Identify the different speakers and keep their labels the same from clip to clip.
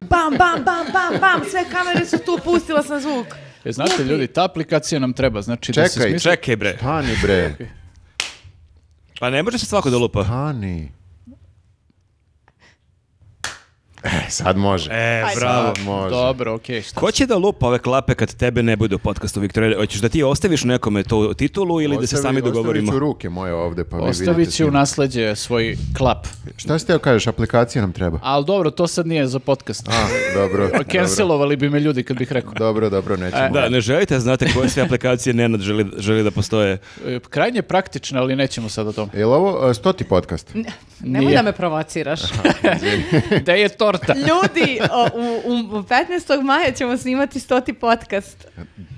Speaker 1: bam, bam, bam, bam, sve kamere su tu, pustila sam zvuk.
Speaker 2: E, znate, ljudi, ta aplikacija nam treba. Znači, da se
Speaker 3: Čekaj.
Speaker 2: smisli...
Speaker 4: Čekaj bre.
Speaker 3: Pani bre,
Speaker 4: Pa ne može se svako da lupa.
Speaker 3: pani. E, sad može.
Speaker 4: E, bravo.
Speaker 3: Sad može.
Speaker 2: Dobro, okej. šta
Speaker 4: Ko će da lupa ove klape kad tebe ne bude u podcastu, Viktorija? Hoćeš da ti ostaviš nekome tu titulu ili da se
Speaker 3: Ostavi-
Speaker 4: sami
Speaker 3: Ostavit ću
Speaker 4: dogovorimo?
Speaker 3: ruke moje ovde, pa vi
Speaker 2: Ostavit
Speaker 3: vidite
Speaker 2: će u
Speaker 3: snimak.
Speaker 2: nasledđe svoj klap.
Speaker 3: Šta si teo kažeš, aplikacija nam treba.
Speaker 2: Ali dobro, to sad nije za podcast.
Speaker 3: A, dobro. dobro.
Speaker 2: Cancelovali bi me ljudi kad bih rekao.
Speaker 3: Dobro, dobro, nećemo.
Speaker 4: E, Da, ne želite, da znate koje sve aplikacije Nenad želi, želi da postoje.
Speaker 2: E, Krajnje praktično, ali nećemo sad o tome.
Speaker 3: Je li ovo e, stoti podcast?
Speaker 1: Nemoj
Speaker 2: Nije.
Speaker 1: da me provociraš.
Speaker 2: Da je torta.
Speaker 1: Ljudi, o, u, u 15. maja ćemo snimati stoti podcast.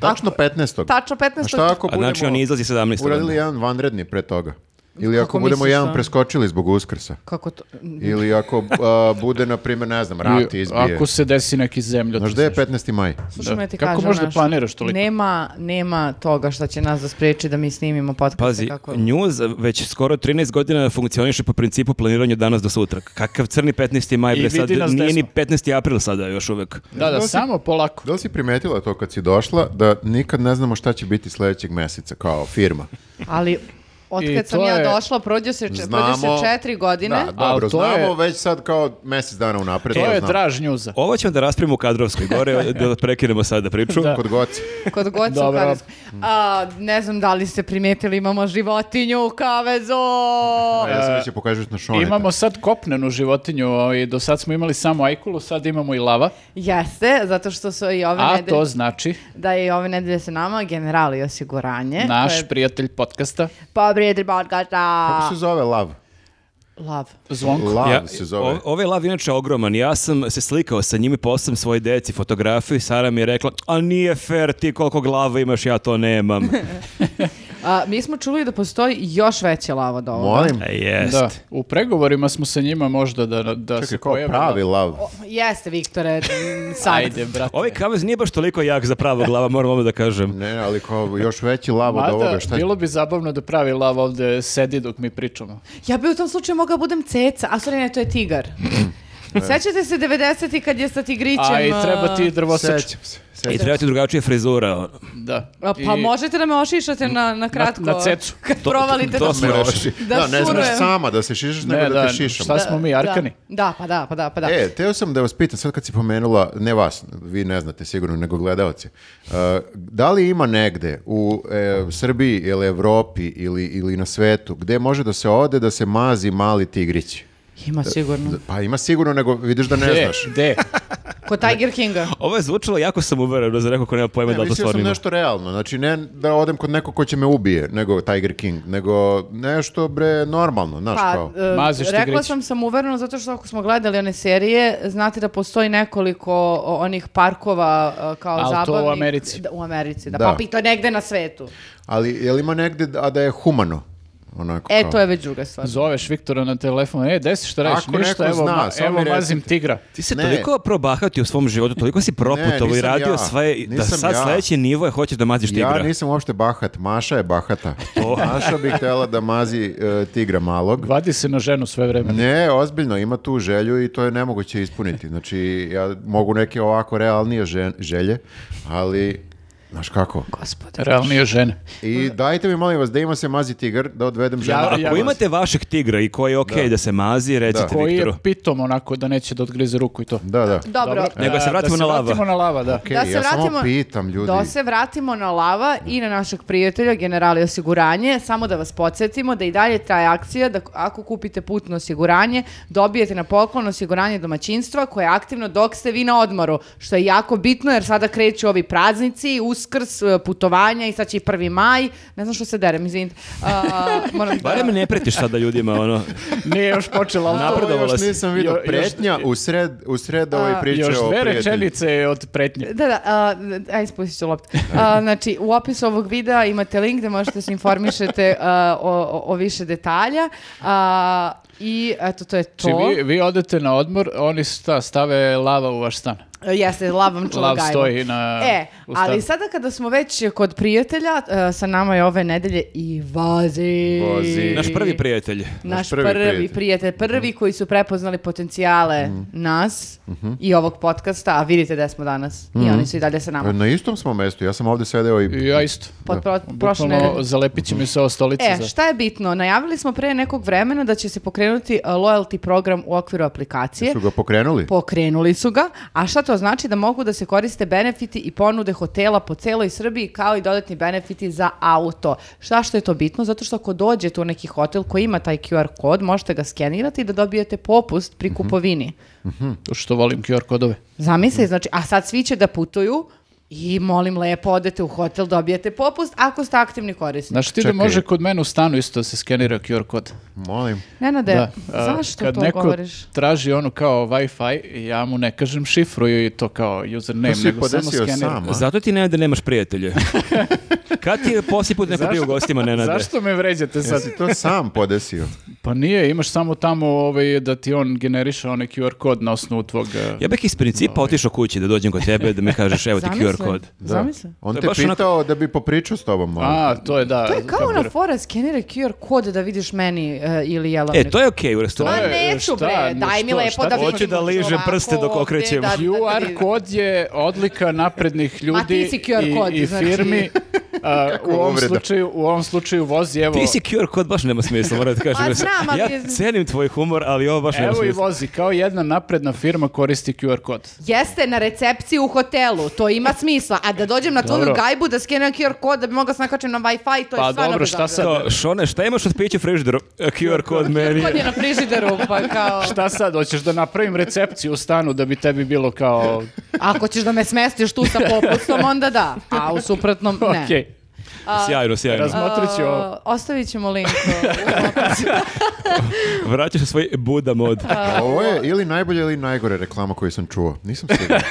Speaker 3: Tačno 15.
Speaker 1: Tačno 15.
Speaker 3: A šta ako
Speaker 4: A
Speaker 3: budemo
Speaker 4: znači on izlazi 17.
Speaker 3: uradili jedan vanredni pre toga? Ili ako
Speaker 1: Kako
Speaker 3: budemo
Speaker 1: misliš,
Speaker 3: jedan
Speaker 1: a?
Speaker 3: preskočili zbog uskrsa?
Speaker 1: Kako to?
Speaker 3: Ili ako a, bude, na primjer, ne znam, rat
Speaker 2: I
Speaker 3: izbije.
Speaker 2: Ako se desi neki zemljotres.
Speaker 3: Znaš gde je 15. maj?
Speaker 1: Slušaj,
Speaker 2: Da.
Speaker 1: ja ti
Speaker 2: Kako
Speaker 1: kažem
Speaker 2: možeš da
Speaker 1: nešto.
Speaker 2: planiraš toliko?
Speaker 1: Nema, nema toga šta će nas da spreči da mi snimimo podcast.
Speaker 3: E,
Speaker 4: Pazi,
Speaker 1: kako...
Speaker 4: News već skoro 13 godina funkcioniše po principu planiranja od danas do sutra. Kakav crni 15. maj,
Speaker 2: I
Speaker 4: bre, sad
Speaker 2: vidi nas
Speaker 4: nije ni
Speaker 2: desno.
Speaker 4: 15. april sada još uvek.
Speaker 2: Da, da,
Speaker 3: Da li si-
Speaker 2: samo polako.
Speaker 3: Da li si primetila to kad si došla da nikad ne znamo šta će biti sljedećeg mjeseca kao firma?
Speaker 1: Ali od
Speaker 2: I
Speaker 1: kad sam
Speaker 2: to
Speaker 1: ja
Speaker 2: je-
Speaker 1: došla, prođe se, če- prođe se četiri godine.
Speaker 3: Da, dobro,
Speaker 2: Ali to je-
Speaker 3: znamo već sad kao mjesec dana unapred.
Speaker 2: To
Speaker 3: to
Speaker 2: je
Speaker 3: znamo.
Speaker 2: draž njuza.
Speaker 4: Ovo ćemo da raspravimo u kadrovskoj gore, da prekinemo sada priču.
Speaker 2: Da.
Speaker 3: Kod goci.
Speaker 1: Kod god su
Speaker 2: Dobro.
Speaker 1: kavez- A, ne znam da li ste primijetili, imamo životinju u kavezu.
Speaker 2: E,
Speaker 3: A ja sam već je pokažeš na šoneta.
Speaker 2: Imamo sad kopnenu životinju i do sad smo imali samo ajkulu, sad imamo i lava,
Speaker 1: Jeste, zato što su i ove
Speaker 2: a
Speaker 1: nedelje,
Speaker 2: to znači
Speaker 1: da je i ove nedelje sa nama generali osiguranje.
Speaker 2: naš
Speaker 1: koje E, je
Speaker 2: prijatelj podcasta
Speaker 1: Pobrijedi podcasta.
Speaker 3: Kako se zove lav?
Speaker 1: Lav.
Speaker 2: Zvonko.
Speaker 3: Lav
Speaker 4: Ja,
Speaker 3: se zove.
Speaker 4: o- ovaj lav je inače ogroman. Ja sam se slikao sa njimi, poslao svoje deci fotografiju i Sara mi je rekla, a nije fair ti koliko glava imaš, ja to nemam.
Speaker 1: A, mi smo čuli da postoji još veće lava od ovoga.
Speaker 3: Molim?
Speaker 4: E, jest.
Speaker 2: Da, u pregovorima smo sa njima možda da, da
Speaker 3: Čekaj,
Speaker 2: se
Speaker 3: kao
Speaker 2: pojave.
Speaker 3: pravi lav.
Speaker 1: Jeste, Viktore, m, sad.
Speaker 2: Ajde, brate.
Speaker 4: Ovaj kavez nije baš toliko jak za pravo glava, moram vam da kažem.
Speaker 3: Ne, ali kao još veći lav od
Speaker 2: Mada,
Speaker 3: ovoga. Šta
Speaker 2: bilo bi zabavno da pravi lav ovde sedi dok mi pričamo.
Speaker 1: Ja bi u tom slučaju mogla budem ceca, a sorry, ne, to je tigar. Sećate se 90-ti kad je sa tigrićem...
Speaker 2: A i treba ti drvosač.
Speaker 3: Sećam se.
Speaker 4: I
Speaker 3: sećam
Speaker 4: treba ti drugačija frizura. ono.
Speaker 2: Da.
Speaker 1: A, Pa
Speaker 2: I-
Speaker 1: možete da me ošišate na, na kratko.
Speaker 2: na cecu.
Speaker 1: Kad provalite
Speaker 4: to
Speaker 1: da
Speaker 4: smo
Speaker 3: se.
Speaker 4: rekli.
Speaker 3: Oši.
Speaker 1: Da
Speaker 3: Da, ne znaš
Speaker 1: surujem.
Speaker 3: sama da se šišaš nego
Speaker 2: Ne,
Speaker 3: da,
Speaker 2: da,
Speaker 3: te šišam.
Speaker 2: šta smo mi, Arkani?
Speaker 1: Da, da, pa da, pa da, pa da.
Speaker 3: E, teo sam da vas pitam, sad kad si pomenula, ne vas, vi ne znate sigurno, nego gledalci, uh, da li ima negde u e, Srbiji ili Evropi ili, ili na svetu gde može da se ode da se mazi mali tigrić?
Speaker 1: Ima sigurno.
Speaker 3: Pa ima sigurno, nego vidiš da ne
Speaker 2: Gde?
Speaker 3: znaš.
Speaker 2: Gde?
Speaker 1: Kod Tiger Kinga.
Speaker 4: Ovo je zvučilo jako sam uvereno za neko ko nema pojma
Speaker 3: Ne,
Speaker 4: da li to
Speaker 3: mislio
Speaker 4: stvarno
Speaker 3: sam
Speaker 4: ima.
Speaker 3: nešto realno, znači ne da odem kod nekog ko će me ubije, nego Tiger King, nego nešto bre normalno, znaš
Speaker 1: Pa,
Speaker 3: kao.
Speaker 1: e,
Speaker 2: Maziš
Speaker 1: rekla
Speaker 2: tigrić.
Speaker 1: sam sam uvereno zato što ako smo gledali one serije, znate da postoji nekoliko o, onih parkova e, kao
Speaker 2: Al to
Speaker 1: zabavnih.
Speaker 2: u Americi.
Speaker 1: Da, u Americi, da.
Speaker 3: Da.
Speaker 1: Pa pita negde na svetu.
Speaker 3: Ali je li ima negde da, a da je humano? Onako
Speaker 1: E,
Speaker 3: kao.
Speaker 1: to je već druga stvar.
Speaker 2: Zoveš Viktora na telefon, e, desi što radiš,
Speaker 3: Ako
Speaker 2: ništa,
Speaker 3: neko
Speaker 2: evo,
Speaker 3: zna,
Speaker 2: ma-
Speaker 3: samo mi
Speaker 2: evo
Speaker 3: recite.
Speaker 2: mazim tigra.
Speaker 4: Ti se
Speaker 3: Ne.
Speaker 4: toliko probahati u svom životu, toliko si proputovo i
Speaker 3: nisam
Speaker 4: radio
Speaker 3: ja.
Speaker 4: sve, da
Speaker 3: Nisam
Speaker 4: sad
Speaker 3: ja.
Speaker 4: sledeći nivo je hoćeš da maziš tigra.
Speaker 3: Ja nisam uopšte bahat, Maša je bahata. Maša bi htjela da mazi e, tigra malog.
Speaker 2: Vadi se na ženu sve vreme.
Speaker 3: Ne, ozbiljno, ima tu želju i to je nemoguće ispuniti. Znači, ja mogu neke ovako realnije žen- želje, ali, znaš kako.
Speaker 1: Gospode.
Speaker 2: Realnije žene.
Speaker 3: I dajte mi, molim vas, da ima se mazi tigar, da odvedem ženu.
Speaker 2: Ja-
Speaker 3: da
Speaker 2: ja-
Speaker 4: Ako
Speaker 3: pomazi.
Speaker 4: imate vašeg tigra i koji je okej da. se mazi, recite
Speaker 2: Koji je
Speaker 4: Viktoru.
Speaker 2: pitom onako da neće da odgrize ruku i to.
Speaker 3: Da, da.
Speaker 1: Dobro.
Speaker 4: Nego
Speaker 2: E,
Speaker 4: se vratimo na
Speaker 2: Da
Speaker 4: lava.
Speaker 2: se vratimo na lava, da.
Speaker 3: Okej,
Speaker 1: Da se
Speaker 3: ja samo
Speaker 1: vratimo-
Speaker 3: pitam, ljudi.
Speaker 1: Da se vratimo na lava i na našeg prijatelja Generali osiguranje. Samo da vas podsjetimo da i dalje traje akcija da ako kupite putno osiguranje, dobijete na poklon osiguranje domaćinstva koje je aktivno dok ste vi na odmoru, što je jako bitno jer sada kreću ovi praznici, uskrs, e, putovanja i sad će i 1. maj. Ne znam što se derem, izvinite. A, moram da-
Speaker 4: Barem ne pretiš sada ljudima, ono.
Speaker 2: Nije još počela ali to-
Speaker 4: Napredovala
Speaker 3: Još
Speaker 4: si.
Speaker 3: nisam vidio
Speaker 2: Jo- još-
Speaker 3: pretnja u sred, u sred ove priče
Speaker 2: Još dve
Speaker 3: o prijatelju.
Speaker 2: rečenice je od pretnje.
Speaker 1: Da, da, a, aj spustit ću loptu. A, znači, u opisu ovog videa imate link gde možete se informišete a, o, o- o više detalja. A, I eto, to je to.
Speaker 2: Znači vi, vi odete na odmor, oni šta, stave lava u vaš stan.
Speaker 1: E, Jeste, lav vam čula
Speaker 2: Lav
Speaker 1: gajbu.
Speaker 2: stoji na-
Speaker 1: E,
Speaker 2: u
Speaker 1: ali
Speaker 2: stanu.
Speaker 1: sada kada smo već kod prijatelja, e, sa nama je ove nedelje i Vazi.
Speaker 3: Vazi.
Speaker 4: Naš prvi prijatelj.
Speaker 1: Naš, prvi, prijatelj. Prvi koji su prepoznali potencijale nas i ovog podcasta, a vidite da smo danas. I oni su i dalje sa nama.
Speaker 3: Na istom smo mestu, ja sam ovdje sedeo
Speaker 2: I
Speaker 3: i...
Speaker 2: ja isto.
Speaker 1: Pod pro, prošle nedelje.
Speaker 2: Bukvalno zalepit će mi se ova stolica.
Speaker 1: E,
Speaker 2: za-
Speaker 1: šta je bitno? Najavili smo pre nekog vremena da će se pokrenuti e, loyalty program u okviru aplikacije.
Speaker 3: Su ga pokrenuli?
Speaker 1: Pokrenuli su ga, a šta to znači da mogu da se koriste benefiti i ponude hotela po celoj Srbiji kao i dodatni benefiti za auto. Šta što je to bitno? Zato što ako dođete u neki hotel koji ima taj QR kod, možete ga skenirati i da dobijete popust pri kupovini.
Speaker 2: To što volim QR kodove.
Speaker 1: Zamisli, znači, a sad svi će da putuju i molim lepo odete u hotel, dobijete popust ako ste aktivni korisnik.
Speaker 2: Znaš ti da
Speaker 3: Čekaj.
Speaker 2: može kod mene u stanu isto da se skenira QR kod?
Speaker 3: Molim.
Speaker 1: Nenade,
Speaker 2: a,
Speaker 1: E, zašto
Speaker 2: kad
Speaker 1: to
Speaker 2: neko
Speaker 1: govoriš?
Speaker 2: traži ono kao Wi-Fi, ja mu ne kažem šifru i to kao username,
Speaker 3: To si
Speaker 2: nego samo
Speaker 3: podesio
Speaker 2: skenira.
Speaker 3: sam, a?
Speaker 4: Zato ti ne da nemaš prijatelje. Kad ti je posljednji put neko bio u gostima, Nenade?
Speaker 2: Zašto me vređate sad?
Speaker 3: Jesi to sam podesio?
Speaker 2: Pa nije, imaš samo tamo ovaj, da ti on generiše onaj QR kod na osnovu tvog... eh,
Speaker 4: Ja bih iz principa otišao kući da dođem kod tebe da mi kažeš evo ti QR
Speaker 1: Zamisli,
Speaker 4: kod.
Speaker 3: Da.
Speaker 1: Zamisli.
Speaker 3: On
Speaker 4: To je
Speaker 3: te
Speaker 4: baš onako-
Speaker 3: pitao da bi popričao s tobom ono. malo.
Speaker 2: A, to je
Speaker 4: Pa,
Speaker 2: ono da.
Speaker 1: To je kao ona
Speaker 2: kapiram.
Speaker 1: fora, skenira QR kod da vidiš meni e, ili jelovnik.
Speaker 4: E, to je okej u
Speaker 1: Ma
Speaker 4: restoranu.
Speaker 2: je-
Speaker 1: neću
Speaker 2: šta,
Speaker 1: bre,
Speaker 2: no
Speaker 1: daj mi
Speaker 2: što,
Speaker 1: lepo
Speaker 2: šta
Speaker 1: da
Speaker 2: ti-
Speaker 1: vidim.
Speaker 4: Hoću da ližem
Speaker 1: ovako
Speaker 4: prste dok
Speaker 1: ovdje,
Speaker 4: okrećem.
Speaker 1: da- da- da
Speaker 2: QR
Speaker 1: vidim.
Speaker 2: kod je odlika naprednih
Speaker 1: A ti
Speaker 2: ljudi
Speaker 1: si QR
Speaker 2: i,
Speaker 1: kod,
Speaker 2: i
Speaker 1: znači.
Speaker 2: firmi. a, u, ovom
Speaker 3: uvreda.
Speaker 2: slučaju, u ovom slučaju vozi, evo,
Speaker 4: Ti si QR kod baš nema smisla, moram ti kažem.
Speaker 1: Pa znam, ali-
Speaker 4: Ja cenim tvoj humor, ali ovo baš nema
Speaker 2: evo i
Speaker 4: smisla.
Speaker 2: vozi, kao jedna napredna firma koristi QR kod.
Speaker 1: Jeste na recepciji u hotelu, to ima smisla. A da dođem na tvoju
Speaker 2: Dobro.
Speaker 1: gajbu da skenem QR kod da bi mogla se nakačem na Wi-Fi, to je
Speaker 2: Pa
Speaker 1: stvarno
Speaker 2: dobro, šta
Speaker 1: bezobrazno.
Speaker 2: sad?
Speaker 4: To, Šone, šta imaš od pića u frižideru? E, QR kod meni.
Speaker 1: Kod je na frižideru, pa kao...
Speaker 2: Šta sad, hoćeš da napravim recepciju u stanu da bi tebi bilo kao...
Speaker 1: Ako ćeš da me smestiš tu sa popustom, onda da. A u suprotnom, ne.
Speaker 2: Okej,
Speaker 4: Sjajno, sjajno.
Speaker 2: Razma- Otvorit ću ovo.
Speaker 1: A, Ostavit ćemo link. eh,
Speaker 4: Vraćaš se svoj Buda mod.
Speaker 3: Ovo je ili najbolja ili najgore reklama koju sam čuo. Nisam siguran.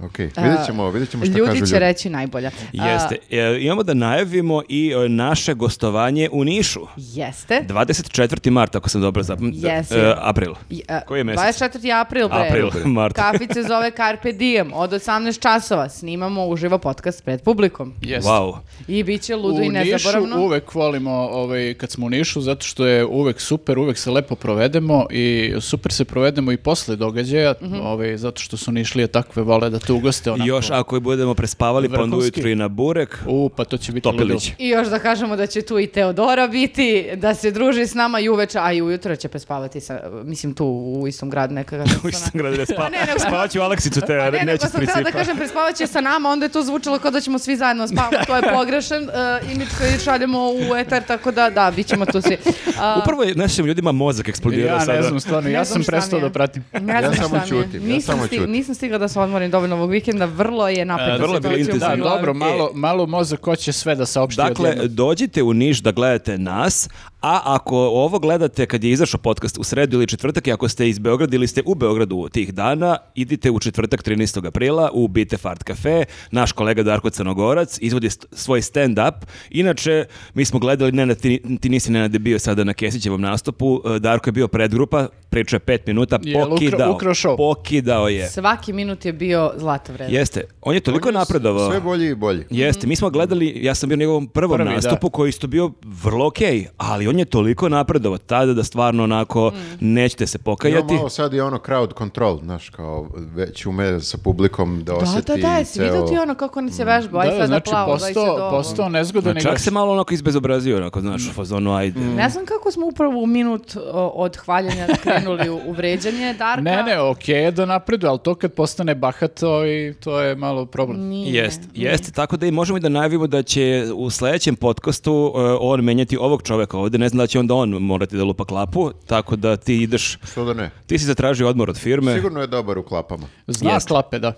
Speaker 3: ok, vidjet ćemo, vidjet ćemo šta kažu
Speaker 1: Ljudi će
Speaker 3: ljudi.
Speaker 1: reći najbolja. A,
Speaker 4: Jeste. E, imamo da najavimo i e, naše gostovanje u Nišu.
Speaker 1: Jeste.
Speaker 4: 24. marta, ako sam dobro zapamtio.
Speaker 1: Jeste.
Speaker 4: april.
Speaker 1: I, e,
Speaker 4: Koji je mesec?
Speaker 1: 24. april, bre.
Speaker 4: April, marta.
Speaker 1: Kafić se zove Carpe Diem. Od 18 časova snimamo uživo podcast pred publikom.
Speaker 2: jest.
Speaker 4: Wow.
Speaker 1: I bit će ludo i
Speaker 2: U Nišu
Speaker 1: nezaboravno.
Speaker 2: uvek volimo ovaj, kad smo u Nišu zato što je uvek super, uvek se lepo provedemo i super se provedemo i posle događaja,
Speaker 1: Mhm.
Speaker 2: ovaj, zato što su Nišlije takve vole da te ugoste onako.
Speaker 4: Još ako i budemo prespavali, pa onda
Speaker 2: Vrhunski.
Speaker 4: ujutru i na burek.
Speaker 2: U, pa to će biti
Speaker 4: Topilić.
Speaker 2: ludilo.
Speaker 1: I još da kažemo da će tu i Teodora biti, da se druži s nama i uveče, a i ujutro će prespavati sa, mislim tu u istom gradu neka.
Speaker 4: U Istangradu da
Speaker 1: Pa
Speaker 4: spava.
Speaker 1: ne, nego-
Speaker 4: Spavaću Aleksicu, te
Speaker 1: Pa ne, nego
Speaker 4: neće
Speaker 1: sam htjela da
Speaker 4: principa.
Speaker 1: kažem, prespavat će sa nama, onda je to zvučalo kao da ćemo svi zajedno spavati, to je pogrešan uh, imidž koji šaljemo u etar, tako da, da, bit ćemo tu svi. A,
Speaker 4: Upravo je našim ljudima mozak eksplodirao
Speaker 2: Ja
Speaker 4: sada.
Speaker 2: ne znam, stvarno,
Speaker 1: Ne
Speaker 2: ja
Speaker 1: znam
Speaker 2: sam
Speaker 1: šta
Speaker 2: prestao
Speaker 1: mi je.
Speaker 2: da pratim.
Speaker 1: Ne
Speaker 3: Ja
Speaker 1: znam
Speaker 3: samo
Speaker 1: šta mi je.
Speaker 3: ćutim, ja
Speaker 1: nisam
Speaker 3: samo
Speaker 1: sti-
Speaker 3: ćutim.
Speaker 1: Nisam stigla da se odmorim dovoljno ovog vikenda, vrlo je
Speaker 2: E,
Speaker 1: napetno.
Speaker 4: vrlo je bilo
Speaker 1: situacija u
Speaker 4: intenzivno.
Speaker 2: Da,
Speaker 1: mojoj glavi.
Speaker 2: dobro, malo, malo mozak hoće sve da saopšti
Speaker 4: e. Dakle,
Speaker 2: odjednom.
Speaker 4: dođite u Niš da gledate nas, a ako ovo gledate kad je izašao podcast u sredu ili četvrtak i ako ste iz Beograda ili ste u Beogradu tih dana, idite u četvrtak 13. aprila u Bite Fart Cafe. Naš kolega Darko Crnogorac izvodi st- svoj stand-up. Inače, mi smo gledali, ne, ti, ti nisi Nenade bio sada na Kesićevom nastupu, e, Darko je bio predgrupa, priča je pet minuta,
Speaker 2: Je, ukra-
Speaker 4: pokidao,
Speaker 2: ukrao show.
Speaker 4: pokidao je.
Speaker 1: Svaki minut je bio zlato vreme.
Speaker 4: Jeste, on je toliko
Speaker 3: On je s-
Speaker 4: napredovao.
Speaker 3: Sve bolji i bolji.
Speaker 4: Jeste, mi smo gledali, ja sam bio na njegovom prvom
Speaker 2: Prvi, da.
Speaker 4: nastupu koji je isto bio vrlo okej, ali on je toliko napredovao tada da stvarno onako nećete se
Speaker 3: Ima
Speaker 4: pokajati.
Speaker 3: malo sad i ono crowd control, znaš, kao već ume sa publikom da
Speaker 1: Da,
Speaker 3: osjeti
Speaker 1: da, da, jesi vidio
Speaker 3: ceo- Mm.
Speaker 1: ti ono kako oni se vežba, aj
Speaker 2: Da,
Speaker 1: sad
Speaker 2: znači,
Speaker 1: da plavo, daj sad
Speaker 2: postao,
Speaker 1: ovo.
Speaker 2: postao nezgodan
Speaker 4: Čak
Speaker 2: igrač.
Speaker 4: se malo onako izbezobrazio, onako,
Speaker 2: Mm.
Speaker 4: znaš, u fazonu, ajde.
Speaker 1: Ne znam kako smo upravo u minut o, od hvaljenja krenuli u, u vređanje Darka.
Speaker 2: Ne, ne, okej je da napreduje, ali to kad postane bahato i to je malo problem.
Speaker 1: Nije.
Speaker 4: Jeste, jeste, tako da i možemo i da najavimo da će u sledećem podcastu e, on menjati ovog čoveka ovde, ne znam da će onda on morati da lupa klapu, tako da ti ideš,
Speaker 3: Što da ne?
Speaker 4: ti si zatražio odmor od firme,
Speaker 3: Sigurno je dobar u klapama.
Speaker 2: Zna
Speaker 4: Jeste.
Speaker 2: klape, da.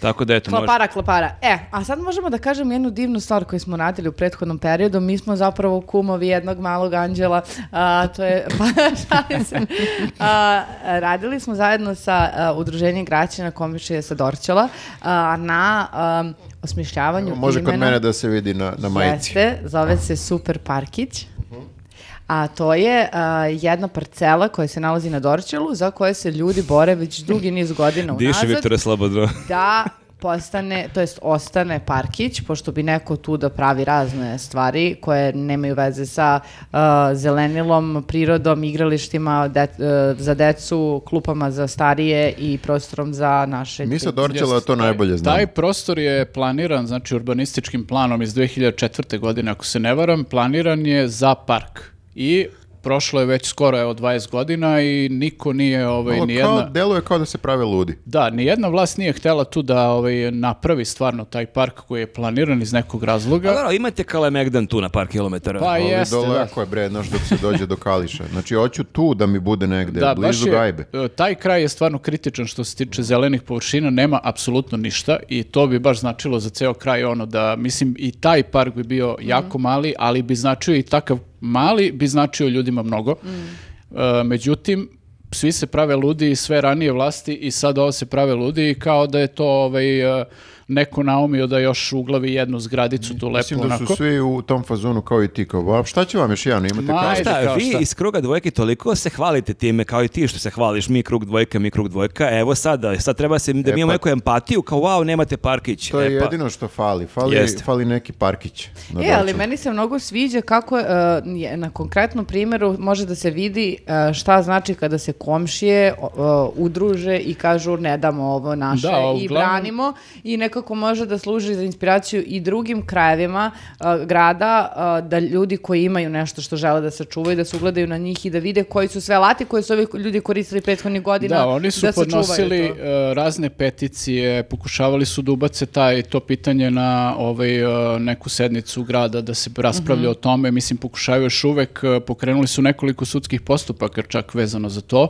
Speaker 4: tako da eto, može.
Speaker 1: Klapara, klapara. E, a sad možemo da kažem jednu divnu stvar koju smo radili u prethodnom periodu. Mi smo zapravo kumovi jednog malog anđela. A, to je, pa, šalim se. A, radili smo zajedno sa a, udruženjem graćana komšije sa Dorćola a, na a, osmišljavanju
Speaker 3: Može kod
Speaker 1: imena.
Speaker 3: mene da se vidi na, na majici.
Speaker 1: Jeste, zove se Super Parkić. a to je a, jedna parcela koja se nalazi na Dorčelu, za koje se ljudi bore već dugi niz godina
Speaker 4: Diši
Speaker 1: unazad.
Speaker 4: Viktore slobodno.
Speaker 1: da postane, to jest ostane parkić, pošto bi neko tu da pravi razne stvari koje nemaju veze sa uh, zelenilom, prirodom, igralištima de- uh, za decu, klupama za starije i prostorom za naše...
Speaker 3: Mi sa
Speaker 1: dete.
Speaker 3: Dorčela to najbolje znamo.
Speaker 2: Taj prostor je planiran, znači urbanističkim planom iz 2004. godine, ako se ne varam, planiran je za park. I prošlo je već skoro evo 20 godina i niko nije
Speaker 4: pa
Speaker 2: ovaj
Speaker 3: Ovo
Speaker 2: ni
Speaker 3: Ono kao,
Speaker 2: jedna
Speaker 3: deluje kao da se prave ludi.
Speaker 2: Da, ni jedna vlast nije htela tu da ovaj napravi stvarno taj park koji je planiran iz nekog
Speaker 4: Pa
Speaker 2: razloga.
Speaker 4: dobro, imate Kalemegdan tu na par kilometara.
Speaker 2: Pa
Speaker 3: Ali
Speaker 2: jeste, da.
Speaker 3: doleko je bre, znaš, dok se dođe do Kališa. Znači, hoću tu da mi bude negde,
Speaker 2: Da,
Speaker 3: blizu
Speaker 2: baš je,
Speaker 3: gajbe.
Speaker 2: e, Taj kraj je stvarno kritičan što se tiče zelenih površina, nema apsolutno ništa i to bi baš značilo za ceo kraj ono da, mislim, i taj park bi bio jako mali, ali bi značio i takav mali, bi značio ljudima mnogo. E, međutim, svi se prave ludi i sve ranije vlasti i sad ovo se prave ludi i kao da je to ovaj, e, neko naumio da još uglavi jednu zgradicu tu lepo
Speaker 3: Mislim da
Speaker 2: onako.
Speaker 3: su svi u tom fazonu kao i ti, kao, "A šta će vam još jedan, imate
Speaker 2: Ma,
Speaker 3: kao...
Speaker 2: ajde.
Speaker 4: Šta,
Speaker 2: kao
Speaker 4: vi
Speaker 2: šta?
Speaker 4: iz kruga dvojke toliko se hvalite time kao i ti što se hvališ, mi krug dvojka, mi krug dvojka, evo sada, sad treba se
Speaker 2: E
Speaker 4: da mi imamo
Speaker 3: pa-
Speaker 4: neku empatiju, kao wow, nemate parkić.
Speaker 3: To je
Speaker 4: E, pa,
Speaker 3: jedino što fali, fali,
Speaker 4: Jeste.
Speaker 3: fali neki parkić. na
Speaker 1: E, ali
Speaker 3: Dorčelu.
Speaker 1: meni se mnogo sviđa kako e, je na konkretnom primjeru može da se vidi e, šta znači kada se komšije o, e, udruže i kažu ne damo ovo naše
Speaker 2: Da, a
Speaker 1: i
Speaker 2: uglavnom-
Speaker 1: branimo i nekako može da služi za inspiraciju i drugim krajevima e, grada e, da ljudi koji imaju nešto što žele da se čuvaju, da se ugledaju na njih i da vide koji su sve alati koje su ovi ljudi koristili prethodnih godina
Speaker 2: Da, oni su
Speaker 1: da se čuvaju
Speaker 2: podnosili
Speaker 1: to.
Speaker 2: e, razne peticije, pokušavali su da ubace taj, to pitanje na ovaj, e, neku sednicu grada da se
Speaker 1: Mhm.
Speaker 2: raspravlja o tome, mislim pokušavaju još uvek, e, pokrenuli su nekoliko sudskih postupaka čak vezano za to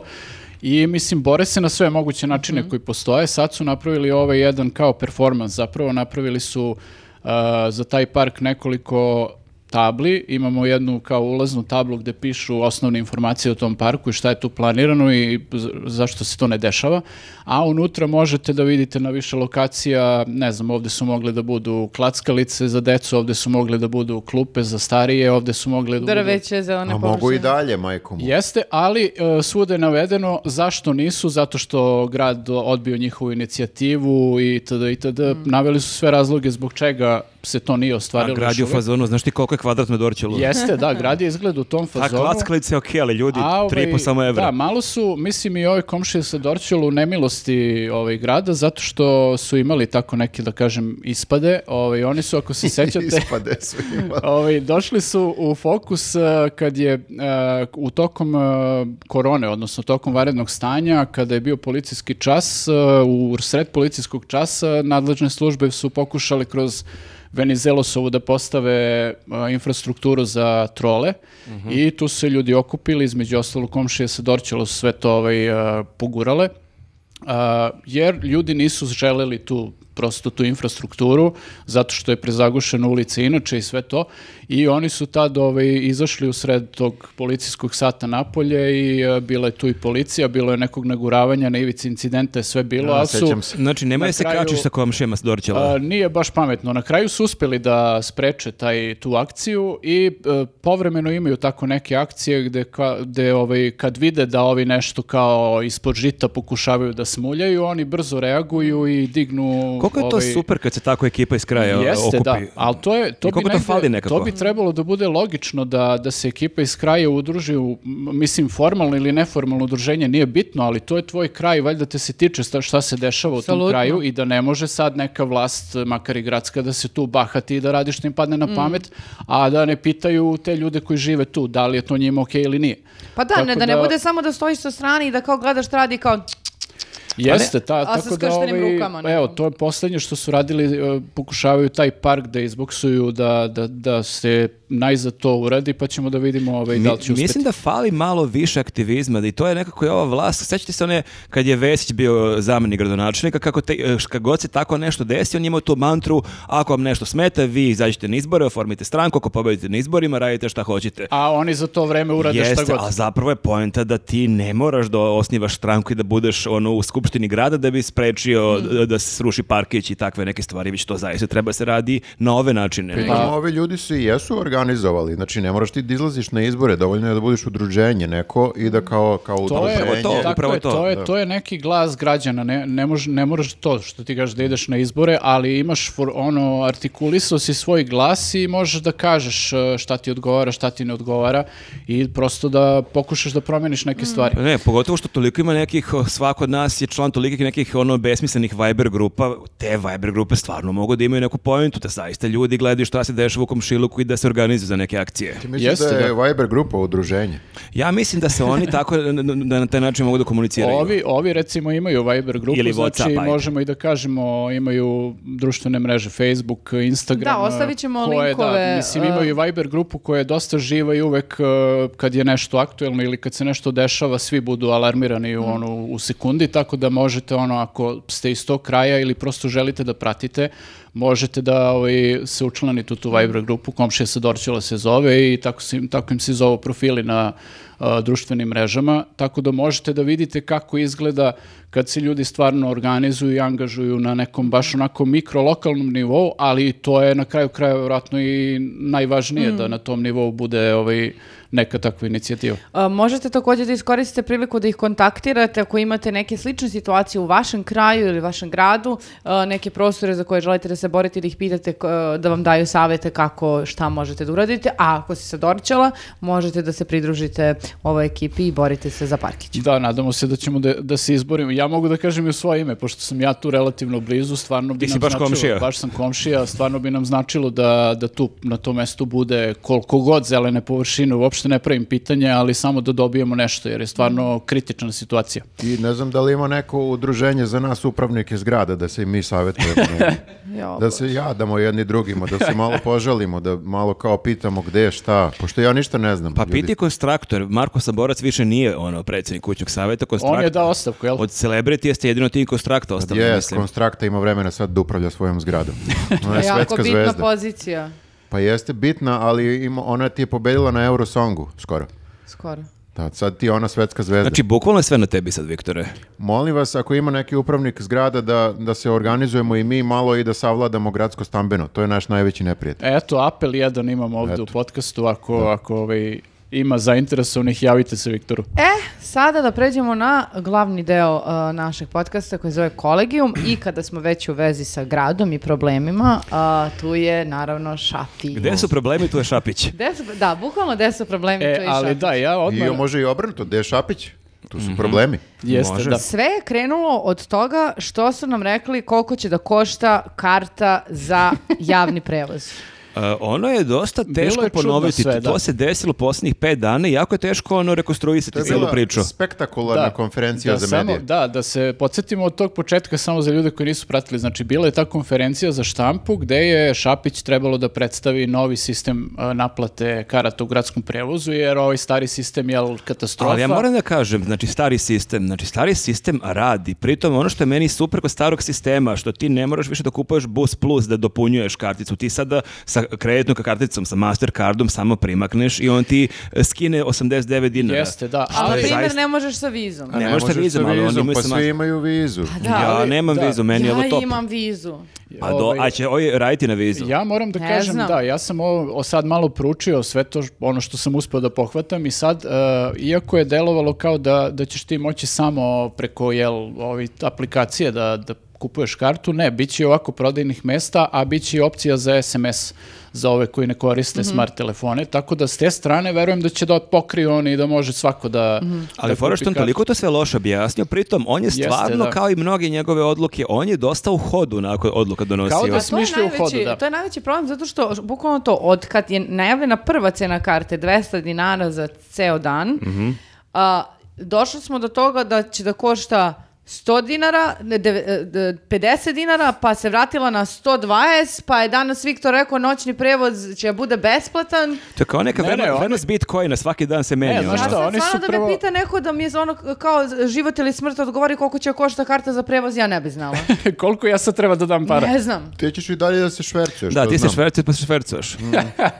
Speaker 2: i mislim bore se na sve moguće načine
Speaker 1: Mhm.
Speaker 2: koji postoje, sad su napravili ovaj jedan kao performans, zapravo napravili su e, za taj park nekoliko tabli, imamo jednu kao ulaznu tablu gde pišu osnovne informacije o tom parku i šta je tu planirano i z- zašto se to ne dešava, a unutra možete da vidite na više lokacija, ne znam, ovde su mogle da budu klackalice za decu, ovde su mogle da budu klupe za starije, ovde su mogle da budu...
Speaker 1: Drveće, zelene
Speaker 3: A mogu i
Speaker 1: površine.
Speaker 3: dalje, majko mu.
Speaker 2: Jeste, ali e, svuda je navedeno zašto nisu, zato što grad odbio njihovu inicijativu i itd. itd. Naveli su sve razloge zbog čega se to nije
Speaker 4: a
Speaker 2: ostvarilo. još
Speaker 4: gradi u
Speaker 2: uvek.
Speaker 4: fazonu, znaš ti koliko je kvadratno dorčelo?
Speaker 2: Jeste, da, grad je izgled u tom
Speaker 4: Ta
Speaker 2: fazonu.
Speaker 4: klackalica je okej, ali ljudi,
Speaker 2: A, ovaj,
Speaker 4: tri i po samo evra.
Speaker 2: Da, malo su, mislim i ove komšije sa Dorćolu u nemilosti ovaj, grada, zato što su imali tako neke, da kažem, ispade. Ovaj, oni su, ako se sećate,
Speaker 3: Ispade su imali.
Speaker 2: ovaj, došli su u fokus eh, kad je eh, u tokom eh, korone, odnosno tokom varednog stanja, kada je bio policijski čas, eh, u sred policijskog časa nadležne službe su pokušale kroz Venizelosovu da postave eh, infrastrukturu za trole i tu su se ljudi okupili, između ostalo komšije sa Dorćola su sve to ovaj, eh, pogurale. A, jer ljudi nisu želeli tu prosto tu infrastrukturu zato što je prezagušena ulica inače i sve to i oni su tad ovaj, izašli u sred tog policijskog sata napolje i e, bila je tu i policija, bilo je nekog naguravanja na ivici incidenta je sve bilo, ali su
Speaker 3: Pa, Sećam se.
Speaker 4: Znači, nemoj
Speaker 2: Na
Speaker 4: se
Speaker 2: kraju-
Speaker 4: kačiš sa komšijama s dorčela.
Speaker 2: a, nije baš pametno. Na kraju su uspeli da spreče taj, tu akciju i e, povremeno imaju tako neke akcije gde, ka- gde, ovaj, kad vide da ovi nešto kao ispod žita pokušavaju da smuljaju, oni brzo reaguju i dignu...
Speaker 4: Koliko je to
Speaker 2: ovaj,
Speaker 4: super kad se tako ekipa iz kraja o,
Speaker 2: Jeste,
Speaker 4: okupi?
Speaker 2: da, ali to je to
Speaker 4: I
Speaker 2: bi
Speaker 4: koliko to
Speaker 2: negde-
Speaker 4: fali nekako?
Speaker 2: to bi trebalo da bude logično da da se ekipa iz kraja udruži u m- mislim formalno ili neformalno udruženje nije bitno, ali to je tvoj kraj, valjda te se tiče šta, šta se dešava u
Speaker 1: Apsolutno.
Speaker 2: tom kraju i da ne može sad neka vlast, makar i gradska, da se tu bahati i da radi što im padne na pamet, a da ne pitaju te ljude koji žive tu da li je to njima okej ili nije.
Speaker 1: Pa da,
Speaker 2: Tako
Speaker 1: ne, da ne
Speaker 2: da-
Speaker 1: bude samo da stojiš sa strane i da kao gledaš šta radi i kao
Speaker 2: Jeste, ta,
Speaker 1: a sa
Speaker 2: tako da
Speaker 1: skrštenim
Speaker 2: ovaj,
Speaker 1: rukama, ne?
Speaker 2: evo, to je poslednje što su radili, e, pokušavaju taj park da izboksuju, da, da, da se najzad to uradi, pa ćemo da vidimo ovaj, da li će
Speaker 4: Mi-
Speaker 2: uspeti.
Speaker 4: Mislim da fali malo više aktivizma da i to je nekako i ova vlast. Sećate se one kad je Vesić bio zamenik gradonačelnika kako te, eh, kad god se tako nešto desi, on je imao tu mantru ako vam nešto smeta, vi izađite na izbore, oformite stranku, ako pobedite na izborima, radite šta hoćete.
Speaker 2: A oni za to vreme urade šta
Speaker 4: Jeste,
Speaker 2: god.
Speaker 4: a zapravo je poenta da ti ne moraš da osnivaš stranku i da budeš ono u skupštini grada da bi sprečio
Speaker 2: Mm.
Speaker 4: da- da se sruši parkić i takve neke stvari, već to zaista treba se radi na ove načine.
Speaker 3: Pa, ovi ljudi se i jesu organizovali, znači ne moraš ti da izlaziš na izbore, dovoljno je da budiš udruženje neko i da kao, kao
Speaker 2: To je,
Speaker 3: udruženje-
Speaker 4: to.
Speaker 2: tako
Speaker 4: upravo
Speaker 2: je, to, je, to je neki glas građana, ne, ne, mož- ne moraš to što ti kažeš da ideš na izbore, ali imaš for, ono, artikulisao si svoj glas i možeš da kažeš e, šta ti odgovara, šta ti ne odgovara i prosto da pokušaš da promeniš
Speaker 1: Mm.
Speaker 2: neke stvari.
Speaker 4: Pa Ne, pogotovo što toliko ima nekih, o, svako od nas je član tolikih nekih ono besmislenih Viber grupa, te Viber grupe stvarno mogu da imaju neku pojentu, da zaista ljudi gledaju šta se dešava u komšiluku i da se organizuju za neke akcije.
Speaker 3: Mislim
Speaker 2: Jeste,
Speaker 3: da je Viber grupa udruženje.
Speaker 4: Ja mislim da se oni tako, da na taj način mogu da komuniciraju.
Speaker 2: Ovi, ovi recimo imaju Viber grupu,
Speaker 4: Ili
Speaker 2: znači
Speaker 4: WhatsApp, ajde.
Speaker 2: možemo i da kažemo imaju društvene mreže Facebook, Instagram.
Speaker 1: Da, ostavit ćemo
Speaker 2: koje, da,
Speaker 1: linkove,
Speaker 2: mislim,
Speaker 1: e,
Speaker 2: imaju Viber grupu koja je dosta živa i uvek e, kad je nešto aktuelno ili kad se nešto dešava, svi budu alarmirani
Speaker 1: Mhm.
Speaker 2: u, ono, u sekundi, tako da možete ono, ako ste iz tog kraja ili prosto želite da pratite, možete da ovaj, se učlanite u tu Viber grupu, komšija sa Dorćola se zove i tako, se, im- tako im se zovu profili na a, društvenim mrežama, tako da možete da vidite kako izgleda kad se ljudi stvarno organizuju i angažuju na nekom baš onako mikrolokalnom nivou, ali to je na kraju kraja vjerojatno i najvažnije da na tom nivou bude ovaj, neka takva inicijativa.
Speaker 1: A, E, Možete također da iskoristite priliku da ih kontaktirate ako imate neke slične situacije u vašem kraju ili vašem gradu, a, neke prostore za koje želite da se borite ili ih pitate k- a, da vam daju savete kako, šta možete da uradite, a ako si se dorčala, možete da se pridružite ovoj ekipi i borite se za parkić.
Speaker 2: Da, nadamo se da ćemo da, da se izborimo. Ja mogu da kažem i u svoje ime, pošto sam ja tu relativno blizu, stvarno bi
Speaker 4: Ti si
Speaker 2: nam
Speaker 4: baš
Speaker 2: značilo,
Speaker 4: komšija.
Speaker 2: baš sam komšija, stvarno bi nam značilo da, da tu na tom mestu bude koliko god zelene površine, uopšte ne pravim pitanje, ali samo da dobijemo nešto, jer je stvarno kritična situacija.
Speaker 4: Pa
Speaker 3: I ne znam da li ima neko udruženje za nas upravnike zgrada da se i mi savjetujemo.
Speaker 1: Jo,
Speaker 3: da se jadamo jedni drugima, da se malo požalimo, da malo kao pitamo gde je šta, pošto ja ništa ne znam.
Speaker 4: Pa
Speaker 3: ljudi.
Speaker 4: piti konstraktor, Marko Saborac više nije ono predsjednik kućnog savjeta, konstraktor.
Speaker 2: On je dao ostavku, jel?
Speaker 4: Od celebrity jeste jedino ti konstrakta ostalo,
Speaker 3: Jes,
Speaker 4: mislim.
Speaker 3: Konstrakta ima vremena sad da upravlja svojom zgradom. Ona je
Speaker 1: jako
Speaker 3: svetska
Speaker 1: bitna
Speaker 3: zvezda.
Speaker 1: pozicija,
Speaker 3: Pa jeste bitna, ali ima, ona ti je pobedila na Eurosongu skoro.
Speaker 1: skoro.
Speaker 3: Da, sad ti je ona svetska zvezda.
Speaker 4: Znači, bukvalno je sve na tebi sad, Viktore.
Speaker 3: Molim vas, ako ima neki upravnik zgrada, da, da se organizujemo i mi malo i da savladamo gradsko stambeno. To je naš najveći neprijatelj.
Speaker 2: E, Eto, apel jedan imamo ovdje u podcastu, ako, ako ovaj, ima zainteresovanih, javite se Viktoru.
Speaker 1: E, sada da pređemo na glavni deo uh, našeg podcasta koji se zove Kolegium i kada smo već u vezi sa gradom i problemima, uh, tu je naravno Šapi.
Speaker 4: Gde su problemi, tu je Šapić.
Speaker 1: Gde su- da, bukvalno gde su problemi,
Speaker 2: E,
Speaker 1: tu je i
Speaker 2: ali
Speaker 1: Šapi.
Speaker 2: da, ja
Speaker 3: I
Speaker 2: odmah... Mhm.
Speaker 3: može i obrnuto, gde je Šapić? Tu su problemi.
Speaker 2: Jeste,
Speaker 4: Može.
Speaker 2: da.
Speaker 1: Sve je krenulo od toga što su nam rekli koliko će da košta karta za javni prevoz.
Speaker 4: E, ono je dosta teško
Speaker 2: je čudno
Speaker 4: ponoviti.
Speaker 2: sve, da.
Speaker 4: To se desilo posljednjih pet dana i jako je teško ono rekonstruisati cijelu priču.
Speaker 3: spektakularna konferencija
Speaker 2: da,
Speaker 3: za
Speaker 2: samo-
Speaker 3: medije.
Speaker 2: Da, da se podsjetimo od tog početka samo za ljude koji nisu pratili. Znači, bila je ta konferencija za štampu gde je Šapić trebalo da predstavi novi sistem e, naplate karata u gradskom prevozu, jer ovaj stari sistem je katastrofa.
Speaker 4: Ali ja moram da kažem, znači stari sistem, znači stari sistem radi. Pritom ono što je meni super kod starog sistema, što ti ne moraš više da kupuješ bus plus da dopunjuješ karticu, ti sada sa kreditnom karticom, sa Mastercardom samo primakneš i on ti e, skine 89 dinara.
Speaker 2: Jeste, da.
Speaker 1: Ali, na
Speaker 2: Ali,
Speaker 4: je
Speaker 1: primjer,
Speaker 4: zaista-
Speaker 1: ne možeš sa vizom.
Speaker 3: A
Speaker 4: ne možete
Speaker 3: možeš
Speaker 4: vizom,
Speaker 3: sa
Speaker 4: ali oni
Speaker 3: vizom,
Speaker 4: imaju
Speaker 3: pa
Speaker 4: sa
Speaker 3: svi
Speaker 4: mas-
Speaker 3: imaju vizu.
Speaker 1: Da,
Speaker 4: ja
Speaker 1: ali-
Speaker 4: nemam
Speaker 2: Pa da.
Speaker 4: vizu, meni je ovo
Speaker 1: ja
Speaker 4: top.
Speaker 1: imam ovaj- vizu.
Speaker 4: A, do, a će ovi raditi na vizu.
Speaker 2: ja moram da
Speaker 1: Ne
Speaker 2: kažem,
Speaker 1: znam.
Speaker 2: da, ja sam ovo, o sad malo proučio sve to, š- ono što sam uspio da pohvatam i sad, e, iako je delovalo kao da, da ćeš ti moći samo preko jel, ovi, aplikacije da, da kupuješ kartu, ne, bit će i ovako prodajnih mesta, a bit će i opcija za SMS za ove koji ne koriste
Speaker 1: Mhm.
Speaker 2: smart telefone, tako da s te strane verujem da će da pokriju oni i da može svako da,
Speaker 1: Mhm.
Speaker 4: Ali
Speaker 2: da
Speaker 4: fora
Speaker 2: kupi
Speaker 4: što on
Speaker 2: kartu.
Speaker 4: toliko to sve loše objasnio, pritom on je stvarno,
Speaker 2: da.
Speaker 4: kao i mnoge njegove odluke, on je dosta u hodu nakon odluka donosio.
Speaker 2: Kao da
Speaker 1: Pa to je,
Speaker 2: smišljaju u
Speaker 1: najveći,
Speaker 2: hodu, da.
Speaker 1: to je najveći problem zato što š- bukvalno to od kad je najavljena prva cena karte 200 dinara za ceo dan,
Speaker 2: Mhm.
Speaker 1: a, došli smo do toga da će da košta 100 dinara, ne, deve- e, de- 50 dinara, pa se vratila na 120, pa je danas Viktor rekao noćni prevoz će da bude besplatan.
Speaker 4: To je kao neka
Speaker 2: Ne, ne,
Speaker 4: vredno-
Speaker 2: on-
Speaker 4: vrednost Bitcoina, svaki dan se menja.
Speaker 2: Ne,
Speaker 4: ono.
Speaker 2: znaš
Speaker 1: Ja
Speaker 2: šta,
Speaker 1: sam
Speaker 2: oni su
Speaker 1: stvarno da
Speaker 2: prvo-
Speaker 1: me pita neko da mi je za ono kao život ili smrt odgovori koliko će košta karta za prevoz, ja ne bi znala.
Speaker 2: koliko ja sad treba da dam para?
Speaker 1: ne znam.
Speaker 3: Ti ćeš i dalje da se švercuješ.
Speaker 4: Da,
Speaker 3: to
Speaker 4: ti se
Speaker 3: znam.
Speaker 4: švercuješ pa se švercuješ.
Speaker 2: Mm.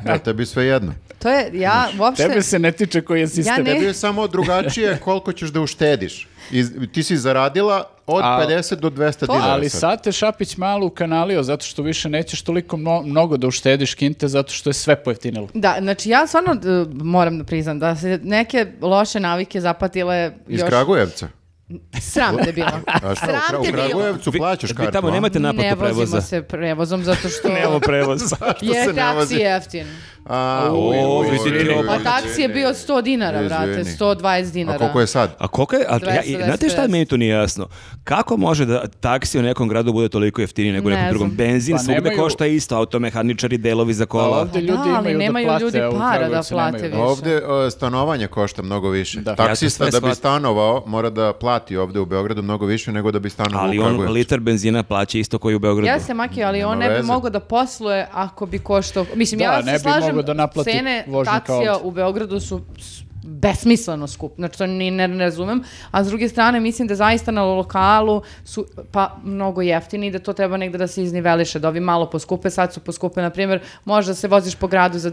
Speaker 3: Da, tebi sve jedno.
Speaker 1: To je, ja uopšte...
Speaker 2: Tebe se ne tiče koji je sistem.
Speaker 1: ne-
Speaker 3: Tebi je samo drugačije koliko ćeš da uštediš. I, ti si zaradila, Od
Speaker 2: A-
Speaker 3: 50 do 200
Speaker 1: To-
Speaker 3: dinara.
Speaker 2: Ali ovaj sad te Šapić malo ukanalio zato što više nećeš toliko mno- mnogo da uštediš kinte zato što je sve pojeftinilo.
Speaker 1: Da, znači ja stvarno d- moram da priznam da se neke loše navike zapatile
Speaker 3: Iz
Speaker 1: još...
Speaker 3: Kragujevca.
Speaker 1: Sram te bilo.
Speaker 3: A šta, u
Speaker 1: Sram
Speaker 3: Kra- u
Speaker 1: te bilo.
Speaker 3: Kragujevcu plaćaš
Speaker 4: Vi
Speaker 3: kartu,
Speaker 4: tamo
Speaker 3: a?
Speaker 4: nemate
Speaker 1: Ne
Speaker 4: naplatu
Speaker 1: vozimo
Speaker 4: prevoza.
Speaker 1: se prevozom zato što
Speaker 4: Nemamo prevoza.
Speaker 2: Pa
Speaker 3: se
Speaker 1: je
Speaker 3: ne vozi?
Speaker 1: taksi jeftin.
Speaker 3: A,
Speaker 4: O,
Speaker 3: uj, uj,
Speaker 4: vidi
Speaker 3: uj,
Speaker 4: ti
Speaker 3: uj,
Speaker 4: ovo.
Speaker 1: Pa
Speaker 3: uj.
Speaker 1: taksi je bio 100 dinara,
Speaker 3: Izvini.
Speaker 1: brate, 120 dinara.
Speaker 3: A koliko je sad?
Speaker 4: A koliko je, a ja, i-
Speaker 1: 200,
Speaker 4: znate šta
Speaker 1: 250.
Speaker 4: meni tu nije jasno? Kako može da taksi u nekom gradu bude toliko jeftiniji nego u
Speaker 1: Ne
Speaker 4: nekom drugom?
Speaker 1: znam.
Speaker 4: Benzin
Speaker 2: Pa
Speaker 4: svugde
Speaker 2: nemaju-
Speaker 4: košta isto, automehaničari, delovi za
Speaker 2: Ali
Speaker 4: kola.
Speaker 2: ovdje
Speaker 1: Pa
Speaker 2: ljudi
Speaker 1: da, ali
Speaker 2: imaju
Speaker 1: nemaju
Speaker 2: da plate,
Speaker 1: ljudi
Speaker 2: a u
Speaker 1: para da
Speaker 2: Kragujevcu
Speaker 1: plate,
Speaker 2: nemaju.
Speaker 1: više.
Speaker 3: Ovde e, stanovanje košta mnogo više.
Speaker 2: Da.
Speaker 3: Taksista
Speaker 4: Ja to sve
Speaker 3: da bi
Speaker 4: shvatam.
Speaker 3: stanovao mora da plati ovde u Beogradu mnogo više nego da bi stanovao
Speaker 4: Ali
Speaker 3: u
Speaker 4: on
Speaker 3: Kragujevcu.
Speaker 4: litar benzina plaća isto koji u Beogradu.
Speaker 1: Ja se maki, ali on
Speaker 3: Nema
Speaker 1: ne bi
Speaker 3: veze.
Speaker 1: mogao da posluje ako bi koštao... Mislim,
Speaker 2: Da,
Speaker 1: ja se
Speaker 2: ne bi
Speaker 1: slažem,
Speaker 2: mogao da naplati
Speaker 1: cene
Speaker 2: vožnju kao
Speaker 1: taksija
Speaker 2: ovdje.
Speaker 1: u Beogradu su s- besmisleno skup, znači to ni ne ne razumem, a s druge strane mislim da zaista na lokalu su pa mnogo jeftini i da to treba negde da se izniveliše, da ovi malo poskupe, sad su poskupe, na primjer, možda se voziš po gradu za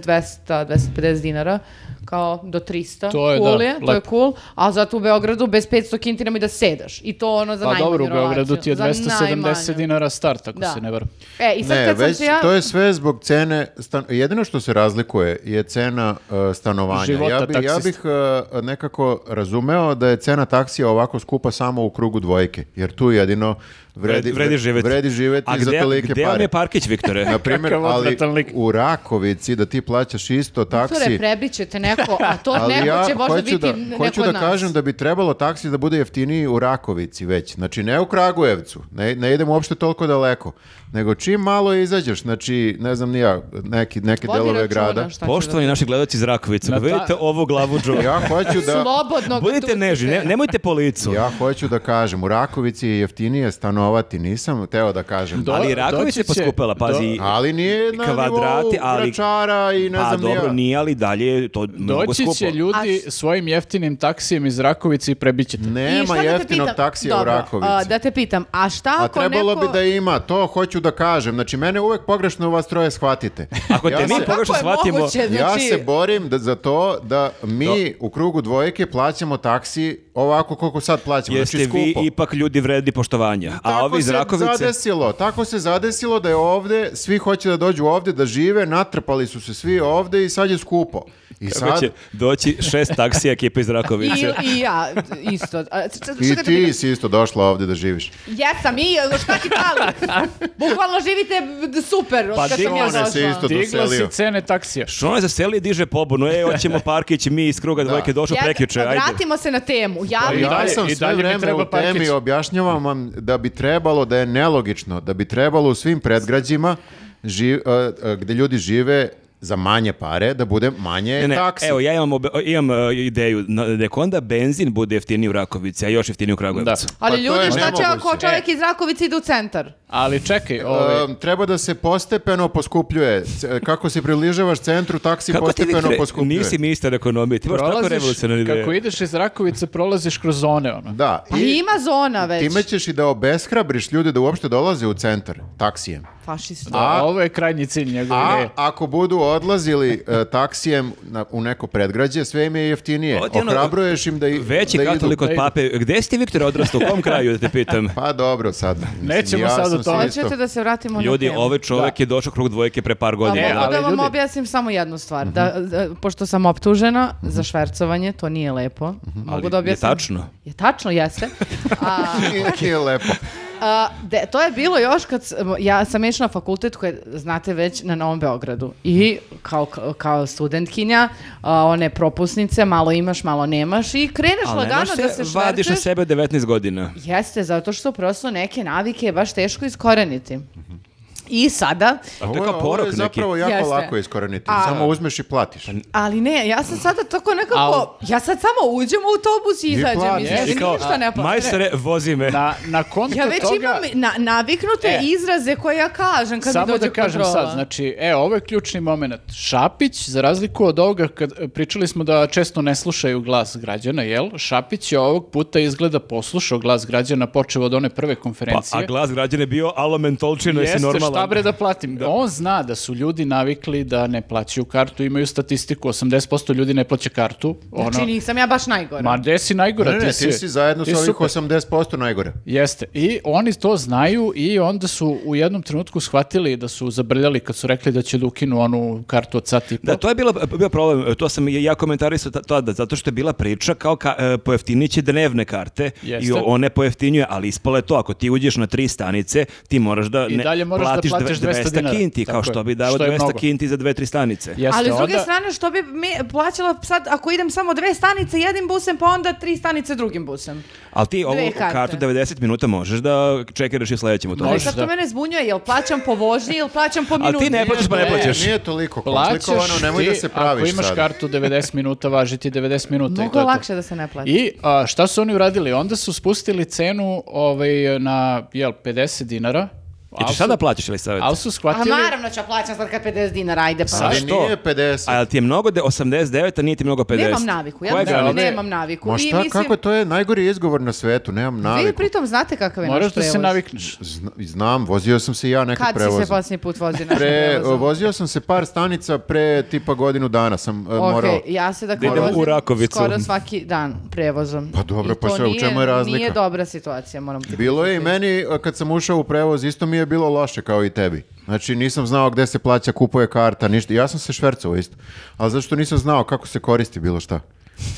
Speaker 1: 200-250 dinara, kao do 300,
Speaker 2: To je, da,
Speaker 1: cool je, to je
Speaker 2: lepo.
Speaker 1: cool, a zato u Beogradu bez 500 kinti nemoj da sedaš i to ono za
Speaker 2: Pa
Speaker 1: najmanju
Speaker 2: dobro, u Beogradu ti je
Speaker 1: relaciju, za
Speaker 2: 270
Speaker 1: najmanju.
Speaker 2: dinara start, ako
Speaker 1: Da.
Speaker 2: se ne varam.
Speaker 1: E, i sad
Speaker 3: Ne,
Speaker 1: kad sam
Speaker 3: već,
Speaker 1: se ja...
Speaker 3: to je sve zbog cene, stan- jedino što se razlikuje je cena e, stanovanja.
Speaker 2: Života
Speaker 3: ja, bi, ja bih
Speaker 2: taksista.
Speaker 3: e, nekako razumeo da je cena taksija ovako skupa samo u krugu dvojke, jer tu jedino vredi,
Speaker 4: Vredi, vredi živeti.
Speaker 3: vredi živeti
Speaker 4: a
Speaker 3: za
Speaker 4: gde,
Speaker 3: tolike
Speaker 4: gde vam
Speaker 3: pare.
Speaker 4: je pa- parkić, Viktore?
Speaker 3: Na primjer,
Speaker 2: Kakav
Speaker 3: ali
Speaker 2: odvratan lik.
Speaker 3: u Rakovici da ti plaćaš isto
Speaker 1: Tore,
Speaker 3: taksi,
Speaker 1: prebiće te neko, a to
Speaker 3: ali
Speaker 1: neko
Speaker 3: ja
Speaker 1: će možda
Speaker 3: hoću
Speaker 1: biti
Speaker 3: da,
Speaker 1: neko
Speaker 3: hoću da
Speaker 1: od nas.
Speaker 3: kažem da bi trebalo taksi da bude jeftiniji u Rakovici već. Znači ne u Kragujevcu, ne, ne idem uopšte toliko daleko, nego čim malo izađeš, znači ne znam ni ja, neki, neke
Speaker 1: Vodi
Speaker 3: delove
Speaker 1: računa
Speaker 3: grada.
Speaker 1: šta će
Speaker 4: Poštovani naši gledaoci iz Rakovice, ako
Speaker 2: Na ta-
Speaker 4: vidite ovu glavu Joe.
Speaker 3: Ja hoću
Speaker 1: da...
Speaker 3: da...
Speaker 1: Slobodno.
Speaker 4: Budite
Speaker 1: kad
Speaker 4: nežni, ne-
Speaker 1: uđete.
Speaker 4: nemojte po licu.
Speaker 3: Ja hoću da kažem, u Rakovici je jeftinije stanovati, nisam teo da kažem.
Speaker 2: Do-
Speaker 4: Ali Raković
Speaker 2: doći
Speaker 4: je
Speaker 2: će-
Speaker 4: poskupela, pazi.
Speaker 3: Ali nije na
Speaker 4: Kvadrati,
Speaker 3: nivou
Speaker 4: ali-
Speaker 3: Gračara i ne
Speaker 4: pa
Speaker 3: znam ni
Speaker 4: dobro,
Speaker 3: ja.
Speaker 4: nije, ali dalje je to mnogo
Speaker 2: Doći
Speaker 4: skupo.
Speaker 2: će ljudi
Speaker 1: A
Speaker 2: svojim jeftinim taksijem iz Rakovice i prebićete.
Speaker 1: I šta
Speaker 3: Nema
Speaker 1: da te
Speaker 3: jeftinog
Speaker 1: pitam?
Speaker 3: taksija u
Speaker 1: Dobro,
Speaker 3: Rakovici.
Speaker 1: a, da te pitam, a šta
Speaker 3: A
Speaker 1: ako
Speaker 3: trebalo
Speaker 1: neko...
Speaker 3: bi da ima, to hoću da kažem. Znači, mene uvek pogrešno vas troje shvatite.
Speaker 4: Ako te mi
Speaker 3: se,
Speaker 4: pogrešno
Speaker 1: Kako je
Speaker 4: shvatimo-
Speaker 1: moguće, znači...
Speaker 3: ja se borim da, za to da mi u krugu dvojke plaćamo taksi ovako koliko sad plaćamo.
Speaker 4: Jeste
Speaker 3: znači,
Speaker 4: vi
Speaker 3: skupo.
Speaker 4: ipak ljudi vredni poštovanja. A
Speaker 3: Tako
Speaker 4: ovi iz
Speaker 3: se
Speaker 4: Rakovice...
Speaker 3: zadesilo, tako se zadesilo da je ovde, svi hoće da dođu ovde da žive, natrpali su se svi ovde i sad je skupo. I
Speaker 4: Kako
Speaker 3: sad,
Speaker 4: će doći šest taksija ekipa iz Rakovice.
Speaker 1: I, I ja, isto. A, č- č-
Speaker 3: i
Speaker 1: čekaj da
Speaker 3: ti
Speaker 1: pitam.
Speaker 3: si isto došla ovde da živiš.
Speaker 1: Jesam i, evo, šta ti fali? Bukvalno živite b- super od
Speaker 4: Pa
Speaker 1: kad sam ja
Speaker 4: digne
Speaker 3: se
Speaker 1: došla.
Speaker 3: isto.
Speaker 2: Digla si
Speaker 3: doselio.
Speaker 2: cene taksija.
Speaker 4: Što ono je za seli diže pobunu, e, hoćemo parkić, mi iz kruga dvojke došao
Speaker 1: Jed-
Speaker 4: preključe, ajde.
Speaker 1: Vratimo se na temu. Javni
Speaker 2: I
Speaker 3: Pa Ja
Speaker 2: dalje-
Speaker 3: sam
Speaker 2: i
Speaker 3: sve
Speaker 2: dalje mi
Speaker 3: vreme
Speaker 2: treba
Speaker 3: u temi
Speaker 2: parkić.
Speaker 3: objašnjavam vam da bi trebalo, da je nelogično, da bi trebalo u svim predgrađima ži, e, e, gde ljudi žive za manje pare, da bude manje
Speaker 4: Ne, ne,
Speaker 3: taksi.
Speaker 4: evo, ja imam, obe- imam e, ideju, na- nek onda benzin bude jeftiniji u Rakovici, a još jeftiniji u Kragujevcu.
Speaker 1: Ali
Speaker 3: Pa to
Speaker 1: ljudi,
Speaker 3: je
Speaker 1: šta će
Speaker 3: nemoguće.
Speaker 1: ako čovjek iz Rakovice ide u centar?
Speaker 2: Ali čekaj, ovaj,
Speaker 3: E, treba da se postepeno poskupljuje. C- Kako se približavaš centru, taksi
Speaker 4: Kako ti,
Speaker 3: postepeno
Speaker 4: Viktore,
Speaker 3: ono poskupljuje.
Speaker 4: nisi ministar ekonomije, ti imaš tako
Speaker 2: prolaziš,
Speaker 4: revolucionarne ideje.
Speaker 2: kako ideš iz Rakovice, prolaziš kroz zone, ono.
Speaker 3: Da.
Speaker 1: Pa ima zona već.
Speaker 3: Time ćeš i da obeshrabriš ljude da uopšte dolaze u centar taksijem.
Speaker 1: Fašista.
Speaker 2: Da,
Speaker 3: A-
Speaker 2: ovo je krajnji cilj E, njegove
Speaker 3: A
Speaker 2: ideje.
Speaker 3: ako budu odlazili e, taksijem na, u neko predgrađe, sve im je jeftinije.
Speaker 4: Ovo ti je ono-
Speaker 3: Ohrabruješ im da, i,
Speaker 4: Veći
Speaker 3: da idu.
Speaker 4: katolik od
Speaker 2: da idu.
Speaker 4: pape, gde si ti, Viktore, odrastao, u kom kraju, da te pitam?
Speaker 3: Pa dobro sad. Mislim,
Speaker 2: Nećemo sad
Speaker 3: sam
Speaker 2: o tome.
Speaker 3: se isto-
Speaker 1: Hoćete da se
Speaker 3: pa,
Speaker 1: vratimo
Speaker 4: Ljudi,
Speaker 1: na temu?
Speaker 4: ovaj čovjek je došao krug dvojke pre par
Speaker 1: Pa
Speaker 4: godina.
Speaker 2: Ne,
Speaker 1: mogu
Speaker 2: ali
Speaker 1: da vam
Speaker 2: ljudi-
Speaker 1: objasnim samo jednu
Speaker 4: Mhm.
Speaker 1: stvar. Da, da, pošto sam optužena za švercovanje, to nije lepo. Mogu
Speaker 4: Mhm. Ali
Speaker 1: da
Speaker 4: je
Speaker 1: objasnim.
Speaker 4: tačno.
Speaker 1: Je tačno, jeste. A,
Speaker 3: Nije- Nije lepo.
Speaker 1: a, de- to je bilo još kad s- ja sam išla na fakultet koji je, znate već, na Novom Beogradu. I kao, kao studentkinja, a, one propusnice, malo imaš, malo nemaš i kreneš
Speaker 4: Ali ne
Speaker 1: lagano
Speaker 4: možeš
Speaker 1: da se
Speaker 4: vadiš na
Speaker 1: švercuješ.
Speaker 4: sebe od 19 godina.
Speaker 1: Jeste, zato što prosto neke navike je baš teško iskoreniti. I sada,
Speaker 4: A to je
Speaker 3: Ovo-
Speaker 4: kao porok
Speaker 3: Ovo je
Speaker 4: neki.
Speaker 3: zapravo jako
Speaker 1: Jeste.
Speaker 3: lako iskoreniti. Samo uzmeš i platiš.
Speaker 1: Ali ne, ja sam sada tako nekako,
Speaker 2: Al-
Speaker 1: ja sad samo uđem u autobus i izađem iz
Speaker 3: plaćaš.
Speaker 1: njega,
Speaker 2: I
Speaker 1: ja ništa ne plaćam.
Speaker 4: majstore, vozi me.
Speaker 2: Na, na konto
Speaker 1: Ja već
Speaker 2: toga...
Speaker 1: imam na, naviknute
Speaker 2: E.
Speaker 1: izraze koje ja kažem kad mi
Speaker 2: Samo
Speaker 1: dođe
Speaker 2: da kažem
Speaker 1: kontrola.
Speaker 2: sad, znači, e, ovo je ključni moment. Šapić, za razliku od ovoga, kad e, pričali smo da često ne slušaju glas građana, jel? Šapić je ovog puta izgleda poslušao glas građana, počeo od one prve
Speaker 4: Pa,
Speaker 2: konferencije.
Speaker 4: a glas građana je bio, alo mentolčino, jesi
Speaker 2: Jeste,
Speaker 4: normalan.
Speaker 2: šta bre da platim? On zna da su ljudi navikli da ne plaćaju kartu, imaju statistiku, 80% ljudi ne plaća kartu. Ono,
Speaker 1: Znači nisam ja baš najgora.
Speaker 2: ma gde si najgora?
Speaker 3: Ne, ne, ti si zajedno
Speaker 2: ti
Speaker 3: sa ovih
Speaker 2: super.
Speaker 3: 80% najgore.
Speaker 2: Jeste. I oni to znaju i onda su u jednom trenutku shvatili da su zabrljali kad su rekli da će da ukinu onu kartu od sat i po.
Speaker 4: Da, to je bila, bio problem, to sam i ja komentarisao ta- tada, zato što je bila priča kao ka, e, pojeftinit će dnevne karte
Speaker 2: Jeste.
Speaker 4: i o- one pojeftinjuje, ali ispalo je to, ako ti uđeš na tri stanice, ti moraš da,
Speaker 2: I dalje moraš da
Speaker 4: platiš dve-
Speaker 2: platiš 200 dinara.
Speaker 4: kinti, kao
Speaker 2: Tako
Speaker 4: što
Speaker 2: je.
Speaker 4: bi dao
Speaker 2: Što je
Speaker 4: 200
Speaker 2: mnogo.
Speaker 4: kinti za dve, tri stanice.
Speaker 2: Jeste,
Speaker 1: Ali s druge
Speaker 2: onda-
Speaker 1: strane, što bi mi plaćala sad, ako idem samo dve stanice jednim busem, pa onda tri stanice drugim busem.
Speaker 4: Ali ti ovu
Speaker 1: Dve karte.
Speaker 4: kartu 90 minuta možeš da čekiraš i sledećem u tom.
Speaker 1: Ali
Speaker 2: Možeš
Speaker 1: sad to
Speaker 2: da.
Speaker 1: mene zbunjuje, jel plaćam po vožnji, jel plaćam po
Speaker 4: Ali
Speaker 1: minuti?
Speaker 4: ti ne plaćaš pa ne
Speaker 2: Nije,
Speaker 4: plaćaš.
Speaker 3: Nije toliko komplikovano,
Speaker 2: Plaćaš
Speaker 3: nemoj
Speaker 2: ti,
Speaker 3: da se praviš
Speaker 2: ako imaš
Speaker 3: sad.
Speaker 2: kartu 90 minuta, važi ti 90 minuta. i to
Speaker 1: Mnogo
Speaker 2: je to.
Speaker 1: lakše da se ne plaća.
Speaker 2: I a, šta su oni uradili? Onda su spustili cenu ovaj, na jel, 50 dinara.
Speaker 4: I
Speaker 2: al
Speaker 4: ćeš
Speaker 2: su-
Speaker 4: sada plaćaš ili savjet?
Speaker 2: Ali su
Speaker 3: Pa
Speaker 1: A
Speaker 2: shvatili...
Speaker 1: naravno ću ja plaćam sad kad 50 dinara, ajde pa.
Speaker 3: Ali
Speaker 4: što?
Speaker 3: nije 50.
Speaker 4: A jel ti je mnogo de 89, a nije ti mnogo 50?
Speaker 1: Nemam naviku, ja
Speaker 4: Koja
Speaker 1: ne,
Speaker 4: granica?
Speaker 1: nemam naviku.
Speaker 3: Ma
Speaker 1: I
Speaker 3: šta,
Speaker 1: mislim,
Speaker 3: kako je, to je najgori izgovor na svetu, nemam
Speaker 1: Vi
Speaker 3: naviku.
Speaker 1: pritom znate kakav je naš
Speaker 2: Moraš da
Speaker 1: prevoz.
Speaker 2: se navikneš.
Speaker 3: Zna- znam, vozio sam se i ja nekad
Speaker 1: Kad si se
Speaker 3: prevozom.
Speaker 1: posljednji put vozio našim
Speaker 3: Pre,
Speaker 1: prevozom?
Speaker 3: vozio sam se par stanica pre tipa godinu dana sam e,
Speaker 1: Ok,
Speaker 3: morao.
Speaker 1: ja se dakle
Speaker 4: Da idem
Speaker 1: vozim
Speaker 4: u Rakovicu.
Speaker 1: skoro svaki dan prevozom.
Speaker 3: Pa dobro,
Speaker 1: I
Speaker 3: pa
Speaker 1: to
Speaker 3: sve, u
Speaker 1: nije-
Speaker 3: čemu je razlika?
Speaker 1: Nije dobra situacija, moram ti
Speaker 3: Bilo je i
Speaker 1: priznati.
Speaker 3: meni e, kad sam ušao u prevoz, isto mi je bilo loše kao i tebi. Znači nisam znao gde se plaća, kupuje karta, ništa. Ja sam se švercao isto. Ali zato što nisam znao kako se koristi bilo šta.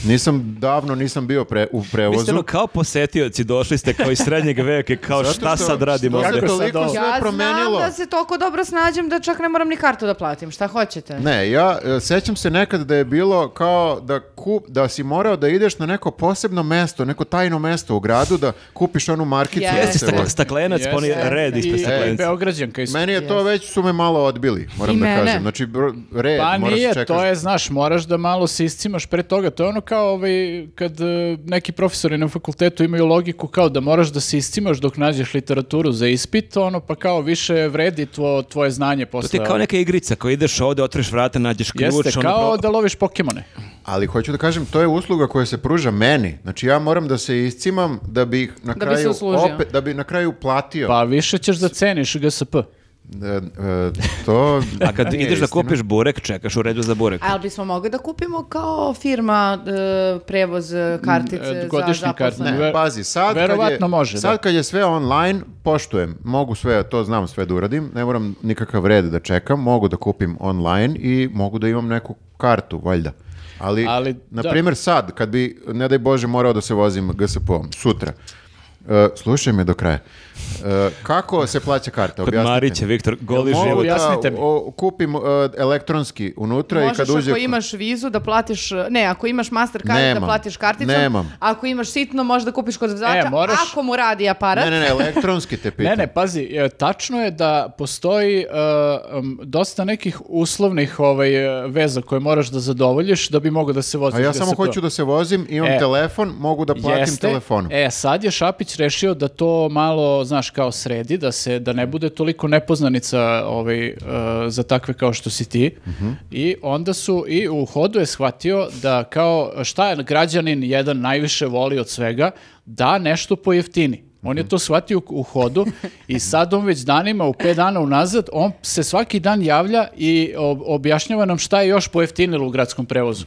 Speaker 3: Nisam, davno nisam bio pre, u
Speaker 4: Vi ste ono
Speaker 3: prevozu.
Speaker 4: kao posetioci, došli ste kao iz srednjeg veke, kao
Speaker 3: Zato
Speaker 4: šta
Speaker 3: što-
Speaker 4: sad radimo
Speaker 3: što se
Speaker 4: ovde?
Speaker 2: Kako sad
Speaker 3: toliko
Speaker 2: ovo?
Speaker 3: sve
Speaker 1: Ja
Speaker 3: promenilo.
Speaker 1: znam da se toliko dobro snađem da čak ne moram ni kartu da platim. Šta hoćete?
Speaker 3: Ne, ja e, sećam se nekad da je bilo kao da kup, da si morao da ideš na neko posebno mesto, neko tajno mesto u gradu da kupiš onu markicu.
Speaker 1: Jeste.
Speaker 3: da
Speaker 4: Jeste
Speaker 3: se
Speaker 4: stakle-
Speaker 3: vozi.
Speaker 4: staklenac, pa oni
Speaker 2: Jeste. E,
Speaker 4: red ispred
Speaker 2: I- I
Speaker 4: staklenca.
Speaker 2: Beograđanka isto.
Speaker 3: Meni je to
Speaker 1: Jeste.
Speaker 3: već su me malo odbili, moram
Speaker 1: I
Speaker 3: da
Speaker 1: mene.
Speaker 3: kažem. Znači bro- red,
Speaker 2: Pa
Speaker 3: moraš
Speaker 2: nije,
Speaker 3: čekaš.
Speaker 2: to je, znaš, moraš da malo se iscimaš pre toga. To je ono kao ovaj, kad e, neki profesori na fakultetu imaju logiku kao da moraš da se iscimaš dok nađeš literaturu za ispit, ono pa kao više vredi tvo, tvoje znanje
Speaker 4: To
Speaker 2: posle.
Speaker 4: ti je kao neka igrica koja ideš ovde, otvoriš vrata, nađeš ključ.
Speaker 2: Jeste,
Speaker 4: ono
Speaker 2: kao
Speaker 4: pro-
Speaker 2: da loviš Pokemone.
Speaker 3: Ali hoću da kažem, to je usluga koja se pruža meni. Znači ja moram da se iscimam da bi na
Speaker 1: Da bi se
Speaker 3: kraju
Speaker 1: uslužio.
Speaker 3: opet da bi na kraju platio.
Speaker 2: Pa više ćeš da ceniš GSP.
Speaker 3: E, e, to
Speaker 4: A kad
Speaker 3: nije
Speaker 4: ideš da
Speaker 3: istina.
Speaker 4: kupiš burek, čekaš u redu za burek.
Speaker 1: A jel bismo mogli da kupimo kao firma e, prevoz e, kartice
Speaker 2: Mm, e,
Speaker 1: za
Speaker 2: godišnji
Speaker 1: zaposlene?
Speaker 2: kartni.
Speaker 3: Ne,
Speaker 2: Ver-
Speaker 3: pazi, sad kad
Speaker 2: verovatno
Speaker 3: je,
Speaker 2: može, da.
Speaker 3: sad kad je sve online, poštujem, mogu sve, to znam sve da uradim, ne moram nikakav red da čekam, mogu da kupim online i mogu da imam neku kartu, valjda. Ali,
Speaker 2: Ali,
Speaker 3: na
Speaker 2: da.
Speaker 3: primjer, sad, kad bi, ne daj Bože, morao da se vozim GSP-om, sutra, e, slušaj me do kraja. E, kako se plaća karta?
Speaker 4: Kod
Speaker 3: Objasnite mi.
Speaker 4: Marića, Viktor, goli
Speaker 3: Mogu
Speaker 4: život.
Speaker 3: da
Speaker 2: Objasnite mi.
Speaker 3: o, kupim e, elektronski unutra i
Speaker 1: Možeš
Speaker 3: kad
Speaker 1: ako
Speaker 3: uđe...
Speaker 1: imaš vizu da platiš, ne, ako imaš Mastercard da
Speaker 3: Nemam.
Speaker 1: platiš karticom,
Speaker 3: Nemam.
Speaker 1: ako imaš sitno možeš da kupiš kod vozača,
Speaker 2: E, moraš-
Speaker 1: ako mu radi aparat,
Speaker 3: Ne, ne, ne, elektronski te pitam.
Speaker 2: Ne, ne, pazi, e, tačno je da postoji e, em, dosta nekih uslovnih ovaj, e, veza koje moraš da zadovoljiš da bi mogao da se voziš
Speaker 3: A ja
Speaker 2: GSP.
Speaker 3: samo hoću da se vozim, imam
Speaker 2: E.
Speaker 3: telefon, mogu da platim
Speaker 2: Jeste.
Speaker 3: telefonom.
Speaker 2: E, sad je Šapić rešio da to malo, znaš, kao sredi, da se da ne bude toliko nepoznanica ovaj, e, za takve kao što si ti. I onda su, i u hodu je shvatio da kao šta je građanin jedan najviše voli od svega, da nešto pojeftini. On je to shvatio u hodu i sad on već danima, u pet dana unazad, on se svaki dan javlja i ob- objašnjava nam šta je još pojeftinilo u gradskom prevozu.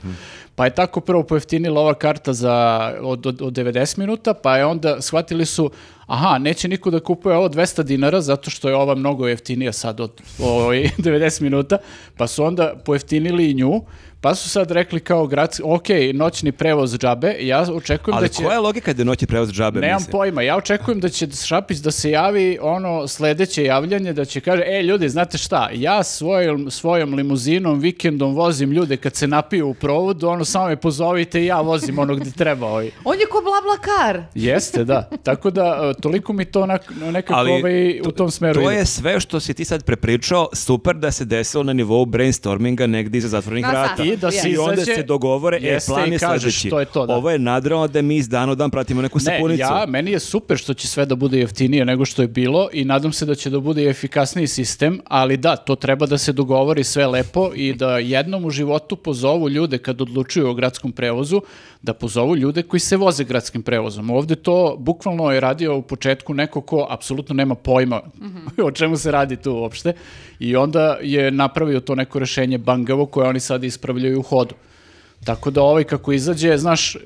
Speaker 2: Pa je tako prvo pojeftinila ova karta za od, od, od 90 minuta, pa je onda shvatili su, aha, neće niko da kupuje ovo 200 dinara zato što je ova mnogo jeftinija sad od ovaj, 90 minuta, pa su onda pojeftinili i nju, pa su sad rekli kao grad, ok, noćni prevoz džabe, ja očekujem
Speaker 4: Ali
Speaker 2: da će...
Speaker 4: koja je logika da noći prevoz džabe,
Speaker 2: Nemam
Speaker 4: mislim?
Speaker 2: pojma, ja očekujem da će Šapić da se javi ono sledeće javljanje, da će kaže, e ljudi, znate šta, ja svojom, svojom limuzinom vikendom vozim ljude kad se napiju u provodu, ono samo me pozovite i ja vozim ono gde treba. Ovaj.
Speaker 1: on je ko bla bla kar.
Speaker 2: e, ovaj,
Speaker 4: e,
Speaker 2: odlučuju o gradskom prevozu, da pozovu ljude koji se voze gradskim prevozom. Ovde to bukvalno je radio u početku neko ko apsolutno nema pojma o čemu se radi tu uopšte i onda je napravio to neko rešenje bangavo koje oni sad ispravljaju u hodu. Tako da ovaj kako izađe, znaš, e,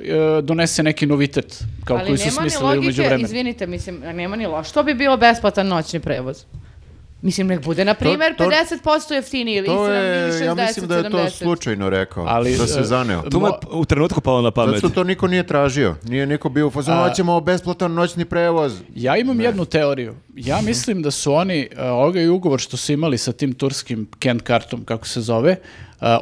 Speaker 2: donese neki novitet, kao
Speaker 1: Ali
Speaker 2: koji su
Speaker 1: nema ni
Speaker 2: smislili umeđu
Speaker 1: logike,
Speaker 2: vremena.
Speaker 1: izvinite, mislim, nema ni loš. Što bi bilo besplatan noćni prevoz? Mislim, nek bude, na primjer,
Speaker 3: to-
Speaker 1: 50% jeftiniji ili
Speaker 3: To
Speaker 1: 70,
Speaker 3: je,
Speaker 1: ili 60,
Speaker 3: ja mislim da je to
Speaker 1: 70.
Speaker 3: slučajno rekao,
Speaker 2: Ali,
Speaker 3: da
Speaker 2: e,
Speaker 3: se zaneo.
Speaker 4: Tu me
Speaker 2: Mo-
Speaker 4: u trenutku palo na pamet.
Speaker 3: Zato to niko nije tražio. Nije niko bio u fazonu, hoćemo besplatan noćni prevoz.
Speaker 2: Ja imam jednu teoriju. Ja mislim da su oni, e, ovoga i ugovor što su imali sa tim turskim Kent kartom, kako se zove, e,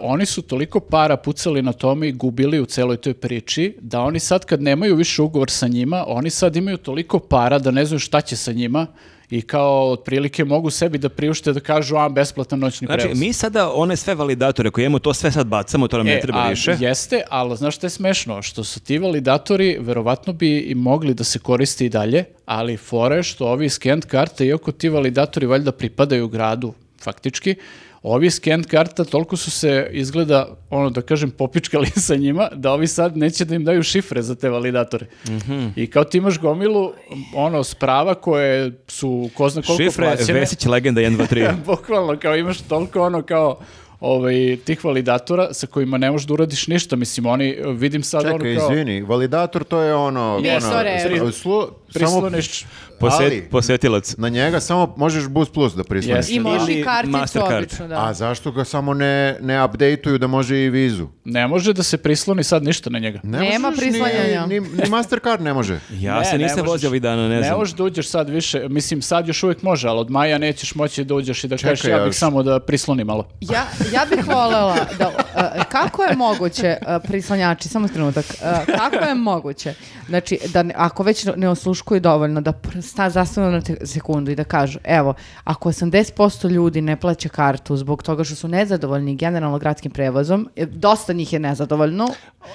Speaker 2: oni su toliko para pucali na tome i gubili u celoj toj priči, da oni sad kad nemaju više ugovor sa njima, oni sad imaju toliko para da ne znaju šta će sa njima i kao otprilike mogu sebi da priušte da kažu, a, besplatan noćni
Speaker 4: Znači,
Speaker 2: prevoz.
Speaker 4: mi sada one sve validatore koje imamo, to sve sad bacamo, to nam ne
Speaker 2: E,
Speaker 4: treba
Speaker 2: a
Speaker 4: više.
Speaker 2: Jeste, ali znaš što je smešno? Što su ti validatori, verovatno bi i mogli da se koriste i dalje, ali fora je što ovi scanned karte, iako ti validatori valjda pripadaju gradu, faktički, ovi scanned karta toliko su se izgleda, ono da kažem, popičkali sa njima, da ovi sad neće da im daju šifre za te validatore.
Speaker 4: Mhm.
Speaker 2: I kao ti imaš gomilu, ono, sprava koje su, ko zna koliko
Speaker 4: Šifre,
Speaker 2: plaćene.
Speaker 4: Vesić, Legenda 1, 2, 3.
Speaker 2: Bukvalno, kao imaš toliko ono kao ovaj, tih validatora sa kojima ne možeš da uradiš ništa. Mislim, oni, vidim sad
Speaker 3: Čekaj,
Speaker 2: ono kao...
Speaker 3: izvini, validator to je ono...
Speaker 1: Yes.
Speaker 3: ono,
Speaker 1: Visore.
Speaker 3: slu- samo
Speaker 2: Prisloniš...
Speaker 4: Posjet-
Speaker 3: Ali-
Speaker 4: posjetilac.
Speaker 3: na njega samo možeš bus plus da prisloniš.
Speaker 2: Jeste.
Speaker 1: I moši
Speaker 4: Ili
Speaker 1: karticu,
Speaker 4: Mastercard.
Speaker 1: obično, da.
Speaker 3: A zašto ga samo ne, ne updateuju da može i vizu?
Speaker 2: Ne može da se prisloni sad ništa na njega.
Speaker 3: Ne
Speaker 1: Nema
Speaker 3: možeš ni-
Speaker 1: prislanjanja.
Speaker 3: Ni, ni Mastercard ne može.
Speaker 4: Ja
Speaker 2: Ne,
Speaker 4: se
Speaker 2: ne
Speaker 4: nisam
Speaker 2: možeš.
Speaker 4: vozio ovih dana, ne, znam.
Speaker 2: možeš da uđeš sad više, mislim sad još uvijek može, ali od maja nećeš moći da uđeš i da kažeš ja bih
Speaker 3: još.
Speaker 2: samo da prisloni malo.
Speaker 1: Ja, ja bih voljela da, e, kako je moguće, e, prislanjači, samo trenutak, e, kako je moguće, znači, da ne- ako već ne osluškuju dovoljno, da pr- sta zastanu na te- sekundu i da kažu, evo, ako 80% ljudi ne plaća kartu zbog toga što su nezadovoljni generalno gradskim prevozom, e, dosta njih je nezadovoljno,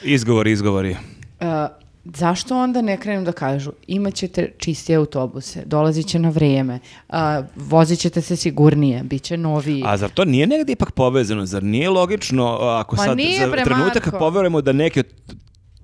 Speaker 4: Izgovori, izgovori.
Speaker 1: e, zašto onda ne krenu da kažu imat ćete čistije autobuse, dolazit će na vrijeme, e, vozit ćete se sigurnije, bit će noviji.
Speaker 4: A zar to nije negdje ipak povezano? Zar nije logično a, ako
Speaker 1: Ma
Speaker 4: sad
Speaker 1: nije,
Speaker 4: za
Speaker 1: bre,
Speaker 4: trenutak
Speaker 1: Marko.
Speaker 4: poverujemo da neki od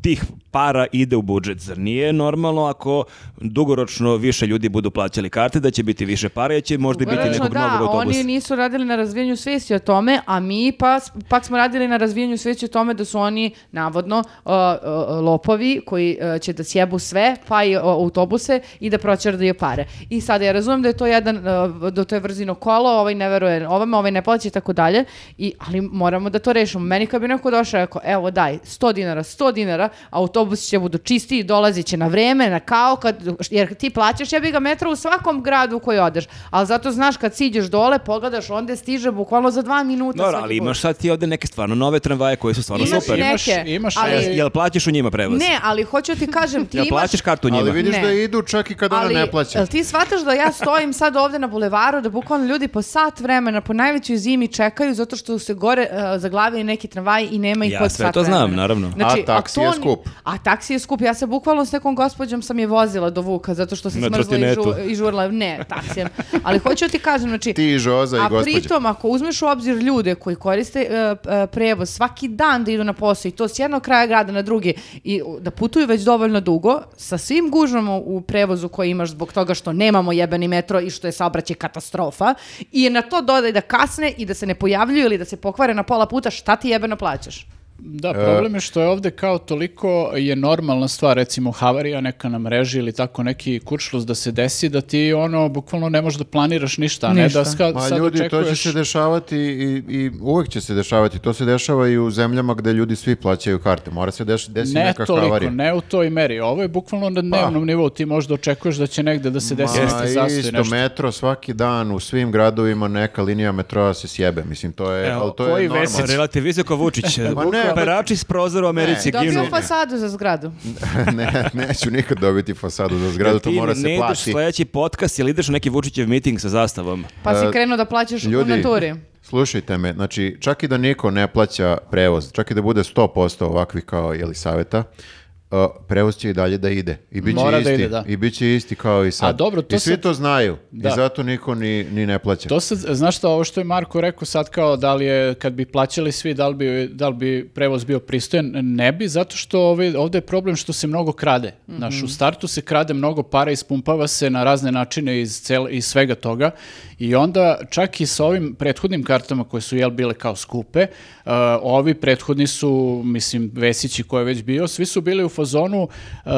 Speaker 4: tih para ide u budžet? Zar nije normalno ako dugoročno više ljudi budu plaćali karte da će biti više para i će možda i biti
Speaker 1: Konačno,
Speaker 4: nekog
Speaker 1: da,
Speaker 4: novog autobusa?
Speaker 1: oni nisu radili na razvijanju svijesti o tome, a mi pa, pak smo radili na razvijanju svijesti o tome da su oni, navodno, uh, uh, lopovi koji uh, će da sjebu sve, pa i uh, autobuse i da proćerdaju pare. I sada ja razumem da je to jedan, uh, da to je vrzino kolo, ovaj ne veruje ovome, ovaj ne plaća i tako dalje, i, ali moramo da to rešimo. Meni kad bi neko došao i rekao, evo daj, 100 dinara, 100 dinara, autobus će budu čistiji, dolazit će na vreme, na kao, kad, jer ti plaćaš jebi ga metra u svakom gradu u koji odeš. Ali zato znaš kad siđeš dole, pogledaš, onda stiže bukvalno za dva minuta.
Speaker 4: Dobro,
Speaker 1: svaki
Speaker 4: ali
Speaker 1: put.
Speaker 4: imaš sad ti ovdje neke stvarno nove tramvaje koje su stvarno
Speaker 1: Imaš
Speaker 4: Ono, super. E,
Speaker 1: neke,
Speaker 2: Imaš- imaš-
Speaker 1: ali,
Speaker 2: Jel-
Speaker 4: Jel plaćaš u njima prevoz?
Speaker 1: ne, ali hoću ti kažem, ti
Speaker 4: Jel
Speaker 1: imaš...
Speaker 4: plaćaš kartu njima?
Speaker 3: Ali vidiš
Speaker 1: Ne.
Speaker 3: da idu čak i kad ona ne plaća.
Speaker 1: jel ti shvataš da ja stojim sad ovdje na bulevaru, da bukvalno ljudi po sat vremena, po najvećoj zimi čekaju zato što se gore e, zaglavili neki tramvaj i nema ih
Speaker 4: Ja
Speaker 1: pod
Speaker 4: sve
Speaker 1: sat
Speaker 4: to znam,
Speaker 1: vremena. Znači,
Speaker 4: naravno.
Speaker 3: A taksi je
Speaker 1: ako to ni-
Speaker 3: skup.
Speaker 1: A taksi je skup. Ja se bukvalno s nekom gospođom sam je vozila do Vuka zato što se
Speaker 4: Na
Speaker 1: smrzla i, žu-
Speaker 4: trotinetu.
Speaker 1: i žurla. Ne, taksijem. Ali hoću ti kažem, znači...
Speaker 3: Ti i Žoza i
Speaker 1: A
Speaker 3: gospođa.
Speaker 1: pritom, ako uzmeš u obzir ljude koji koriste e, p- e, prevoz svaki dan da idu na posao i to s jednog kraja grada na drugi i u, da putuju već dovoljno dugo, sa svim gužvama u prevozu koji imaš zbog toga što nemamo jebeni metro i što je saobraćaj katastrofa i na to dodaj da kasne i da se ne pojavljuju ili da se pokvare na pola puta, šta ti jebeno plaćaš?
Speaker 2: Da, problem je što je ovde kao toliko je normalna stvar, recimo havarija neka na mreži ili tako neki kuršlus da se desi, da ti ono bukvalno ne možeš da planiraš ništa, a ne
Speaker 1: Ništa.
Speaker 2: da ska,
Speaker 3: Ma
Speaker 2: sad
Speaker 3: ljudi, to će
Speaker 2: očekuješ-
Speaker 3: se dešavati i, i uvek će se dešavati. To se dešava i u zemljama gde ljudi svi plaćaju karte. Mora se deš, desiti
Speaker 2: Ne
Speaker 3: neka
Speaker 2: toliko,
Speaker 3: havarija.
Speaker 2: ne u toj meri. Ovo je bukvalno na dnevnom nivou. Ti možda očekuješ da će negde da se desi
Speaker 3: Ma,
Speaker 2: neki zastoj,
Speaker 3: isto
Speaker 2: nešto.
Speaker 3: metro svaki dan u svim gradovima neka linija metroa se sjebe. Mislim, to je,
Speaker 4: Evo,
Speaker 3: ali to je
Speaker 2: koji
Speaker 3: normalno.
Speaker 2: Vesić?
Speaker 4: Relativizuje kao Vučić.
Speaker 3: Ma ne,
Speaker 4: Perači s prozora u Americi
Speaker 1: Dobio
Speaker 4: ginu.
Speaker 1: fasadu za zgradu.
Speaker 3: ne, neću nikad dobiti fasadu za zgradu, to
Speaker 4: Ti
Speaker 3: mora se
Speaker 4: ne ideš
Speaker 3: plati.
Speaker 4: sledeći podcast ili ideš na neki Vučićev miting sa zastavom.
Speaker 1: Pa si krenuo da plaćaš u
Speaker 3: E, Ljudi,
Speaker 1: naturi.
Speaker 3: slušajte me, znači čak i da niko ne plaća prevoz, čak i da bude 100% ovakvih kao Jelisaveta, uh, prevoz će i dalje da ide. I bit će
Speaker 2: Mora
Speaker 3: isti.
Speaker 2: da ide, da.
Speaker 3: I bit će isti kao i sad.
Speaker 2: A dobro, to
Speaker 3: I svi
Speaker 2: sad-
Speaker 3: to znaju.
Speaker 2: Da.
Speaker 3: I zato niko ni, ni ne plaća.
Speaker 2: To sad, znaš šta, ovo što je Marko rekao sad kao da li je, kad bi plaćali svi, da li bi, da li bi prevoz bio pristojan, ne bi, zato što ovaj, ovdje je problem što se mnogo krade. Znaš, u startu se krade mnogo para, ispumpava se na razne načine iz, cel, iz svega toga i onda čak i sa ovim prethodnim kartama koje su jel bile kao skupe, uh, ovi prethodni su, mislim, Vesić i ko je već bio, svi su bili u fazonu uh,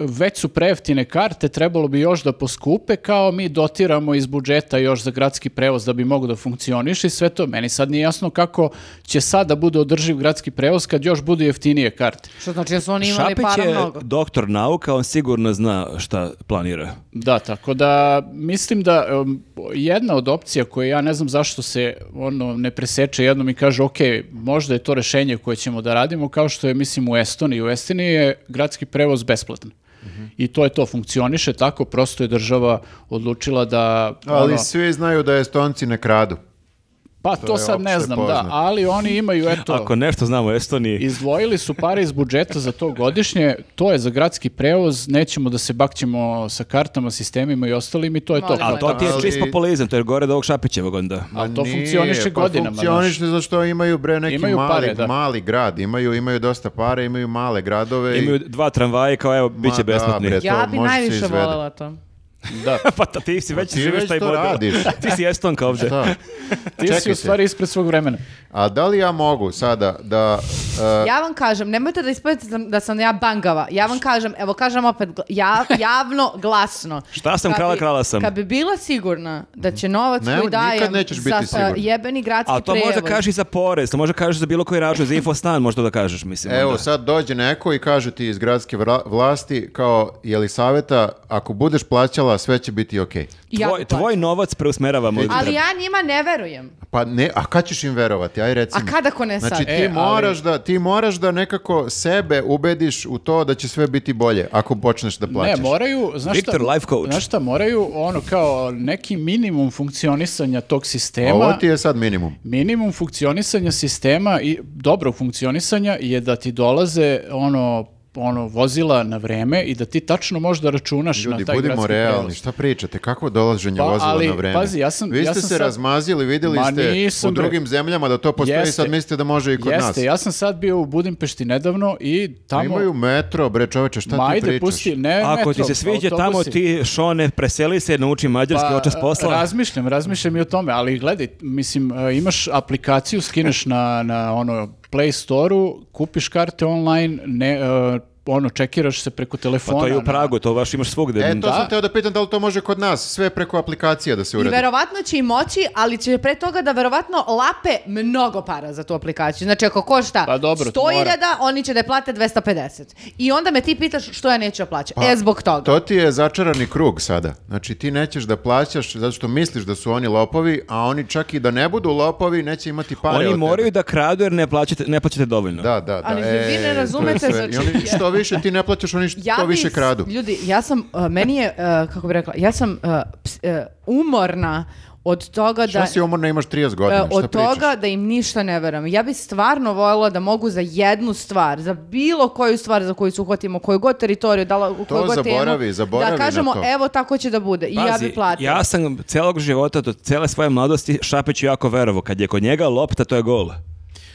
Speaker 2: već su prejeftine karte, trebalo bi još da poskupe, kao mi dotiramo iz budžeta još za gradski prevoz da bi mogo da funkcioniš i sve to. Meni sad nije jasno kako će sad da bude održiv gradski prevoz kad još budu jeftinije karte.
Speaker 1: Što znači da su oni imali
Speaker 4: Šapić
Speaker 1: para
Speaker 4: je
Speaker 1: mnogo.
Speaker 4: doktor nauka, on sigurno zna šta planira.
Speaker 2: Da, tako da mislim da em, jedna od opcija koje ja ne znam zašto se ono ne preseče jednom i kaže ok, možda je to rešenje koje ćemo da radimo kao što je mislim u Estoniji. U Estoniji je gradski prevoz besplatan. I to je to, funkcioniše tako, prosto je država odlučila da...
Speaker 3: Ali
Speaker 2: ono,
Speaker 3: svi znaju da Estonci ne kradu.
Speaker 2: pa to,
Speaker 3: je
Speaker 2: sad ne
Speaker 3: opšte
Speaker 2: znam, da,
Speaker 3: poznato.
Speaker 2: ali oni imaju eto...
Speaker 4: Ako nešto znamo o Estoniji,
Speaker 2: Izdvojili su pare iz budžeta za to godišnje, to je za gradski prevoz, nećemo da se bakćemo sa kartama, sistemima i ostalim i to je to.
Speaker 1: Molim
Speaker 4: ali to ti je
Speaker 3: Ali-
Speaker 4: čist populizam, to je gore od ovog Šapićevog onda.
Speaker 2: Ali to
Speaker 3: nije,
Speaker 2: funkcioniše
Speaker 3: pa
Speaker 2: godinama,
Speaker 3: Funkcioniše zato što imaju bre neki
Speaker 2: Imaju
Speaker 3: mali,
Speaker 2: pare, da.
Speaker 3: mali grad, imaju imaju dosta para, imaju male gradove
Speaker 4: Imaju
Speaker 3: i
Speaker 4: dva tramvaja i kao evo, bit
Speaker 3: Ma,
Speaker 4: će
Speaker 3: da,
Speaker 4: besplatni.
Speaker 3: bre.
Speaker 1: Ja
Speaker 3: E, to
Speaker 1: bi
Speaker 3: može se
Speaker 1: najviše
Speaker 3: izvede.
Speaker 1: voljela to.
Speaker 2: Da,
Speaker 4: pa ta- ti si već
Speaker 3: ti
Speaker 4: živiš
Speaker 3: već
Speaker 4: taj
Speaker 3: to
Speaker 4: model.
Speaker 3: radiš.
Speaker 4: ti si Estonka ovdje.
Speaker 3: šta?
Speaker 2: ti si
Speaker 3: Čekajte.
Speaker 2: u stvari ispred svog vremena.
Speaker 3: A da li ja mogu sada da e,
Speaker 1: Ja vam kažem, nemojte da ispadite sam- da sam ja bangava. Ja vam kažem, evo kažem opet gla- ja, javno, glasno.
Speaker 4: Šta sam
Speaker 1: Kad
Speaker 4: krala,
Speaker 1: bi-
Speaker 4: krala sam.
Speaker 1: Kad bi bila sigurna da će novac
Speaker 3: Ne,
Speaker 1: koji
Speaker 3: nikad
Speaker 1: dajem
Speaker 3: nećeš biti
Speaker 1: za
Speaker 3: sigurna.
Speaker 1: a, jebeni gradski
Speaker 4: A to možda
Speaker 1: prevoz-
Speaker 4: kažeš i za porez, to možda kažeš za bilo koji račun, za infostan možda da kažeš, mislim.
Speaker 3: Evo,
Speaker 4: onda.
Speaker 3: sad dođe neko i kaže ti iz gradske vla- vlasti kao Jelisaveta, ako budeš plaćala, sve će biti okej.
Speaker 1: Ja bi
Speaker 4: Tvoj,
Speaker 1: plaćala.
Speaker 4: tvoj novac preusmeravamo.
Speaker 1: Ali ja njima ne verujem.
Speaker 3: Pa ne, a kad ćeš im verovati? Aj reci
Speaker 1: A
Speaker 3: mi.
Speaker 1: kada ko ne sad?
Speaker 3: Znači ti,
Speaker 2: E, ali-
Speaker 3: moraš da, ti moraš da nekako sebe ubediš u to da će sve biti bolje ako počneš da plaćaš.
Speaker 2: Ne, moraju, znaš
Speaker 4: Viktor,
Speaker 2: šta,
Speaker 4: life coach.
Speaker 2: znaš šta, moraju ono kao neki minimum funkcionisanja tog sistema.
Speaker 3: Ovo ti je sad minimum.
Speaker 2: Minimum funkcionisanja sistema i dobrog funkcionisanja je da ti dolaze ono ono vozila na vreme i da ti tačno možeš da računaš
Speaker 3: Ljudi,
Speaker 2: na taj
Speaker 3: budimo
Speaker 2: gradski
Speaker 3: realni,
Speaker 2: prevoz.
Speaker 3: šta pričate, kakvo dolaženje
Speaker 2: Pa,
Speaker 3: vozila
Speaker 2: ali,
Speaker 3: na vreme?
Speaker 2: pazi, ja sam-
Speaker 3: Vi ste
Speaker 2: ja sam
Speaker 3: se
Speaker 2: sad-
Speaker 3: razmazili, videli
Speaker 2: Ma,
Speaker 3: ste
Speaker 2: nisam,
Speaker 3: u
Speaker 2: bre.
Speaker 3: drugim zemljama da to postoji,
Speaker 2: Jeste.
Speaker 3: sad mislite da može i kod
Speaker 2: Jeste,
Speaker 3: nas.
Speaker 2: ja sam sad bio u Budimpešti nedavno i tamo...
Speaker 3: Imaju metro, bre čoveče, šta
Speaker 2: Ma,
Speaker 3: ti
Speaker 2: ajde,
Speaker 3: pričaš?
Speaker 2: pusti, ne
Speaker 4: Ako ti
Speaker 2: metro,
Speaker 4: se sviđa tamo,
Speaker 2: autobusi.
Speaker 4: ti Šone, preseli se, nauči mađarski
Speaker 2: Pa,
Speaker 4: očas posla.
Speaker 2: Razmišljam, razmišljam i o tome, ali gledaj, mislim, e, imaš aplikaciju, skineš na, na ono Play Store-u, kupiš karte online, ne, e, ono, čekiraš se preko
Speaker 4: Pa
Speaker 2: telefona.
Speaker 4: to je u
Speaker 2: na-
Speaker 4: Pragu, to baš imaš svugde.
Speaker 3: E, to
Speaker 4: Da.
Speaker 3: sam teo da pitam da li to može kod nas, sve preko aplikacija da se
Speaker 1: I
Speaker 3: uradi.
Speaker 1: verovatno će i moći, ali će pre toga da verovatno lape mnogo para za tu aplikaciju. Znači ako košta
Speaker 2: Pa dobro,
Speaker 1: 100.000,
Speaker 2: mora.
Speaker 1: oni će da je plate 250. I onda me ti pitaš što ja neću da plaćam. e, zbog toga.
Speaker 3: To ti je začarani krug sada. Znači ti nećeš da plaćaš zato što misliš da su oni lopovi, a oni čak i da ne budu lopovi neće imati pare od
Speaker 4: Oni
Speaker 3: tebe.
Speaker 4: moraju da kradu jer ne plaćate, ne plaćate dovoljno.
Speaker 3: Da, da, da. E,
Speaker 1: Ali vi ne
Speaker 3: to je
Speaker 1: razumete,
Speaker 3: sve.
Speaker 1: znači-
Speaker 3: I oni što više ti ne plaćaš, oni što
Speaker 1: bi
Speaker 3: više
Speaker 1: s-
Speaker 3: kradu.
Speaker 1: Ljudi, ja sam, uh, meni je, uh, kako bi rekla, ja sam uh, ps- uh, umorna od toga da...
Speaker 3: Što si umorna, imaš 30
Speaker 1: E,
Speaker 3: godina, šta
Speaker 1: od
Speaker 3: pričaš?
Speaker 1: toga da im ništa ne verujem. Ja bi stvarno voljela da mogu za jednu stvar, za bilo koju stvar za koju se uhvatimo, koju god teritoriju, da, la- koju god temu,
Speaker 3: zaboravi, zaboravi
Speaker 1: da
Speaker 3: na
Speaker 1: kažemo
Speaker 3: to.
Speaker 1: evo tako će da bude i ja
Speaker 4: Pazi,
Speaker 1: bi platila.
Speaker 4: ja sam celog života, do cele svoje mladosti, Šapeću jako verovo. Kad je kod njega lopta, to je gol.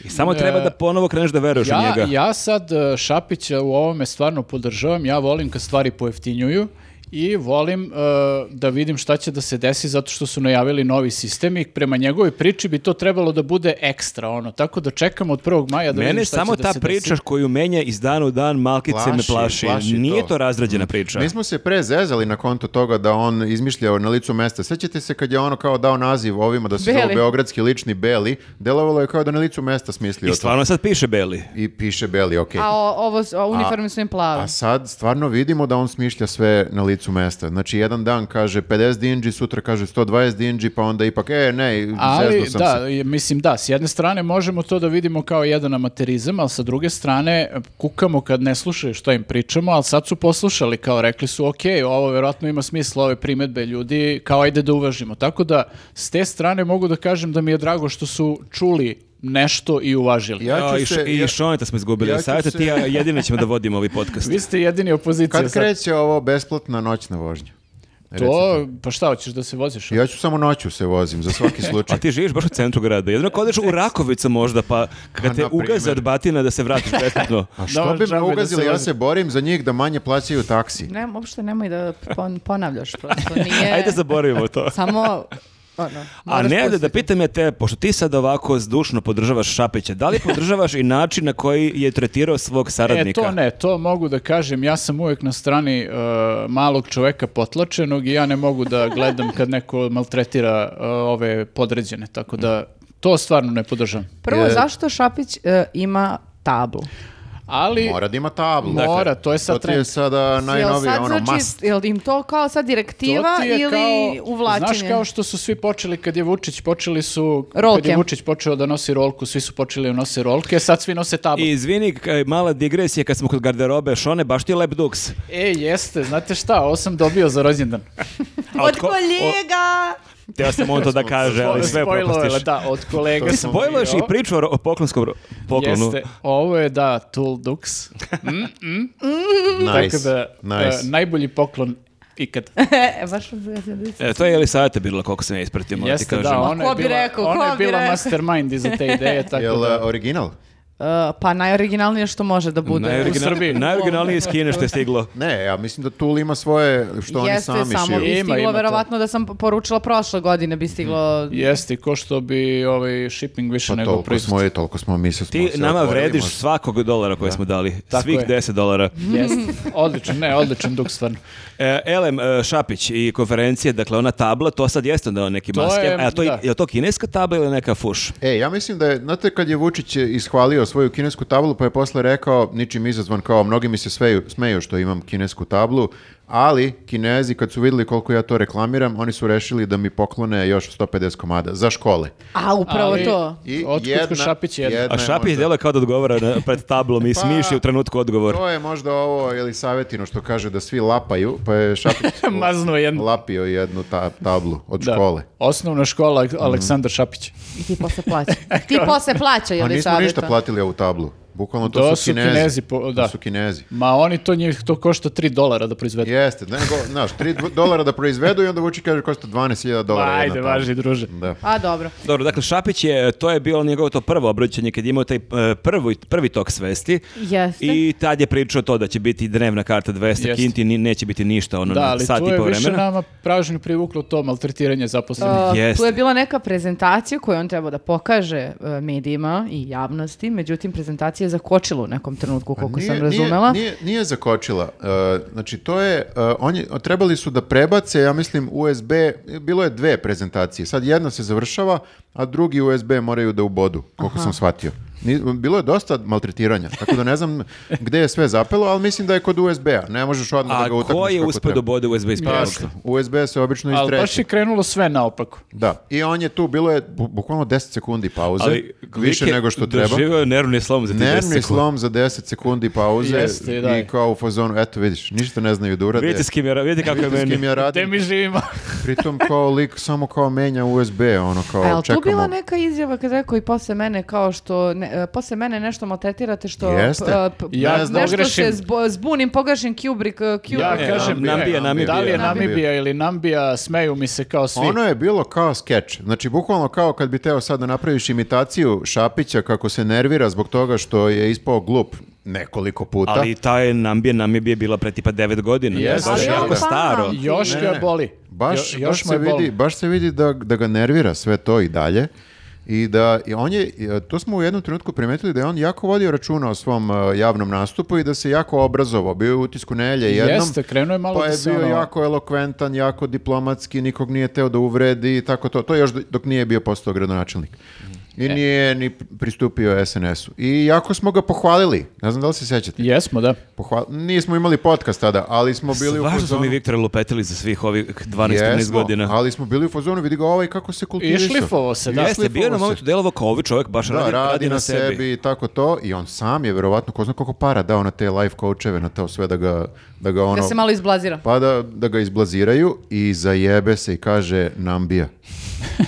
Speaker 4: I samo treba da ponovo kreneš da veruješ u
Speaker 2: Ja,
Speaker 4: njega.
Speaker 2: ja sad e, Šapića u ovome stvarno podržavam, ja volim kad stvari pojeftinjuju i volim e, da vidim šta će da se desi zato što su najavili novi sistem i prema njegovoj priči bi to trebalo da bude ekstra, ono, tako da čekam od 1. maja da
Speaker 4: Mene
Speaker 2: vidim šta
Speaker 4: samo
Speaker 2: će da
Speaker 4: ta
Speaker 2: se desi.
Speaker 4: priča koju menja iz dana u dan malkice me
Speaker 3: Plaši,
Speaker 4: plaši.
Speaker 3: plaši
Speaker 4: Nije to,
Speaker 3: to.
Speaker 4: razrađena priča.
Speaker 3: Mi smo se pre zezali na konto toga da on izmišljao na licu mesta. Sjećate se kad je ono kao dao naziv ovima da se
Speaker 1: Beli.
Speaker 3: zove Beogradski lični Beli, delovalo je kao da na licu mesta smislio
Speaker 4: I
Speaker 3: to.
Speaker 4: stvarno sad piše Beli.
Speaker 3: I piše Beli, okej.
Speaker 1: A o- ovo, s- o, uniforme su im plave.
Speaker 3: A sad stvarno vidimo da on smišlja sve na licu mesta. Znači, jedan dan kaže 50 dinđi, sutra kaže 120 dinđi, pa onda ipak, e, ne,
Speaker 2: Ali,
Speaker 3: zeznuo sam
Speaker 2: da,
Speaker 3: se.
Speaker 2: je- mislim, da, s jedne strane možemo to da vidimo kao jedan amaterizam, ali sa druge strane e, kukamo kad ne slušaju što im pričamo, ali sad su poslušali, kao rekli su, ok, ovo verovatno ima smisla, ove primetbe ljudi, kao ajde da uvažimo. Tako da, s te strane mogu da kažem da mi je drago što su čuli nešto i uvažili.
Speaker 3: Ja ću
Speaker 4: A, i,
Speaker 3: se-
Speaker 4: Š- i
Speaker 3: ja-
Speaker 4: Šoneta smo izgubili
Speaker 3: ja
Speaker 4: ja
Speaker 3: ću
Speaker 4: savjeta,
Speaker 3: se-
Speaker 4: ti ja jedino ćemo da vodimo ovaj podcast.
Speaker 2: Vi ste jedini opozicija
Speaker 3: Kad
Speaker 2: sad.
Speaker 3: kreće ovo besplatna noćna vožnja? Recite.
Speaker 2: To, pa šta, hoćeš da se voziš?
Speaker 3: Ja ću samo noću se vozim, za svaki
Speaker 4: A
Speaker 3: slučaj.
Speaker 4: ti živiš baš u centru grada. Jedno ako odeš u Rakovicu možda, pa
Speaker 3: A,
Speaker 4: kad te
Speaker 3: na primer.
Speaker 4: ugaze od batina da se vratiš besplatno.
Speaker 3: A što
Speaker 2: Dobar,
Speaker 3: bi me
Speaker 2: džabe da
Speaker 3: ugazili,
Speaker 2: se
Speaker 3: ja
Speaker 2: vozi.
Speaker 3: se borim za njih da manje plaćaju taksi.
Speaker 1: Ne, uopšte nemoj da pon- ponavljaš, prosto nije...
Speaker 4: Ajde zaboravimo to.
Speaker 1: Samo, ono,
Speaker 4: A
Speaker 1: moraš
Speaker 4: ne da, da
Speaker 1: pustiti.
Speaker 4: pitam ja te, pošto ti sad ovako zdušno podržavaš Šapića, da li podržavaš i način na koji je tretirao svog
Speaker 2: E,
Speaker 4: saradnika?
Speaker 2: to ne, to mogu da kažem, ja sam uvijek na strani e, malog čoveka potlačenog i ja ne mogu da gledam kad neko maltretira e, ove podređene, tako da to stvarno ne podržam.
Speaker 1: Prvo,
Speaker 3: Je-
Speaker 1: zašto Šapić e, ima tablu?
Speaker 2: Ali
Speaker 3: Mora da ima tablu.
Speaker 2: Dakle, Mora, to je sad
Speaker 3: To ti je
Speaker 2: trend.
Speaker 3: sada najnovije,
Speaker 1: sad
Speaker 3: ono,
Speaker 1: znači,
Speaker 3: must.
Speaker 1: Jel im to kao sad
Speaker 2: to
Speaker 1: direktiva
Speaker 2: ti je
Speaker 1: ili
Speaker 2: kao,
Speaker 1: uvlačenje?
Speaker 2: znaš kao što su svi počeli kad je Vučić, počeli su, kad
Speaker 1: Rolke.
Speaker 2: je Vučić počeo da nosi rolku, svi su počeli da nose rolke, sad svi nose tablu.
Speaker 4: I izvini, k- mala digresija kad smo kod garderobe, Šone, baš ti je lep duks.
Speaker 2: E, jeste, znate šta, ovo sam dobio za rođendan.
Speaker 4: A
Speaker 1: Od
Speaker 4: ko- o-
Speaker 1: kolega!
Speaker 4: Teo sam on to da kaže, ali sve
Speaker 2: Spojilo je,
Speaker 4: propustiš.
Speaker 2: Da, od kolega.
Speaker 4: Ti
Speaker 2: sam
Speaker 4: spojluješ i
Speaker 2: dobio.
Speaker 4: priču o ro- o poklonskom ro- poklonu.
Speaker 2: Jeste, ovo je da, Tool Dux.
Speaker 3: Nice,
Speaker 2: Tako da,
Speaker 3: nice.
Speaker 2: e, najbolji poklon ikad.
Speaker 1: E, baš...
Speaker 4: E, to je Elisaveta bila, koliko sam ja ispratio, moram ti
Speaker 2: Jeste,
Speaker 4: kažem.
Speaker 2: da, ona
Speaker 1: ko
Speaker 2: je
Speaker 1: bi
Speaker 2: bila,
Speaker 1: rekao,
Speaker 2: ona
Speaker 1: ko
Speaker 2: je
Speaker 1: bi
Speaker 2: bila
Speaker 1: rekao?
Speaker 2: mastermind iza te ideje, tako
Speaker 3: Jel e,
Speaker 2: da...
Speaker 3: original?
Speaker 1: E, pa najoriginalnije što može da bude.
Speaker 4: Najoriginal- najoriginalnije iz Kine što je stiglo.
Speaker 3: Ne, ja mislim da Tool ima svoje, što
Speaker 1: Jeste,
Speaker 3: oni sami
Speaker 1: samo
Speaker 3: šiju.
Speaker 1: bi
Speaker 2: Ima,
Speaker 1: stiglo,
Speaker 2: ima to. Mm,
Speaker 1: verovatno da sam poručila prošle godine, bi stiglo...
Speaker 2: Jeste, ko što bi ovaj shipping više
Speaker 3: Pa
Speaker 2: nego
Speaker 3: toliko smo,
Speaker 2: proizvod.
Speaker 3: je, toliko smo, mi se
Speaker 4: Ti
Speaker 3: smo se
Speaker 4: nama
Speaker 3: otvorili,
Speaker 4: vrediš
Speaker 3: možda.
Speaker 4: svakog dolara koji smo dali.
Speaker 2: Tako
Speaker 4: Svih
Speaker 2: je.
Speaker 4: 10 dolara.
Speaker 2: Jeste, odličan, ne, odličan duk stvarno.
Speaker 4: E, Elem e, Šapić i konferencije, dakle ona tabla, to sad jeste onda neki
Speaker 2: To
Speaker 4: maske.
Speaker 2: je,
Speaker 4: a to, je-
Speaker 2: da.
Speaker 4: je li to kineska tabla ili neka fuš?
Speaker 3: E, ja mislim da je, znate kad je Vučić ishvalio svoju kinesku tablu, pa je posle rekao, ničim izazvan, kao mnogi mi se sveju, smeju što imam kinesku tablu, ali kinezi kad su vidjeli koliko ja to reklamiram, oni su rešili da mi poklone još 150 komada za škole.
Speaker 1: A, upravo
Speaker 2: Ali-
Speaker 1: to.
Speaker 3: I
Speaker 2: Otkud kod Šapića jedna?
Speaker 4: A
Speaker 3: je
Speaker 4: Šapić
Speaker 3: možda-
Speaker 4: djeluje kao da odgovara na- pred tablom i
Speaker 3: Pa,
Speaker 4: smiši u trenutku odgovor.
Speaker 3: To je možda ovo ili savetino što kaže da svi lapaju, pa je Šapić
Speaker 2: Maznuo jednu.
Speaker 3: lapio jednu ta- tablu od
Speaker 2: Da.
Speaker 3: škole.
Speaker 2: Osnovna škola Aleksandar Šapić.
Speaker 1: I ti posle plaća.
Speaker 2: E,
Speaker 1: ti posle plaća,
Speaker 3: Pa
Speaker 1: jel
Speaker 3: nismo ništa platili ovu tablu. Bukvalno to,
Speaker 2: To
Speaker 3: su
Speaker 2: su
Speaker 3: kinezi.
Speaker 2: Kinezi po-
Speaker 3: To
Speaker 2: da.
Speaker 3: su kinezi.
Speaker 2: Ma oni to njih, to košta 3 dolara da proizvedu.
Speaker 3: Jeste, nego, znaš, 3 dolara da proizvedu i onda Vučić kaže košta 12.000
Speaker 2: Ma,
Speaker 3: dolara. jedna Mhm.
Speaker 2: Ajde,
Speaker 3: tabla.
Speaker 2: važi, druže.
Speaker 3: Da.
Speaker 1: A, dobro.
Speaker 4: Dobro, dakle Šapić je, to je bilo njegovo to prvo obraćanje kad je imao taj e, prvi, prvi tok svesti.
Speaker 1: Jeste.
Speaker 4: I tad je pričao to da će biti dnevna karta 200
Speaker 2: Jeste.
Speaker 4: kinti, ni- neće biti ništa, ono,
Speaker 2: Da, ali
Speaker 4: sat
Speaker 2: tu
Speaker 4: i
Speaker 2: je
Speaker 4: po
Speaker 2: više
Speaker 4: vremena.
Speaker 2: nama pražnju privuklo to maltretiranje zaposlenih.
Speaker 1: Uh, Tu
Speaker 4: Jeste.
Speaker 1: je bila neka prezentacija koju je on trebao da pokaže uh, medijima i javnosti, međutim prezentacija je zakočila u nekom trenutku, koliko sam razumela.
Speaker 3: Pa Nije, nije, nije zakočila. E, znači, to je, e, on je- trebali su da prebace, ja mislim, USB, bilo je dve prezentacije. Sad jedna se završava, a drugi USB moraju da ubodu, koliko sam shvatio. Ni- Bilo je dosta maltretiranja, tako da ne znam gde je sve zapelo, ali mislim da je kod USB-a. Ne možeš odmah da
Speaker 4: A
Speaker 3: ga utakneš
Speaker 4: ko je
Speaker 3: kako
Speaker 4: uspio
Speaker 3: treba.
Speaker 4: da bode USB iz prvog?
Speaker 2: Jeste.
Speaker 3: USB se obično
Speaker 2: Ali baš
Speaker 3: istreće.
Speaker 2: je krenulo sve naopako.
Speaker 3: Da. I on je tu, bilo je bu- bukvalno 10 sekundi pauze,
Speaker 4: Ali
Speaker 3: više
Speaker 4: lik je
Speaker 3: nego što treba.
Speaker 4: Doživio je nervni slom za ti 10
Speaker 3: Nervni
Speaker 4: sekundi.
Speaker 3: slom za 10 sekundi pauze
Speaker 2: Jeste, da.
Speaker 3: i kao u fazonu, eto vidiš, ništa ne znaju da urade.
Speaker 4: Vidite s kim je, ra- vidite kako je
Speaker 3: Vidite s
Speaker 4: meni.
Speaker 3: kim ja
Speaker 2: Gde
Speaker 3: radim.
Speaker 2: mi živimo?
Speaker 3: Pritom kao lik samo kao menja USB, ono kao
Speaker 1: A jel tu
Speaker 3: čekamo.
Speaker 1: bila neka izjava kad rekao i posle mene kao što, ne, e, posle mene nešto maltretirate što...
Speaker 3: Jeste.
Speaker 1: p- e, p-
Speaker 2: Ja
Speaker 1: nešto
Speaker 2: pogrešim.
Speaker 1: se zbo- zbunim, pogrešim kubrik, e, kubrik.
Speaker 2: Ja
Speaker 4: Ne,
Speaker 2: kažem,
Speaker 4: Nambija,
Speaker 2: ne,
Speaker 4: Nambija.
Speaker 2: da li je
Speaker 1: Nambija.
Speaker 2: Namibija ili Nambija, smeju mi se kao svi.
Speaker 3: Ono je bilo kao skeč. Znači, bukvalno kao kad bi teo sad da napraviš imitaciju Šapića kako se nervira zbog toga što je ispao glup nekoliko puta.
Speaker 4: Ali ta je Nambija Namibija bila pre tipa 9 godina.
Speaker 2: Jeste.
Speaker 4: Baš
Speaker 2: Ali
Speaker 4: jako
Speaker 1: on
Speaker 4: staro.
Speaker 1: pamti.
Speaker 2: Još
Speaker 3: Ne,
Speaker 2: ga
Speaker 3: ne.
Speaker 2: boli.
Speaker 3: Baš,
Speaker 2: Jo-
Speaker 3: baš,
Speaker 2: još mu
Speaker 3: se
Speaker 2: je boli.
Speaker 3: vidi, baš se vidi da, da ga nervira sve to i dalje. I da i on je, i, e, to smo u jednom trenutku primetili da je on jako vodio računa o svom e, javnom nastupu i da se jako obrazovao. Bio je u utisku Nelje jednom.
Speaker 2: Jeste, krenuo je malo
Speaker 3: Pa
Speaker 2: da
Speaker 3: je
Speaker 2: se
Speaker 3: bio
Speaker 2: ono-
Speaker 3: jako elokventan, jako diplomatski, nikog nije teo da uvredi i tako to. To je još dok nije bio postao gradonačelnik. I
Speaker 2: E.
Speaker 3: nije ni pristupio SNS-u. I jako smo ga pohvalili. Ne znam da li se sjećate.
Speaker 2: Jesmo, da.
Speaker 3: Pohval... Nismo imali podcast tada, ali smo bili u
Speaker 4: Važno smo
Speaker 3: fazonu-
Speaker 4: mi Viktora lupetili za svih ovih 12-13
Speaker 3: Jesmo,
Speaker 4: godina.
Speaker 3: ali smo bili u fazonu, vidi ga ovaj kako se
Speaker 2: I
Speaker 3: kultivisao.
Speaker 2: šlifovo se, da.
Speaker 4: Jeste, bio je na
Speaker 3: se.
Speaker 4: momentu delovo kao ovi čovjek baš
Speaker 3: Da,
Speaker 4: radi, radi na sebi.
Speaker 3: i tako to. I on sam je verovatno, ko zna koliko para dao na te life coacheve, na to sve da ga, da ga ono...
Speaker 1: Da se malo izblazira.
Speaker 3: Pa da, da ga izblaziraju i zajebe se i kaže Nambija.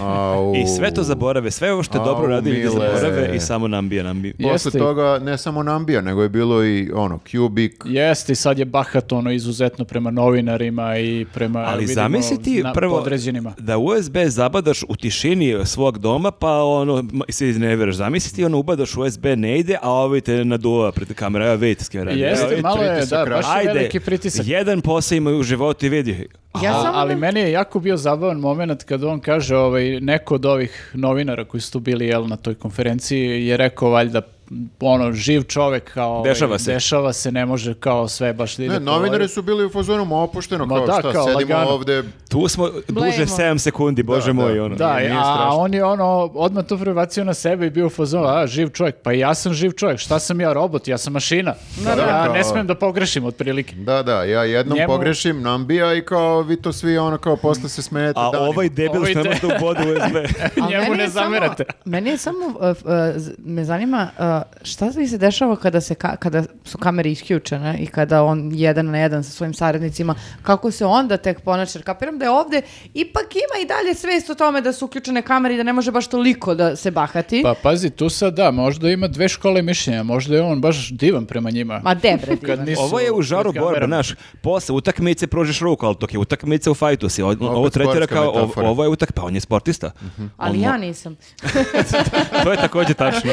Speaker 3: Au.
Speaker 4: I sve to zaborave, sve ovo što je dobro
Speaker 3: Au,
Speaker 4: radili da
Speaker 3: mile.
Speaker 4: zaborave i samo nambija, nambija.
Speaker 2: Je-
Speaker 3: Posle
Speaker 2: Jeste.
Speaker 3: toga ne samo Nambija, nego je bilo i ono, Kubik,
Speaker 2: Jeste, i sad je bahat ono izuzetno prema novinarima i prema
Speaker 4: Ali
Speaker 2: vidimo,
Speaker 4: zamisli ti
Speaker 2: na-
Speaker 4: prvo
Speaker 2: podređenima.
Speaker 4: da USB zabadaš u tišini svog doma pa ono ma- se izneveraš. Zamisli ti ono ubadaš USB ne ide, a ovi te naduva pred kamera. Evo vidite s kim radi.
Speaker 2: Jeste,
Speaker 4: Evo vidite.
Speaker 2: malo je, da,
Speaker 3: pritisak
Speaker 2: baš je
Speaker 4: Ajde,
Speaker 2: veliki pritisak.
Speaker 4: jedan posao imaju u životu i vidi.
Speaker 1: Ja
Speaker 2: A-
Speaker 1: samo
Speaker 2: ali
Speaker 1: ne-
Speaker 2: meni je jako bio zabavan moment kad on kaže, ovaj, neko od ovih novinara koji su tu bili jel, na toj konferenciji je rekao valjda ono, živ čovek kao... ovaj,
Speaker 4: Dešava se.
Speaker 2: Dešava se, ne može kao sve baš da ide
Speaker 3: Ne,
Speaker 2: po
Speaker 3: novinari
Speaker 2: ovoj-
Speaker 3: su bili u fazonu ma opušteno,
Speaker 2: Ma
Speaker 3: kao
Speaker 2: da,
Speaker 3: šta,
Speaker 2: kao
Speaker 3: sedimo
Speaker 2: lagano.
Speaker 3: ovde.
Speaker 4: Tu smo duže
Speaker 1: Blejmo.
Speaker 4: 7 sekundi, bože
Speaker 3: Da,
Speaker 4: moj.
Speaker 3: da.
Speaker 4: Ono.
Speaker 2: Da,
Speaker 3: Nije- nije
Speaker 2: a
Speaker 3: strašno.
Speaker 2: on je ono odmah to prebacio na sebe i bio u fazonu, a živ čovjek, pa i ja sam živ čovjek, šta sam ja robot, ja sam mašina.
Speaker 3: Da, da.
Speaker 2: ja
Speaker 3: Kao-
Speaker 2: ne smem da pogrešim otprilike.
Speaker 3: Da, da, ja jednom
Speaker 2: Njemu-
Speaker 3: pogrešim, nambija i kao vi to svi ono kao posle se smijete.
Speaker 4: A
Speaker 3: danima.
Speaker 4: ovaj debil
Speaker 2: Ovaj
Speaker 4: što
Speaker 2: de-
Speaker 4: ne može da ubode USB.
Speaker 1: A
Speaker 2: Njemu
Speaker 1: meni
Speaker 2: ne
Speaker 1: je samo-
Speaker 2: zamerate.
Speaker 1: Meni je samo, uh, f- uh, z- me zanima, uh, šta vi se dešava kada, se ka- kada su kamere isključene i kada on jedan na jedan sa svojim saradnicima, kako se onda tek ponaša? Jer Kapiram da je ovde, ipak ima i dalje svest o tome da su uključene kamere i da ne može baš toliko da se bahati.
Speaker 2: Pa pazi, tu sad da, možda ima dve škole mišljenja, možda je on baš divan prema njima.
Speaker 1: Ma debre,
Speaker 2: Kad nisu
Speaker 4: Ovo je u žaru
Speaker 2: pred kamerama.
Speaker 4: borbe, znaš, posle utakmice pružiš ruku, ali dok je utakmica u fajtu si, o- ovo tretira
Speaker 3: sportska
Speaker 4: kao, ov-
Speaker 3: metafora. Mhm.
Speaker 4: ovo je utak, pa on je sportista.
Speaker 1: ali
Speaker 4: On mo-
Speaker 1: ja nisam.
Speaker 4: to je takođe tačno.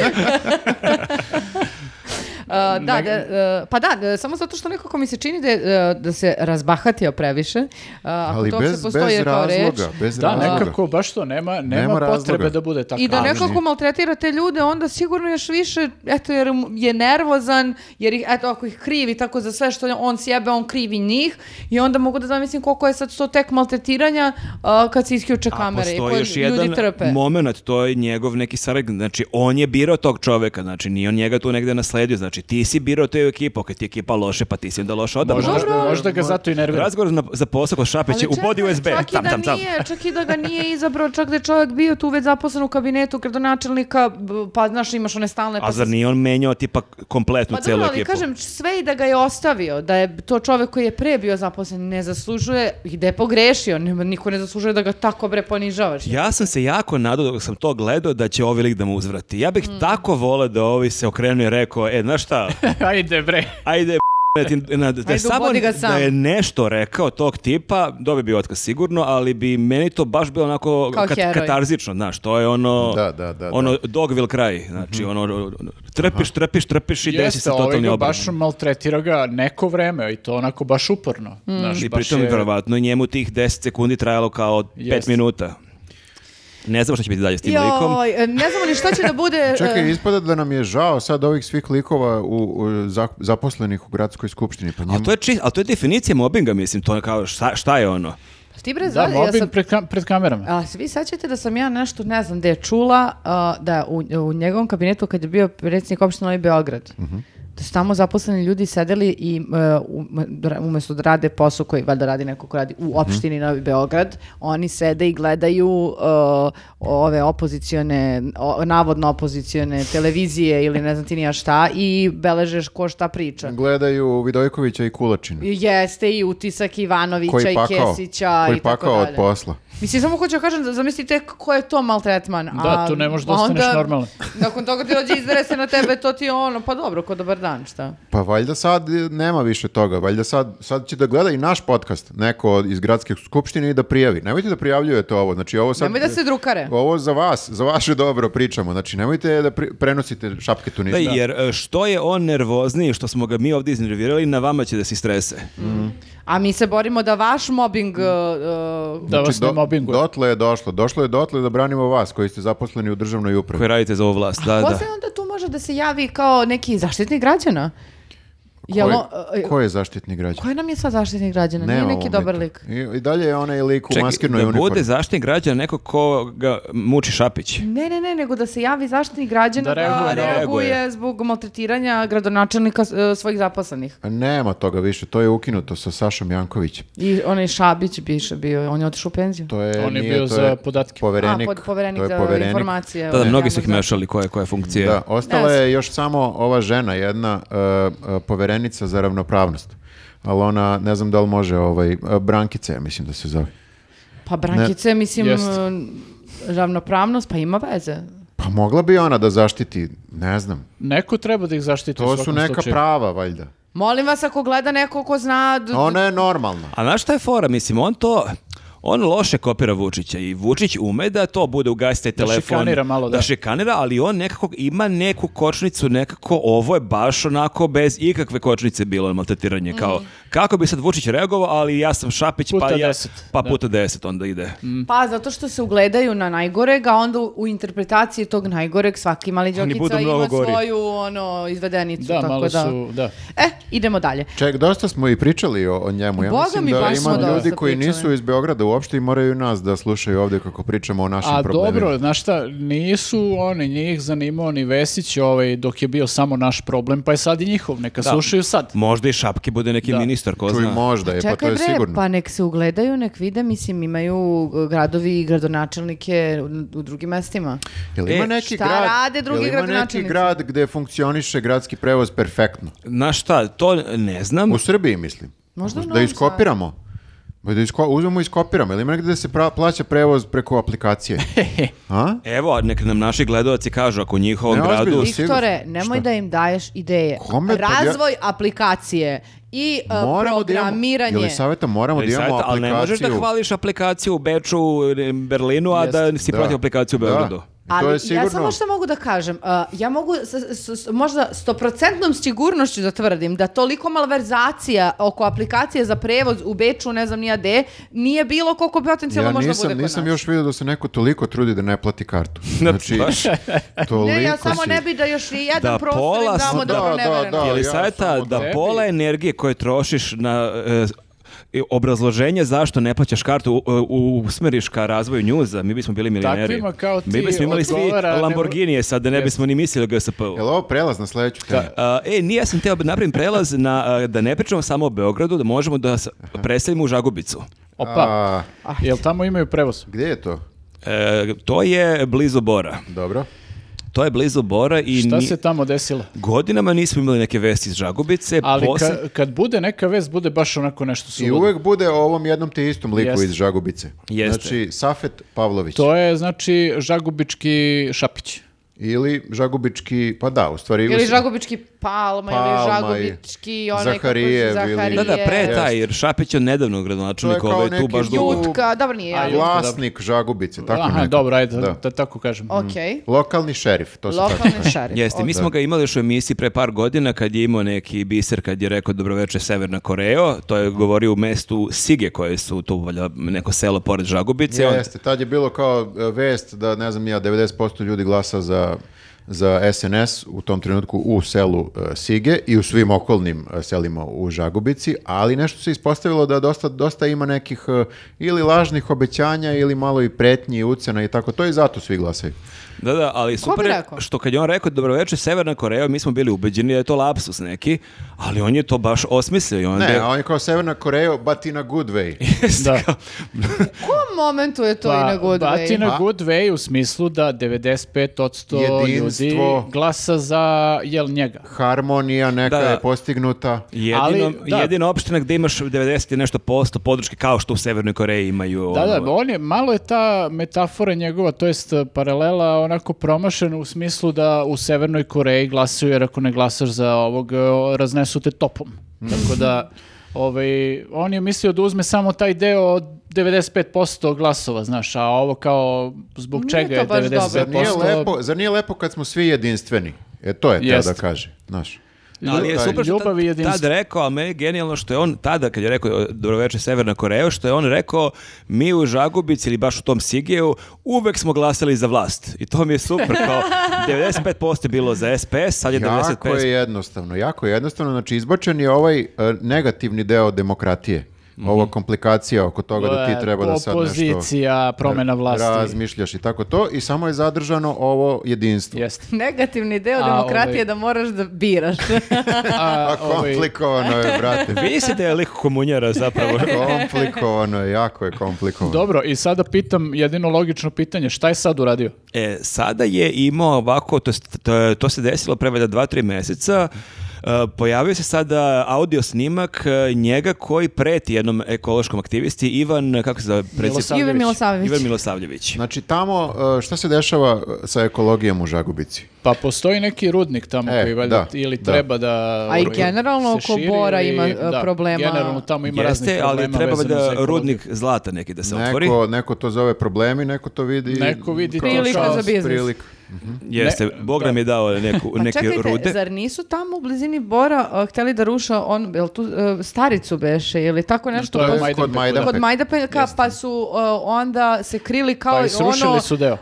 Speaker 1: Uh, da, da, uh, pa da, da, samo zato što nekako mi se čini da, je, uh, da se razbahatio previše. Uh, ako
Speaker 3: Ali
Speaker 1: to
Speaker 3: bez,
Speaker 1: se
Speaker 3: bez
Speaker 1: postoji kao
Speaker 3: razloga,
Speaker 1: reč.
Speaker 3: bez
Speaker 2: Da,
Speaker 3: razloga.
Speaker 2: nekako baš to, nema, nema,
Speaker 3: Nema razloga.
Speaker 2: potrebe da bude tako.
Speaker 1: I da
Speaker 2: Ali-
Speaker 1: nekako maltretira te ljude, onda sigurno još više, eto, jer mu je nervozan, jer ih, eto, ako ih krivi tako za sve što on sjebe, on krivi njih i onda mogu da zamislim koliko je sad to tek maltretiranja a, kad se isključe
Speaker 4: A
Speaker 1: kamere i
Speaker 4: postoji
Speaker 1: koje
Speaker 4: još
Speaker 1: ljudi
Speaker 4: jedan
Speaker 1: trpe.
Speaker 4: moment, to je njegov neki saradnik, znači on je birao tog čoveka, znači nije on njega tu negde nasledio, znači ti si birao tu ekipu, kad ti je ekipa loše, pa ti si onda loše odabrao.
Speaker 2: možda,
Speaker 1: Dobro.
Speaker 2: možda ga zato i nervira.
Speaker 4: Razgovor na- za posao kod Šapića,
Speaker 1: Ali
Speaker 4: ubodi
Speaker 1: čekaj,
Speaker 4: USB,
Speaker 1: čak i
Speaker 4: tam,
Speaker 1: da
Speaker 4: tam, tam.
Speaker 1: Nije, čak i da ga nije izabrao, čak da je čovjek bio tu već zaposlen u kabinetu gradonačelnika, b- pa znaš imaš one stalne...
Speaker 4: A
Speaker 1: pa
Speaker 4: zar
Speaker 1: se-
Speaker 4: nije on menjao tipa kompletnu
Speaker 1: Pa
Speaker 4: celu
Speaker 1: dobro, ali
Speaker 4: ekipu?
Speaker 1: kažem, sve i da ga je ostavio, da je to čovek koji je pre bio zaposlen, ne zaslužuje, i da je pogrešio, ne- niko ne zaslužuje da ga tako bre ponižavaš.
Speaker 4: Ja sam se jako nadao dok sam to gledao da će ovi lik da mu uzvrati. Ja
Speaker 1: Mm.
Speaker 4: bih tako voleo da ovi se okrenu i rekao, e, znaš šta,
Speaker 2: Ajde bre.
Speaker 4: ajde b****, ti- na- da, je
Speaker 1: Ajde,
Speaker 4: samo,
Speaker 1: ubodi ga sam.
Speaker 4: da je nešto rekao tog tipa, dobio bi otkaz sigurno, ali bi meni to baš bilo onako
Speaker 1: Kao heroj.
Speaker 4: katarzično, znaš, to je ono,
Speaker 3: Da, da, da, Mhm.
Speaker 4: ono Dogville kraj, znači ono trpiš, trpiš, trpiš i desi se
Speaker 2: Jeste, ovaj
Speaker 4: totalni
Speaker 2: ga
Speaker 4: obrat.
Speaker 2: baš maltretira ga neko vreme i to onako baš uporno.
Speaker 1: Hmm.
Speaker 2: Znaš,
Speaker 4: I
Speaker 2: baš
Speaker 4: pritom
Speaker 2: je-
Speaker 4: verovatno je njemu tih 10 sekundi trajalo kao 5
Speaker 2: Jeste.
Speaker 4: minuta. Ne znam šta će biti dalje s tim likom.
Speaker 1: Joj, e, ne znamo ni šta će da bude...
Speaker 3: Čekaj,
Speaker 1: e,
Speaker 3: ispada da nam je žao sad ovih svih likova u, u za- zaposlenih u gradskoj skupštini. Pa njemu...
Speaker 4: Ali to, je či, ali to je definicija mobinga, mislim, to je kao šta, šta je ono?
Speaker 1: Ti bre,
Speaker 2: Da,
Speaker 1: znaš, ja
Speaker 2: mobbing
Speaker 1: sam...
Speaker 2: pred, kam- pred kamerama.
Speaker 1: A se vi sećate da sam ja nešto, ne znam, gde je čula, a, da u, u njegovom kabinetu kad je bio predsjednik opštine Novi Beograd,
Speaker 3: Mhm.
Speaker 1: da su tamo zaposleni ljudi sedeli i e, u- ra- umesto da rade posao koji valjda radi neko ko radi
Speaker 3: Mhm.
Speaker 1: u opštini Novi Beograd, oni sede i gledaju e, ove opozicione, o- navodno opozicione televizije ili ne znam ti ni ja šta i beležeš ko šta
Speaker 3: Mhm.
Speaker 1: priča.
Speaker 3: Gledaju Vidojkovića i Kulačina.
Speaker 1: I Jeste i utisak Ivanovića
Speaker 3: koji
Speaker 1: i
Speaker 3: pakao,
Speaker 1: Kesića
Speaker 3: koji
Speaker 1: i tako
Speaker 3: pakao od
Speaker 1: dalje.
Speaker 3: posla.
Speaker 1: Mislim, samo hoću da kažem, da zamislite ko je to maltretman. a
Speaker 2: Da, tu ne možeš da
Speaker 1: onda-
Speaker 2: ostaneš normalan.
Speaker 1: Nakon toga ti dođe izdere se na tebe, to ti je ono, pa dobro, ko dobar dan, šta?
Speaker 3: Pa valjda sad e, nema više toga. Valjda sad, sad će da gleda i naš podcast neko od- iz gradske skupštine i da prijavi. Nemojte da prijavljujete ovo. Znači, ovo sad...
Speaker 1: Nemoj da se drukare.
Speaker 3: Ovo za vas, za vaše dobro pričamo. Znači, nemojte da pri- prenosite šapke
Speaker 4: Da,
Speaker 2: Pa
Speaker 3: tunizma.
Speaker 4: jer e, što je on nervozniji, što smo ga mi ovdje iznervirali, na vama će da se strese.
Speaker 1: A mi se borimo da vaš mobbing... uh, uh,
Speaker 3: Znači,
Speaker 2: Da vas ne mobbinguje.
Speaker 3: Dotle je došlo. Došlo je dotle da branimo vas koji ste zaposleni u državnoj upravi.
Speaker 4: Koji radite za ovu vlast, da,
Speaker 1: ko
Speaker 4: da.
Speaker 1: se onda tu može da se javi kao neki zaštitnik građana? Jel
Speaker 3: Koji-
Speaker 1: on- uh,
Speaker 3: ko je zaštitni građan?
Speaker 1: Koji nam je sad zaštitnik građana?
Speaker 3: Nemamo
Speaker 1: Nije neki dobar
Speaker 3: mi to.
Speaker 1: lik.
Speaker 3: I, I dalje je onaj lik u
Speaker 4: Čekaj,
Speaker 3: maskirnoj
Speaker 4: da
Speaker 3: uniformi.
Speaker 4: bude zaštitnik građana neko ko ga muči Šapić.
Speaker 1: Ne, ne, ne, nego da se javi zaštitnik građana
Speaker 2: Da reaguje, da
Speaker 4: reaguje.
Speaker 1: zbog maltretiranja gradonačelnika uh, svojih zaposlenih.
Speaker 3: A Nema toga više, to je ukinuto sa Sašom Jankovićem.
Speaker 1: I onaj Šabić biše bio, on je otišao u penziju.
Speaker 3: To je,
Speaker 2: On je
Speaker 3: nije,
Speaker 2: bio
Speaker 3: to
Speaker 2: za
Speaker 3: je
Speaker 2: podatke.
Speaker 3: Poverenik,
Speaker 1: A, pod poverenik
Speaker 3: to je
Speaker 1: za
Speaker 3: poverenik.
Speaker 1: informacije.
Speaker 4: Da, da,
Speaker 1: Ono,
Speaker 4: mnogi su ih
Speaker 1: javno
Speaker 4: mešali, koje, koje funkcije.
Speaker 3: Da, ostala
Speaker 1: Ne znam.
Speaker 3: je još samo ova žena, jedna e, e, poverenica za ravnopravnost. Ali ona, ne znam da li može, ovaj, e, Brankica, ja mislim da se zove.
Speaker 1: znam. Pa Brankice, mislim,
Speaker 2: Jest.
Speaker 1: m, ravnopravnost, pa ima veze.
Speaker 3: Pa mogla bi ona da zaštiti, ne znam.
Speaker 2: Neko treba da ih zaštiti u
Speaker 3: To su
Speaker 2: svakom
Speaker 3: neka
Speaker 2: slučaju.
Speaker 3: prava, valjda.
Speaker 1: Molim vas ako gleda neko ko zna... d-
Speaker 3: Ona je normalna.
Speaker 4: A znaš šta je fora? Mislim, on to... On loše kopira Vučića i Vučić ume da to bude ugasite
Speaker 2: Da
Speaker 4: telefon.
Speaker 2: šikanira malo, da.
Speaker 4: šikanira, ali on nekako ima neku kočnicu, nekako ovo je baš onako bez ikakve kočnice bilo maltretiranje. Kao, kako bi sad Vučić reagovao, ali ja sam Šapić,
Speaker 2: Puta
Speaker 4: pa, ja,
Speaker 2: 10,
Speaker 4: pa
Speaker 2: da. Mm.
Speaker 4: puta 10 onda ide.
Speaker 1: Pa, zato što se ugledaju na najgoreg, a onda u u interpretaciji tog najgoreg svaki mali
Speaker 4: budu
Speaker 1: džokica
Speaker 4: mnogo
Speaker 1: ima
Speaker 4: gori.
Speaker 1: svoju ono, izvedenicu.
Speaker 2: Da,
Speaker 1: tako
Speaker 2: malo
Speaker 1: da.
Speaker 2: su, da.
Speaker 1: E, idemo dalje.
Speaker 3: Ček, dosta smo i pričali o, o njemu. Ja
Speaker 1: Boga
Speaker 3: mislim
Speaker 1: mi,
Speaker 3: da
Speaker 1: baš smo
Speaker 3: ima
Speaker 1: dosta
Speaker 3: ljudi koji
Speaker 1: pričali.
Speaker 3: nisu iz Beograda uopšte i moraju nas da slušaju ovdje kako pričamo o našim
Speaker 2: A
Speaker 3: problemima.
Speaker 2: dobro, znaš šta, nisu oni, njih zanimao ni Vesić ovaj, dok je bio samo naš problem, pa je sad i njihov, neka slušaju sad.
Speaker 4: Možda i Šapki bude neki
Speaker 2: Da.
Speaker 4: ministar, ko
Speaker 3: Čuj,
Speaker 4: zna.
Speaker 3: možda je, pa to
Speaker 1: Čekaj
Speaker 3: je
Speaker 1: bre,
Speaker 3: sigurno.
Speaker 1: pa nek se ugledaju, nek vide, mislim imaju e, gradovi i gradonačelnike u, u drugim mestima.
Speaker 3: Jel
Speaker 4: E,
Speaker 3: ima neki
Speaker 1: šta
Speaker 3: grad,
Speaker 1: rade drugi
Speaker 3: jel ima neki
Speaker 1: gradonačelnici?
Speaker 3: grad gde funkcioniše gradski prevoz perfektno?
Speaker 4: Znaš šta, to ne znam.
Speaker 3: U Srbiji, mislim.
Speaker 1: Možda u
Speaker 3: da
Speaker 1: Novom
Speaker 3: iskopiramo. Ma Da isko, uzmemo i iskopiramo. Jel ima negdje da se pra- plaća prevoz preko aplikacije? A?
Speaker 4: Evo, nek nam naši gledovaci kažu ako u njihovom
Speaker 3: Ne,
Speaker 4: gradu...
Speaker 3: ozbiljno. sigurno.
Speaker 1: Viktore, nemoj
Speaker 3: Šta?
Speaker 1: da im daješ ideje.
Speaker 3: Kome? Pa ja-
Speaker 1: Razvoj aplikacije i e,
Speaker 3: Moramo da imamo,
Speaker 1: programiranje.
Speaker 3: jel saveta moramo da
Speaker 4: Ali
Speaker 3: imamo
Speaker 4: sad, ali
Speaker 3: aplikaciju.
Speaker 4: ne možeš da hvališ aplikaciju u Beču, u Berlinu, a da si protiv aplikaciju u Beogradu.
Speaker 3: Da. I to je sigurno.
Speaker 1: ja samo što mogu da kažem, uh, ja mogu sa- s- s- možda stoprocentnom sigurnošću da tvrdim da toliko malverzacija oko aplikacije za prevoz u Beču, ne znam nija de, nije bilo koliko potencijalno
Speaker 3: ja
Speaker 1: možda
Speaker 3: nisam,
Speaker 1: bude kod
Speaker 3: nisam
Speaker 1: nas.
Speaker 3: još vidio da se neko toliko trudi da ne plati kartu. Znači,
Speaker 4: Baš.
Speaker 3: toliko
Speaker 1: Ne, ja samo
Speaker 3: si-
Speaker 1: ne bi da još i jedan
Speaker 4: Da
Speaker 1: prostor im
Speaker 4: pola
Speaker 1: damo
Speaker 4: su-
Speaker 1: da,
Speaker 3: Da, da, da.
Speaker 4: Jel'
Speaker 3: ja
Speaker 4: je savjeta
Speaker 3: samo
Speaker 4: da
Speaker 2: tebi.
Speaker 4: pola energije koje trošiš na e, e, obrazloženje zašto ne plaćaš kartu u- e, u- usmeriš ka razvoju njuza, mi bismo bili milioneri.
Speaker 2: Takvima kao ti
Speaker 4: Mi bismo imali svi
Speaker 2: odgovara ne-
Speaker 4: Lamborghinije sad, da ne bismo ni mislili o GSP-u.
Speaker 3: Jel ovo prelaz na sledeću temu?
Speaker 4: A, e, nije, ja sam teo da napravim prelaz na, a, da ne pričamo samo o Beogradu, da možemo da s- preselimo u Žagubicu.
Speaker 2: Opa,
Speaker 3: A,
Speaker 1: Ah.
Speaker 2: jel tamo imaju prevoz?
Speaker 3: gdje je to?
Speaker 4: E, to je blizu Bora.
Speaker 3: Dobro.
Speaker 4: To je blizu Bora i
Speaker 2: Šta
Speaker 4: ni-
Speaker 2: se tamo desilo?
Speaker 4: godinama nismo imali neke vesti iz Žagubice.
Speaker 2: Ali
Speaker 4: posle-
Speaker 2: ka- kad bude neka vez, bude baš onako nešto
Speaker 3: I
Speaker 2: suludo.
Speaker 3: uvek bude o ovom jednom te istom liku
Speaker 2: Jeste.
Speaker 3: iz Žagubice.
Speaker 4: Jeste.
Speaker 3: Znači, Safet Pavlović.
Speaker 2: To je, znači, Žagubički Šapić.
Speaker 3: Ili Žagubički, pa da, u stvari...
Speaker 1: Ili Žagubički Palma,
Speaker 3: Palma i
Speaker 1: ili Žagubički onaj kako
Speaker 3: Zaharijev
Speaker 1: se-
Speaker 3: ili-
Speaker 1: Zaharijev.
Speaker 4: Da, da, pre
Speaker 3: Jeste.
Speaker 4: taj, jer Šapić je nedavno gradonačelnik,
Speaker 3: To je kao
Speaker 4: ovo je tu
Speaker 3: neki
Speaker 4: baš dugo.
Speaker 3: ljut.
Speaker 1: Jutka, dobro nije.
Speaker 2: A,
Speaker 1: ali-
Speaker 2: Jut.
Speaker 3: Vlasnik Žagubice, tako
Speaker 2: Aha,
Speaker 3: nekako.
Speaker 2: dobro, ajde, da.
Speaker 3: Da.
Speaker 2: tako kažem.
Speaker 4: Mm.
Speaker 1: Okej.
Speaker 3: Lokalni šerif, to se tako
Speaker 1: Lokalni
Speaker 3: kaže.
Speaker 1: šarif.
Speaker 4: Jeste, mi smo ga imali još u emisiji pre par godina kad je imao neki biser kad je rekao dobroveče Severna Korejo, to je govorio u mestu Sige koje su tu valjda neko selo pored Žagubice. on-
Speaker 3: Jeste, tad je bilo kao e, vest da, ne znam ja, 90% ljudi glasa za za SNS u tom trenutku u selu e, Sige i u svim okolnim e, selima u Žagubici, ali nešto se ispostavilo da dosta, dosta ima nekih e, ili lažnih obećanja ili malo i pretnji i ucena i tako to i zato svi glasaju.
Speaker 4: Da, da, ali super je
Speaker 1: rekao?
Speaker 4: što kad je on rekao dobroveče Severna Koreja, mi smo bili ubeđeni da je to lapsus neki, ali on je to baš osmislio i onda...
Speaker 3: Ne, a on je kao Severna Koreja, but in a good way.
Speaker 4: Jeste,
Speaker 2: Da.
Speaker 4: kao-
Speaker 1: U kom momentu je to
Speaker 2: Pa,
Speaker 1: i na good way?
Speaker 2: Bati na
Speaker 3: Pa-
Speaker 2: good way u smislu da 95% ljudi
Speaker 3: Jedinstvo.
Speaker 2: glasa za, jel, njega.
Speaker 3: Harmonija neka
Speaker 4: Da, da.
Speaker 3: je postignuta.
Speaker 4: Jedino,
Speaker 2: Ali, da.
Speaker 4: jedina opština gde imaš 90 i nešto posto podrške kao što u Severnoj Koreji imaju.
Speaker 2: Da, da,
Speaker 4: ono,
Speaker 2: on je, malo je ta metafora njegova, to jest e, paralela onako promašena u smislu da u Severnoj Koreji glasaju, jer ako ne glasaš za ovog, e, o, raznesu te topom. Tako da, ovaj, on je mislio da uzme samo taj deo od 95% glasova, znaš, a ovo kao zbog
Speaker 1: Nije
Speaker 2: čega
Speaker 1: to
Speaker 2: je
Speaker 1: baš dobro.
Speaker 2: 95%?
Speaker 3: Zar nije, lepo, zar nije lepo kad smo svi jedinstveni? E, to je teo
Speaker 2: Jeste.
Speaker 3: da kaže. Znaš.
Speaker 4: Ali je
Speaker 3: Taj-
Speaker 4: super što
Speaker 2: ljubav i
Speaker 4: tad,
Speaker 2: jedinstvo.
Speaker 4: tad rekao, a meni je genijalno što je on tada, kad je rekao Dobroveče Severna Koreja, što je on rekao mi u Žagubici ili baš u tom Sigiju uvek smo glasali za vlast. I to mi je super, kao 95% je bilo za SPS, sad je
Speaker 3: Jako
Speaker 4: 95%.
Speaker 3: je jednostavno, jako je jednostavno. Znači, izbačen je ovaj e, negativni deo demokratije. Ova
Speaker 4: Mhm.
Speaker 3: komplikacija oko toga da ti treba da sad nešto
Speaker 2: Opozicija, promena vlasti.
Speaker 3: razmišljaš i tako to i samo je zadržano ovo jedinstvo.
Speaker 2: Jeste.
Speaker 1: Negativni deo
Speaker 2: A,
Speaker 1: demokratije
Speaker 2: ovaj-
Speaker 1: je da moraš da biraš.
Speaker 3: A
Speaker 2: ovaj-
Speaker 3: komplikovano je, brate.
Speaker 4: Vidi se da je lik komunjara zapravo.
Speaker 3: komplikovano je, jako je komplikovano.
Speaker 2: Dobro, i sada pitam jedino logično pitanje, šta je sad uradio?
Speaker 4: E, sada je imao ovako, to, jest, to, je- to se desilo pre valjda dva, tri meseca, E, pojavio se sada audio snimak e, njega koji preti jednom ekološkom aktivisti Ivan, kako se zove? predsjed-
Speaker 1: Ivan Milosavljević.
Speaker 4: Ivan Milosavljević.
Speaker 3: Znači tamo, e, šta se dešava sa ekologijom u Žagubici?
Speaker 2: Pa postoji neki rudnik tamo
Speaker 3: E,
Speaker 2: koji valjda
Speaker 3: da,
Speaker 2: ili
Speaker 3: da.
Speaker 2: treba da...
Speaker 1: A i
Speaker 2: ovaj,
Speaker 1: generalno
Speaker 2: se
Speaker 1: oko
Speaker 2: širi
Speaker 1: Bora ima,
Speaker 2: i-
Speaker 1: e,
Speaker 2: da,
Speaker 1: problema.
Speaker 2: Generalno tamo ima raznih
Speaker 4: Jeste, ali
Speaker 2: problema
Speaker 4: treba
Speaker 2: vezano za
Speaker 4: da
Speaker 2: ekologiju.
Speaker 4: rudnik zlata neki da se otvori.
Speaker 3: Neko, neko to zove problemi, neko to vidi...
Speaker 2: Neko vidi to
Speaker 1: Prilika
Speaker 2: kao-
Speaker 1: za biznis.
Speaker 3: Prilika.
Speaker 4: Jeste,
Speaker 2: Ne,
Speaker 4: Bog
Speaker 2: da.
Speaker 4: nam je dao neku,
Speaker 1: Pa
Speaker 4: neke
Speaker 1: čekajte,
Speaker 4: rude.
Speaker 1: zar nisu tamo u blizini Bora uh, hteli da ruša on, jel tu uh, staricu beše ili tako nešto?
Speaker 2: To je
Speaker 1: Pa su-
Speaker 2: Majdanpek,
Speaker 3: kod
Speaker 2: da.
Speaker 3: Majdanpeka.
Speaker 1: Kod Majdanpeka, pa su uh, onda se krili kao
Speaker 2: Pa i srušili
Speaker 1: ono
Speaker 2: su deo.
Speaker 1: uh,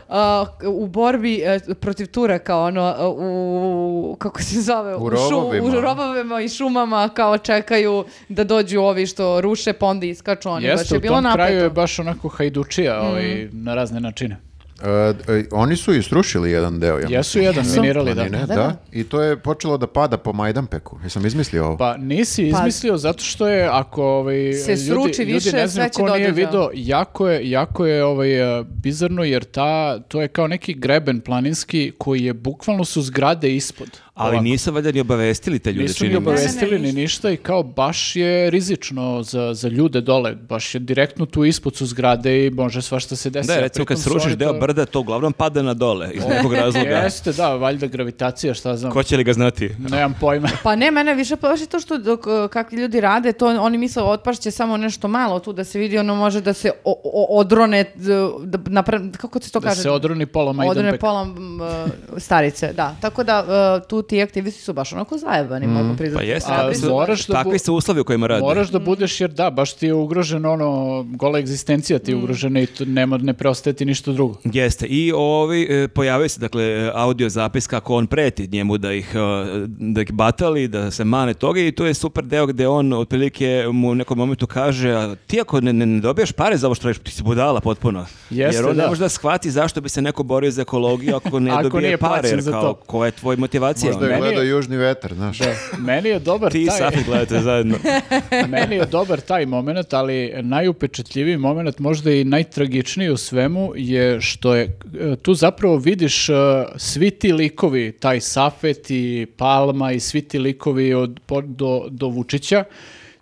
Speaker 1: u borbi uh, protiv Turaka, ono uh, u kako se zove,
Speaker 3: U
Speaker 1: šu-
Speaker 3: rovovima.
Speaker 1: u rovovima i šumama kao čekaju da dođu ovi što ruše, pa onda iskaču oni. Baš
Speaker 2: Jeste,
Speaker 1: je Mhm.
Speaker 2: u
Speaker 1: bilo
Speaker 2: tom
Speaker 1: napeto.
Speaker 2: kraju je baš onako hajdučija ovaj, na razne načine.
Speaker 3: E, e, oni su istrušili jedan deo, ja mislim.
Speaker 2: Jesu jedan,
Speaker 1: Jesu.
Speaker 2: minirali, da.
Speaker 3: Oni ne, da.
Speaker 1: da.
Speaker 3: I to je počelo da pada po Majdanpeku. Jesam izmislio ovo?
Speaker 2: Pa nisi
Speaker 1: Pa-
Speaker 2: izmislio zato što je ako ovaj
Speaker 1: Se
Speaker 2: ljudi,
Speaker 1: sruči
Speaker 2: ljudi
Speaker 1: više,
Speaker 2: ne
Speaker 1: sve
Speaker 2: znaju
Speaker 1: će
Speaker 2: ko
Speaker 1: do
Speaker 2: nije
Speaker 1: određa.
Speaker 2: video jako je jako je ovaj e, bizarno jer ta to je kao neki greben planinski koji je bukvalno su zgrade ispod.
Speaker 4: Ali
Speaker 2: Ovako.
Speaker 4: nisu valjda ni obavestili te ljude,
Speaker 2: Nisu
Speaker 4: čini
Speaker 2: ni
Speaker 4: mi se.
Speaker 2: obavestili
Speaker 1: Ne, ne, ne,
Speaker 2: ni ništa i kao baš je rizično za, za ljude dole, baš je direktno tu ispod su zgrade i može svašta se desiti.
Speaker 4: Da,
Speaker 2: a pritom
Speaker 4: recimo kad
Speaker 2: su
Speaker 4: srušiš
Speaker 2: oni
Speaker 4: deo
Speaker 2: to-
Speaker 4: brda, to uglavnom pada na dole iz nekog razloga.
Speaker 2: Jeste, da, valjda gravitacija, šta znam.
Speaker 4: Ko će li ga znati?
Speaker 2: Nemam pojma.
Speaker 1: Pa ne, mene više plaši to što dok, e, kakvi ljudi rade, to oni misle otpašće samo nešto malo tu da se vidi, ono može da se o- o- odrone, d- da, napra- kako se to
Speaker 2: Da
Speaker 1: kaže?
Speaker 2: se odroni pola pa
Speaker 1: Odrone
Speaker 2: Majdanpeka.
Speaker 1: pola m, e, starice, da. Tako da e, tu ti aktivisti su baš onako zajebani,
Speaker 2: Mm.
Speaker 1: mogu
Speaker 4: Pa
Speaker 1: priznati.
Speaker 4: jeste,
Speaker 1: Ja
Speaker 2: A,
Speaker 1: priznam-
Speaker 2: moraš- da bu-
Speaker 4: takvi su uslovi u kojima rade.
Speaker 2: Moraš da budeš jer da, baš ti je ugrožen ono, gola egzistencija
Speaker 4: Mm.
Speaker 2: ti je ugrožena i tu nema, ne preostaje ti ništa drugo.
Speaker 4: Jeste, i ovi, e, pojavio se dakle e, audio zapis kako on preti njemu da ih, e, da ih batali, da se mane toga i tu je super deo gde on otprilike mu u nekom momentu kaže "A ti ako ne, ne, ne dobijaš pare za ovo što radiš, ti si budala potpuno.
Speaker 2: Jeste,
Speaker 4: Jer on ne
Speaker 2: da.
Speaker 4: može da shvati zašto bi se neko borio za ekologiju ako ne
Speaker 2: Ako
Speaker 4: dobije
Speaker 2: nije
Speaker 4: pare,
Speaker 2: plaćen
Speaker 4: jer
Speaker 2: za
Speaker 4: kao
Speaker 2: to.
Speaker 4: koja je tvoja motivacija?
Speaker 3: Možda
Speaker 4: ono?
Speaker 3: je
Speaker 2: meni je-
Speaker 3: gledao južni vetar, znaš.
Speaker 2: Da, meni je dobar
Speaker 4: Ti i
Speaker 2: taj...
Speaker 4: Safi gledate zajedno.
Speaker 2: Meni je dobar taj moment, ali najupečetljiviji moment, možda i najtragičniji u svemu, je što je, e, tu zapravo vidiš e, svi ti likovi, taj Safet i Palma i svi ti likovi od, po- do, do Vučića,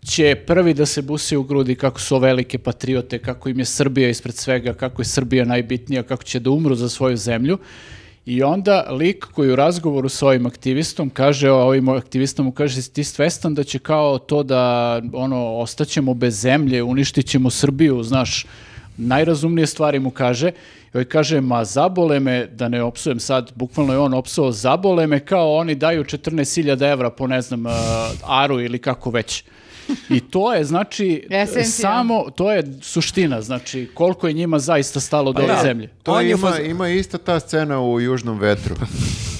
Speaker 2: će prvi da se busi u grudi kako su velike patriote, kako im je Srbija ispred svega, kako je Srbija najbitnija, kako će da umru za svoju zemlju. I onda lik koji u razgovoru s ovim aktivistom kaže, ovim aktivistom mu kaže, "Jesi ti svestan da će kao to da ono, ostaćemo bez zemlje, uništit ćemo Srbiju, znaš, najrazumnije stvari mu kaže. I ovaj kaže, ma zabole me, da ne opsujem sad, bukvalno je on opsuo, zabole me kao oni daju 14.000 evra po ne znam, eh, aru ili kako već. I to je, znači,
Speaker 1: Esencija.
Speaker 2: samo, to je suština, znači, koliko je njima zaista stalo do ove
Speaker 4: da.
Speaker 2: zemlje.
Speaker 3: To
Speaker 4: On je
Speaker 3: ima,
Speaker 4: faz-
Speaker 3: ima ista ta scena u Južnom vetru.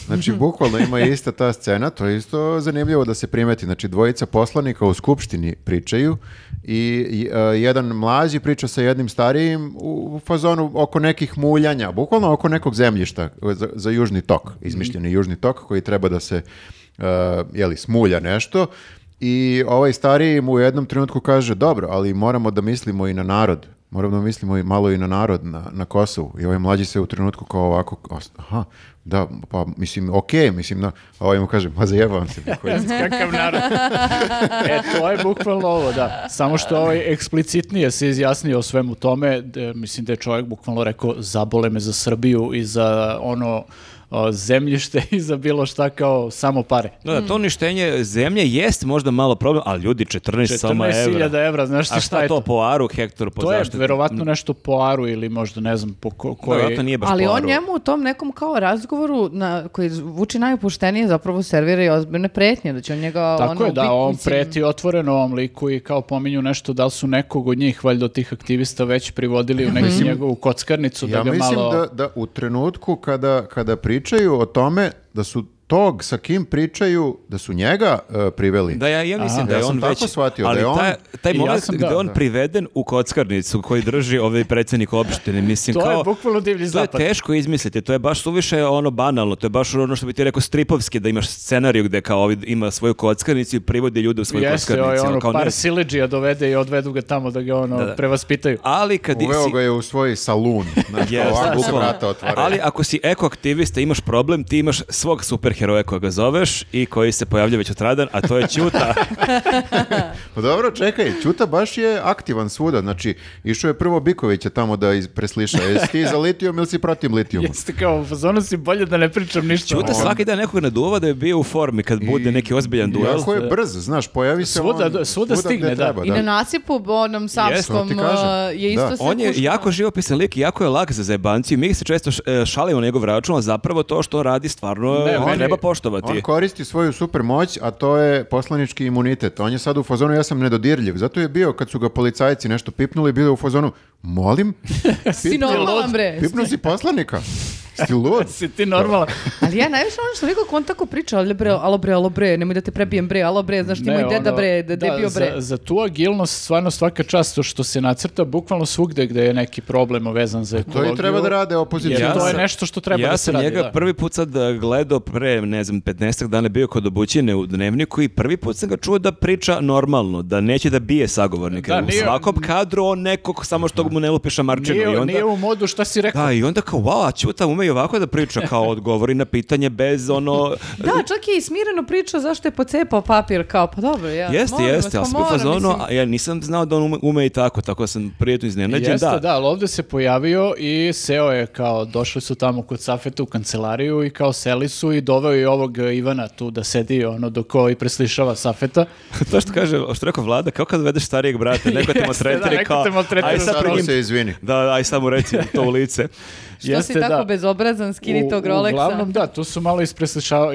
Speaker 3: Znači, bukvalno ima ista ta scena, to je isto zanimljivo da se primeti. Znači, dvojica poslanika u skupštini pričaju i i, a, jedan mlađi priča sa jednim starijim u, u fazonu oko nekih muljanja, bukvalno oko nekog zemljišta za, za južni tok,
Speaker 4: Mhm.
Speaker 3: izmišljeni južni tok koji treba da se a, jeli, smulja nešto. I ovaj stariji mu u jednom trenutku kaže, dobro, ali moramo da mislimo i na narod. Moramo da mislimo i malo i na narod na, na Kosovu. I ovaj mlađi se u trenutku kao ovako, kao, aha, da, pa mislim, okej, mislim, na, a ovaj mu kaže, ma zajebam se. bre, koji ste."
Speaker 2: Kakav narod. e, to je bukvalno ovo, da. Samo što ovaj eksplicitnije se izjasnio o svemu tome, d- mislim da je čovjek bukvalno rekao zabole me za Srbiju i za ono o, zemljište i za bilo šta kao samo pare.
Speaker 4: No, da, to uništenje zemlje jest možda malo problem, ali ljudi 14, samo evra.
Speaker 2: 14.000 evra, znaš ti
Speaker 4: A
Speaker 2: šta
Speaker 4: šta
Speaker 2: je
Speaker 4: to
Speaker 2: to?
Speaker 4: po aru, hektor, po
Speaker 2: To je
Speaker 4: zaštiti?
Speaker 2: verovatno nešto po aru ili možda ne znam po ko,
Speaker 4: Da,
Speaker 2: koji...
Speaker 4: verovatno nije baš
Speaker 1: Ali
Speaker 4: po
Speaker 1: on
Speaker 4: aru.
Speaker 1: njemu u tom nekom kao razgovoru na, koji zvuči najopuštenije zapravo servira i ozbiljne pretnje, da će on njega
Speaker 2: Tako
Speaker 1: ono,
Speaker 2: je, da,
Speaker 1: ubiti,
Speaker 2: on
Speaker 1: mislim.
Speaker 2: preti otvoreno ovom liku i kao pominju nešto da li su nekog od njih, valjda od tih aktivista, već privodili u neku njegovu kockarnicu
Speaker 3: Mhm. Ja
Speaker 2: da ga
Speaker 3: mislim
Speaker 2: malo...
Speaker 3: da, da u trenutku kada, kada pričaju o tome da su tog sa kim pričaju, da su njega e, priveli.
Speaker 4: Da, ja, ja mislim da je
Speaker 3: Ja sam
Speaker 4: on
Speaker 3: tako
Speaker 4: već...
Speaker 3: shvatio da
Speaker 4: ali
Speaker 3: je on-
Speaker 4: taj, taj
Speaker 2: I ja
Speaker 4: moment
Speaker 2: sam,
Speaker 4: gde
Speaker 2: da,
Speaker 4: on
Speaker 2: da.
Speaker 4: priveden u kockarnicu koji drži ovaj predsjednik opštine, mislim
Speaker 2: To je
Speaker 4: kao...
Speaker 2: bukvalno divlji
Speaker 4: To je
Speaker 2: zapad.
Speaker 4: teško izmisliti, to je baš suviše ono banalno, to je baš ono što bi ti rekao stripovski, da imaš scenariju gde kao ovi ima svoju kockarnicu i privodi ljude u svoju
Speaker 2: Jeste,
Speaker 4: kockarnicu.
Speaker 2: ovaj, ono,
Speaker 4: kao, ne-
Speaker 2: par sileđija dovede i odvedu ga tamo da ga ono
Speaker 4: da.
Speaker 2: prevaspitaju.
Speaker 4: ali kad
Speaker 3: Uveo
Speaker 4: si-
Speaker 3: ga je u svoj salun. Znači,
Speaker 4: Jeste,
Speaker 3: ovako se
Speaker 4: bukvalno.
Speaker 3: vrata otvaraju.
Speaker 4: Ali ako si ekoaktivista, imaš problem, ti imaš svog superheroja heroja kojega zoveš i koji se pojavlja već otradan, a to je Ćuta.
Speaker 3: Pa dobro, čekaj, Ćuta baš je aktivan svuda, znači išao je prvo Bikovića tamo da iz- presliša, jesi ti za litijum ili si protiv litijuma?
Speaker 2: Jeste kao, u fazonu si bolje da ne pričam ništa. Ono,
Speaker 4: Ćuta svaki dan nekog naduva da je bio u formi kad bude neki ozbiljan duel.
Speaker 3: Jako je brz, znaš, pojavi se
Speaker 2: Svuda-
Speaker 3: on
Speaker 2: svuda stigne,
Speaker 3: gde
Speaker 2: da.
Speaker 3: treba,
Speaker 1: I na nasipu onom savskom
Speaker 3: ti kažem.
Speaker 1: uh, je isto
Speaker 3: Da.
Speaker 1: se
Speaker 4: On je
Speaker 1: kušno.
Speaker 4: jako živopisan lik i jako je lak za zajebanci. Mi se često š- e, šalimo na njegov račun, a zapravo to što radi stvarno
Speaker 2: Ne,
Speaker 4: e,
Speaker 2: on je-
Speaker 4: treba poštovati.
Speaker 3: On koristi svoju super moć, a to je poslanički imunitet. On je sad u fazonu, ja sam nedodirljiv. Zato je bio, kad su ga policajci nešto pipnuli, bio je u fazonu, molim,
Speaker 1: Si normalan bre.
Speaker 3: pipnu si poslanika. Sti lud.
Speaker 2: Si ti normalan.
Speaker 1: Ali ja najviše ono što neko kontaku priča, ali bre, alo bre, alo bre, nemoj da te prebijem bre, alo bre, znaš ti moj
Speaker 2: Ne,
Speaker 1: deda
Speaker 2: ono,
Speaker 1: bre, de,
Speaker 2: da,
Speaker 1: debio bre.
Speaker 2: Za, za tu agilnost stvarno svaka čast to što se nacrta bukvalno svugde gde je neki problem vezan za
Speaker 3: To
Speaker 2: ekologiju.
Speaker 3: i treba da rade
Speaker 2: Jer
Speaker 3: opozicija.
Speaker 4: Ja
Speaker 2: to je
Speaker 4: sam-
Speaker 2: nešto što treba
Speaker 4: ja
Speaker 2: da se
Speaker 4: sam
Speaker 2: radi.
Speaker 4: njega
Speaker 2: da.
Speaker 4: prvi put sad e, gledao pre, ne znam, 15 dana bio kod obućine u dnevniku i prvi put sam ga čuo da priča normalno, da neće da bije sagovornika.
Speaker 2: Da,
Speaker 4: u
Speaker 2: nije-
Speaker 4: svakom kadru on nekog samo što mu ne lupiša marčinu.
Speaker 2: Nije,
Speaker 4: i onda,
Speaker 2: nije u modu šta si rekao.
Speaker 4: Da, i onda kao, wow, a Ćuta ume i ovako da priča, kao odgovori na pitanje bez ono...
Speaker 1: Da, čak je i smireno pričao zašto je pocepao papir, kao pa dobro, ja.
Speaker 4: Jeste,
Speaker 1: molim vas,
Speaker 4: jeste,
Speaker 1: pa
Speaker 4: ali sam bio u
Speaker 1: moram,
Speaker 4: fazonu,
Speaker 1: mislim.
Speaker 4: a ja nisam znao da on ume, ume i tako, tako da sam prijetno iznenađen,
Speaker 2: Jeste,
Speaker 4: da.
Speaker 2: da. ali ovdje se pojavio i seo je kao, došli su tamo kod Safeta u kancelariju i kao seli su i doveo je ovog e, Ivana tu da sedi ono dok ovaj preslišava Safeta.
Speaker 4: Pa to što kaže, što je rekao Vlada, kao kad vedeš starijeg brata, neko te
Speaker 2: Jeste, da,
Speaker 4: maltretira
Speaker 2: neko
Speaker 4: kao,
Speaker 2: te maltretira
Speaker 4: aj sad
Speaker 2: za
Speaker 3: Sad mu
Speaker 4: prim-
Speaker 3: se izvini.
Speaker 4: Da, aj samo reci to u lice.
Speaker 1: Što si tako bezobrazan, skini
Speaker 2: U-
Speaker 1: tog ono. Rolexa.
Speaker 2: Uglavnom da, tu su malo ispreslišavao,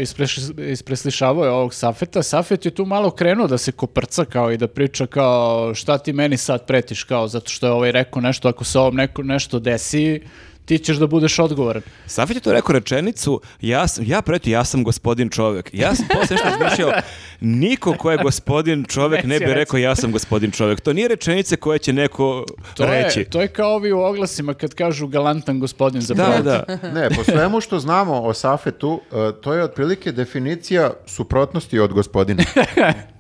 Speaker 2: ispreslišavao je ovog Safeta. Safet je tu malo krenuo da se koprca kao i da priča kao šta ti meni sad pretiš kao zato što je ovaj rekao nešto, ako se ovom neko nešto desi ti ćeš da budeš odgovoran.
Speaker 4: Safet je to rekao rečenicu, ja, sam, ja preti, ja sam gospodin čovek. Ja sam posle nešto razmišljao, niko ko je gospodin čovek ne
Speaker 2: Neće
Speaker 4: bi
Speaker 2: reći.
Speaker 4: rekao ja sam gospodin čovek. To nije rečenice koje će neko
Speaker 2: To,
Speaker 4: reći.
Speaker 2: Je, to je kao ovi u oglasima kad kažu galantan gospodin za
Speaker 4: Da,
Speaker 2: prodaju.
Speaker 4: da.
Speaker 3: Ne, po svemu što znamo o Safetu, eh, to je otprilike definicija suprotnosti od gospodina.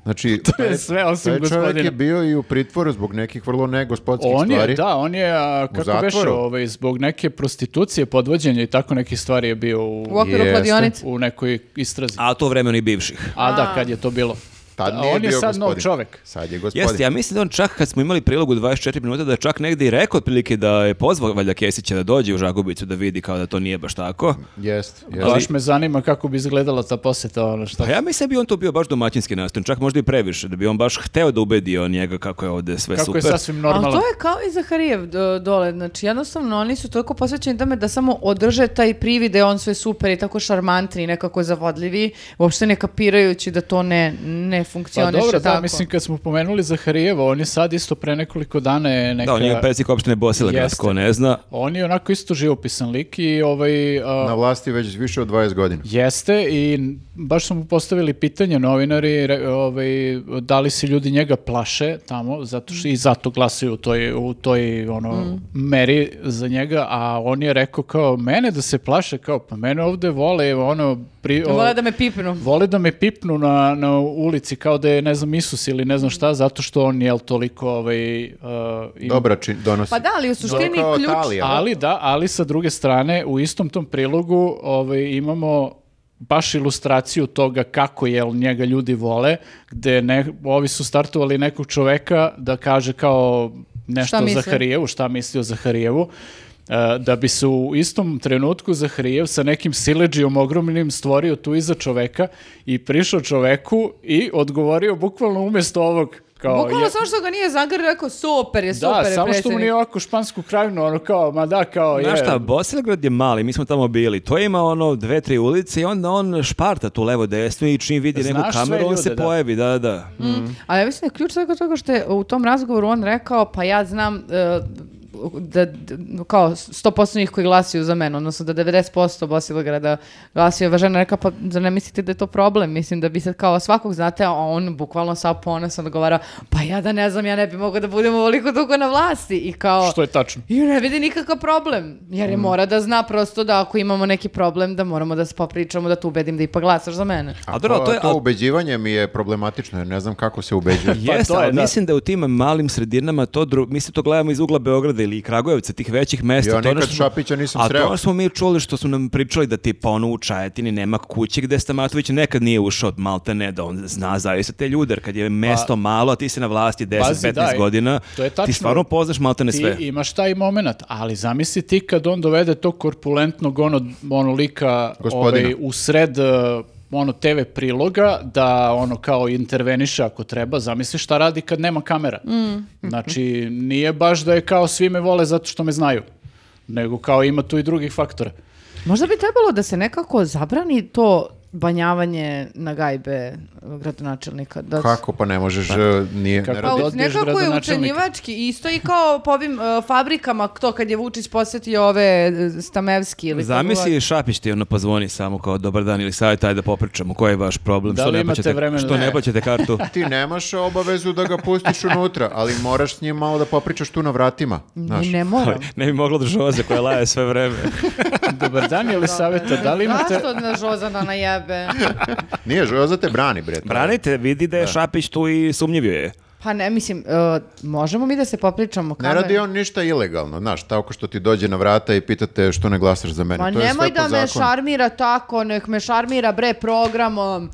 Speaker 3: Znači,
Speaker 2: To je sve osim
Speaker 3: taj čovjek
Speaker 2: gospodina.
Speaker 3: je bio i u pritvoru zbog nekih vrlo negospodskih
Speaker 2: On
Speaker 3: stvari.
Speaker 2: je, da, on je, a, kako
Speaker 3: zatvoru.
Speaker 2: beše, ovaj, zbog neke prostitucije, podvođenja i tako nekih stvari je bio u,
Speaker 1: U okviru
Speaker 3: Jeste.
Speaker 1: kladionice.
Speaker 2: u nekoj istrazi. A,
Speaker 4: A to vremeni bivših.
Speaker 2: da, kad je to bilo.
Speaker 3: Tad
Speaker 2: A
Speaker 3: nije
Speaker 2: on je
Speaker 3: bio
Speaker 2: sad nov
Speaker 3: gospodin.
Speaker 2: čovek.
Speaker 3: Sad je gospodin.
Speaker 4: Jeste, ja mislim da on čak kad smo imali prilogu 24 minuta da je čak negdje i rekao otprilike da je pozvao Valja Kesića da dođe u Žagubicu da vidi kao da to nije baš tako.
Speaker 3: Jest, jest.
Speaker 2: Baš me zanima kako bi izgledala ta posjeta, ono šta.
Speaker 4: Pa ja mislim da bi on to bio baš domaćinski nastojan, čak možda i previše, da bi on baš hteo da ubedi on njega kako je ovdje sve
Speaker 2: kako
Speaker 4: super.
Speaker 2: je sasvim
Speaker 1: Ali
Speaker 2: normalno. Pa
Speaker 1: to je kao i Zaharijev do- dole, znači jednostavno oni su toliko posvećeni tome da samo održe taj privid da je on sve super i tako šarmantni i nekako zavodljivi, uopšte ne kapirajući da to ne, ne
Speaker 2: Pa
Speaker 1: funkcioniše
Speaker 2: dobro, da,
Speaker 1: tako.
Speaker 2: mislim kad smo pomenuli Zaharijeva, on je sad isto pre nekoliko dana je neka...
Speaker 4: Da, on je predsjednik opštine Bosilegrad,
Speaker 2: Jeste.
Speaker 4: ko ne zna.
Speaker 2: on je onako isto živopisan lik i ovaj... a,
Speaker 3: Na vlasti već više od 20 godina.
Speaker 2: Jeste i n- baš su mu postavili pitanje novinari re- ovaj, da li se ljudi njega plaše tamo zato što i zato glasaju u toj, u toj ono,
Speaker 1: Mm.
Speaker 2: meri za njega, a on je rekao kao mene da se plaše, kao pa mene ovde vole ono, pri, o-
Speaker 1: Vole da me pipnu.
Speaker 2: vole da me pipnu na, na ulici kao da je ne znam Isus ili ne znam šta zato što on jel toliko ovaj, uh, im-
Speaker 3: Dobra či, donosi.
Speaker 1: Pa da, ali u suštini
Speaker 3: Dobro, kao
Speaker 1: ključ...
Speaker 3: Talija.
Speaker 2: ali da, ali sa druge strane, u istom tom prilogu ovaj, imamo baš ilustraciju toga kako jel njega ljudi vole, gde ne, ovi su startovali nekog čoveka da kaže kao nešto
Speaker 1: Šta
Speaker 2: o
Speaker 1: misli?
Speaker 2: Zaharijevu, šta misli o Zaharijevu, e, da bi se u istom trenutku Zaharijev sa nekim sileđijom ogromnim stvorio tu iza čoveka i prišao čoveku i odgovorio bukvalno umjesto ovog. Kao,
Speaker 1: Bukvalno
Speaker 2: je-
Speaker 1: samo što ga nije zagrlio, rekao super je, super
Speaker 2: da,
Speaker 1: je
Speaker 2: samo što mu
Speaker 1: predsjednik."
Speaker 2: nije ovako špansku krajinu, ono kao, ma da, kao je.
Speaker 4: Znaš šta, Bosilegrad je mali, mi smo tamo bili. To ima ono dve, tri ulice i onda on šparta tu levo desno i čim vidi neku
Speaker 2: Znaš sve
Speaker 4: kameru on
Speaker 2: ljude,
Speaker 4: se
Speaker 2: da. Mm.
Speaker 4: pojavi, da, da.
Speaker 1: Ali ja mislim da je ključ svega toga što je u tom razgovoru on rekao, pa ja znam e, da, da- kao 100% njih koji glasuju za mene, odnosno da 90% Bosilegrada glasuje, ova žena rekao, pa zar ne mislite da je to problem? Mislim da bi se kao svakog znate, a on bukvalno sa ponosom odgovara, pa ja da ne znam, ja ne bi mogao da budem ovoliko dugo na vlasti i kao...
Speaker 2: Što je tačno.
Speaker 1: I ne vidi nikakav problem, jer je mora da zna prosto da ako imamo neki problem da moramo da se popričamo, da tu ubedim da ipak glasaš za mene.
Speaker 4: A dobro,
Speaker 2: Pa
Speaker 3: to,
Speaker 4: to je-
Speaker 3: to
Speaker 4: a-
Speaker 3: ubeđivanje mi je problematično, jer ne znam kako se ubeđuje.
Speaker 4: Jeste,
Speaker 2: Pa to je,
Speaker 4: ali
Speaker 2: da.
Speaker 4: mislim da u tim malim sredinama to dru... mislim to gledamo iz ugla Beograda ili ili Kragujevca, tih većih mesta.
Speaker 3: Ja
Speaker 4: to je ono
Speaker 3: nikad
Speaker 4: što smo-
Speaker 3: Šapića nisam
Speaker 4: A
Speaker 3: sreo.
Speaker 4: to smo mi čuli što su nam pričali da tipa ono u Čajetini nema kuće gde Stamatović nekad nije ušao malta ne da on zna zaista te ljude, jer kad je mesto malo, a ti si na vlasti 10-15
Speaker 2: da, i-
Speaker 4: godina,
Speaker 2: Pa- to je tačno.
Speaker 4: ti stvarno poznaš malta ne sve.
Speaker 2: Ti imaš taj moment, ali zamisli ti kad on dovede tog korpulentnog ono, ono lika
Speaker 3: Gospodina.
Speaker 2: ovaj, u sred e, ono TV priloga da ono kao interveniše ako treba, zamisli šta radi kad nema kamera. Znači nije baš da je kao svi me vole zato što me znaju, nego kao ima tu i drugih faktora.
Speaker 1: Možda bi trebalo da se nekako zabrani to banjavanje na gajbe e, gradonačelnika. Da s-
Speaker 3: Kako pa ne možeš, e, nije, ne
Speaker 2: Kako?
Speaker 1: Pa
Speaker 3: radi.
Speaker 2: Da
Speaker 1: u-
Speaker 2: odbiješ
Speaker 1: nekako je
Speaker 2: gradonačelnika.
Speaker 1: ucenjivački, isto i kao po ovim e, fabrikama, to kad je Vučić posjetio ove e, Stamevski ili... kako god.
Speaker 4: Zamisli Šapić ti ono pozvoni samo kao dobar dan ili savjet, ajde da popričamo, koji je vaš problem,
Speaker 2: Da
Speaker 4: što
Speaker 2: li
Speaker 4: ne
Speaker 2: imate
Speaker 4: plaćate,
Speaker 2: vremena?
Speaker 4: što ne
Speaker 2: Ne.
Speaker 4: plaćate kartu.
Speaker 3: Ti nemaš obavezu da ga pustiš unutra, ali moraš s njim malo da popričaš tu na vratima. Znaš.
Speaker 1: Ne, ne moram.
Speaker 4: ne bi mogla država za koja laje sve vreme.
Speaker 2: Dobar dan, je li savjeta, da li imate...
Speaker 1: Zašto na Žozana na jebe?
Speaker 3: Nije, Žoza te brani, bre.
Speaker 4: Branite, vidi da je Šapić tu i sumnjivio je.
Speaker 1: Pa ne, mislim, e, možemo mi da se popričamo
Speaker 3: Ne
Speaker 1: kamer?
Speaker 3: radi on ništa ilegalno, znaš, tako što ti dođe na vrata i pitate što ne glasaš za
Speaker 1: Ma
Speaker 3: mene. Pa to je sve
Speaker 1: nemoj
Speaker 3: po
Speaker 1: da me
Speaker 3: zakonu.
Speaker 1: šarmira tako, nek me šarmira bre programom.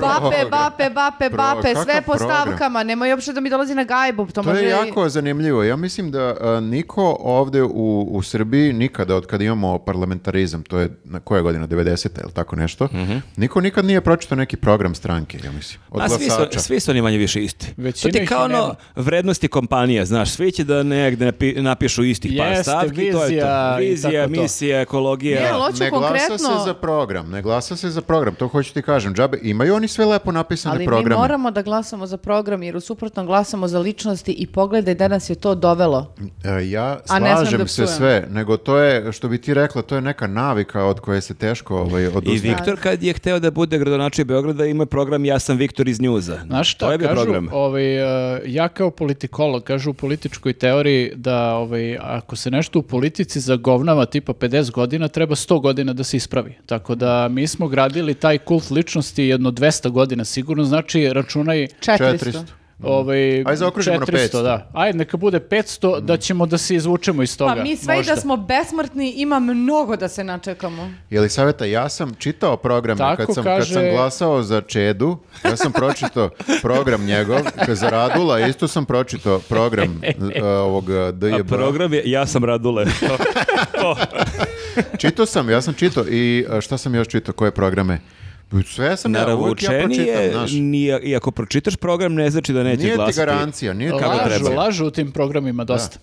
Speaker 1: Bape, bape, bape,
Speaker 3: Program.
Speaker 1: bape, sve
Speaker 3: Kakav
Speaker 1: po
Speaker 3: program?
Speaker 1: stavkama, nemoj uopšte da mi dolazi na gajbu. To,
Speaker 3: To
Speaker 1: može
Speaker 3: je
Speaker 1: i-
Speaker 3: jako zanimljivo. Ja mislim da a, niko ovde u, u Srbiji nikada, od kada imamo parlamentarizam, to je na koja godina, 90. ili tako nešto, niko nikad nije pročitao neki program stranke, ja mislim, od
Speaker 4: Mhm. A svi su,
Speaker 3: glasača.
Speaker 4: svi su oni manje više isti.
Speaker 2: Većina
Speaker 4: to ti je
Speaker 2: ih
Speaker 4: kao
Speaker 2: i nema.
Speaker 4: ono vrednosti kompanija, znaš, svi će da negde napi- napišu istih par
Speaker 2: Jeste,
Speaker 4: stavki, to je
Speaker 2: vizija
Speaker 4: to.
Speaker 2: i
Speaker 4: Vizija,
Speaker 2: tako to.
Speaker 4: misija, ekologija.
Speaker 1: Ne, ali hoću
Speaker 3: ne glasa
Speaker 1: konkretno-
Speaker 3: se za program, ne glasa se za program, to hoću ti kažem. Džabe, imaju oni sve lepo napisane
Speaker 1: Ali mi
Speaker 3: programe.
Speaker 1: moramo da glasamo za program, jer u suprotnom glasamo za ličnosti i pogledaj da nas je to dovelo.
Speaker 3: E, Ja
Speaker 1: A ne smem da
Speaker 3: slažem se
Speaker 1: psujem.
Speaker 3: sve, nego to je, što bi ti rekla, to je neka navika od koje se teško ovaj,
Speaker 4: I
Speaker 3: odustati.
Speaker 4: Viktor kad je hteo da bude gradonačelnik Beograda ima program Ja sam Viktor iz njuza.
Speaker 2: Znaš šta,
Speaker 4: to je bio
Speaker 2: kažu,
Speaker 4: program.
Speaker 2: ovaj, e, ja kao politikolog, kažu u političkoj teoriji da ovaj, ako se nešto u politici zagovnava tipa 50 godina, treba 100 godina da se ispravi. Tako da mi smo gradili taj kult ličnosti jedno 200 godina sigurno, znači računaj
Speaker 4: Mhm.
Speaker 1: 400.
Speaker 3: 400.
Speaker 2: ovaj,
Speaker 3: Ajde, zaokružimo na 500.
Speaker 2: Da. Ajde, neka bude
Speaker 4: Mhm.
Speaker 2: 500, da ćemo da se izvučemo iz toga.
Speaker 1: Pa mi sve i
Speaker 2: možda.
Speaker 1: da smo besmrtni, ima mnogo da se načekamo.
Speaker 3: Je li savjeta, ja sam čitao program kad
Speaker 2: Tako
Speaker 3: sam,
Speaker 2: kaže-
Speaker 3: kad sam glasao za Čedu, ja sam pročitao program njegov, kad za Radula isto sam pročitao program e, ovog e,
Speaker 4: A
Speaker 3: DJB.
Speaker 4: program je Ja sam Radule. To- to.
Speaker 3: Čitao sam, ja sam čitao i e, šta sam još čitao, koje programe? Sve sam ja, uvijek ja pročitam,
Speaker 4: Naravučenije,
Speaker 3: znaš.
Speaker 4: nije, i ako pročitaš program ne znači da nećeš
Speaker 3: Nije ti
Speaker 4: glasati.
Speaker 3: garancija, nije ti
Speaker 4: Kako
Speaker 3: garancija.
Speaker 2: lažu,
Speaker 4: treba.
Speaker 2: lažu u tim programima dosta.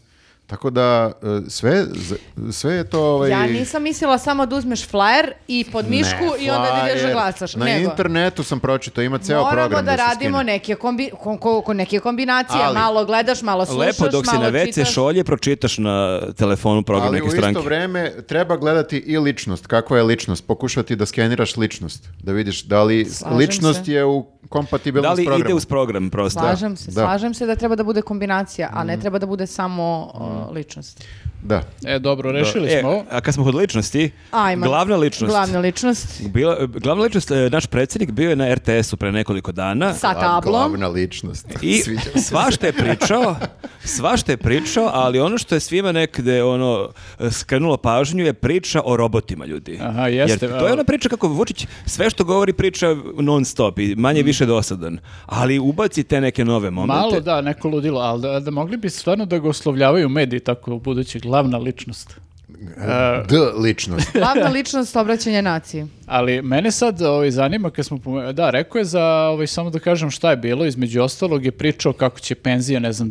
Speaker 3: Tako da e, sve, z- sve je to... Ovaj,
Speaker 1: Ja nisam mislila samo da uzmeš flyer i pod
Speaker 3: Ne,
Speaker 1: mišku i onda da ideš da
Speaker 3: flyer.
Speaker 1: glasaš.
Speaker 3: Na
Speaker 1: Nego,
Speaker 3: internetu sam pročitao, ima ceo
Speaker 1: Moramo
Speaker 3: program
Speaker 1: da,
Speaker 3: da, se
Speaker 1: radimo
Speaker 3: skine.
Speaker 1: neke, kombi, kon- ko- ko- neke kombinacije.
Speaker 3: Ali-
Speaker 1: malo gledaš, malo slušaš,
Speaker 4: Lepo dok si
Speaker 1: malo
Speaker 4: na WC
Speaker 1: čitaš.
Speaker 4: šolje pročitaš na telefonu program
Speaker 3: Ali u
Speaker 4: neke
Speaker 3: isto
Speaker 4: stranke.
Speaker 3: vreme treba gledati i ličnost, kakva je ličnost, pokušati da skeniraš ličnost, da vidiš da li
Speaker 1: Slažem
Speaker 3: ličnost
Speaker 1: se.
Speaker 3: je u kompatibilnost
Speaker 4: Da li
Speaker 3: programu.
Speaker 4: ide uz program prosto?
Speaker 1: Slažem se,
Speaker 3: Da.
Speaker 1: slažem se da treba da bude kombinacija, a ne treba da bude samo uh, ličnost.
Speaker 3: Da.
Speaker 2: E, dobro, rešili
Speaker 4: E,
Speaker 2: smo ovo.
Speaker 4: a kad smo kod ličnosti,
Speaker 1: Ajmo.
Speaker 4: glavna ličnost.
Speaker 1: Glavna ličnost.
Speaker 4: Bila, glavna ličnost, e, naš predsjednik bio je na RTS-u pre nekoliko dana
Speaker 1: Sa
Speaker 3: A
Speaker 1: tablom.
Speaker 3: Glavna ličnost.
Speaker 4: i
Speaker 3: Sviđa mi se.
Speaker 4: svašta je pričao, svašta je pričao, ali ono što je svima nekde ono, e, skrenulo pažnju je priča o robotima ljudi.
Speaker 2: Aha, jeste.
Speaker 4: Jer to je ona priča kako Vučić sve što govori priča non stop i manje više dosadan, ali ubaci te neke nove momente.
Speaker 2: Mm. Malo da, neko ludilo, ali da, da mogli bi stvarno da ga oslovljavaju mediji tako u budući glavna ličnost.
Speaker 4: e,
Speaker 3: D ličnost.
Speaker 1: Glavna ličnost obraćanja naciji.
Speaker 2: Ali mene sad ovaj, zanima kad smo pomenuli, da, rekao je za, ovaj, samo da kažem šta je bilo, između ostalog je pričao kako će penzije, ne znam,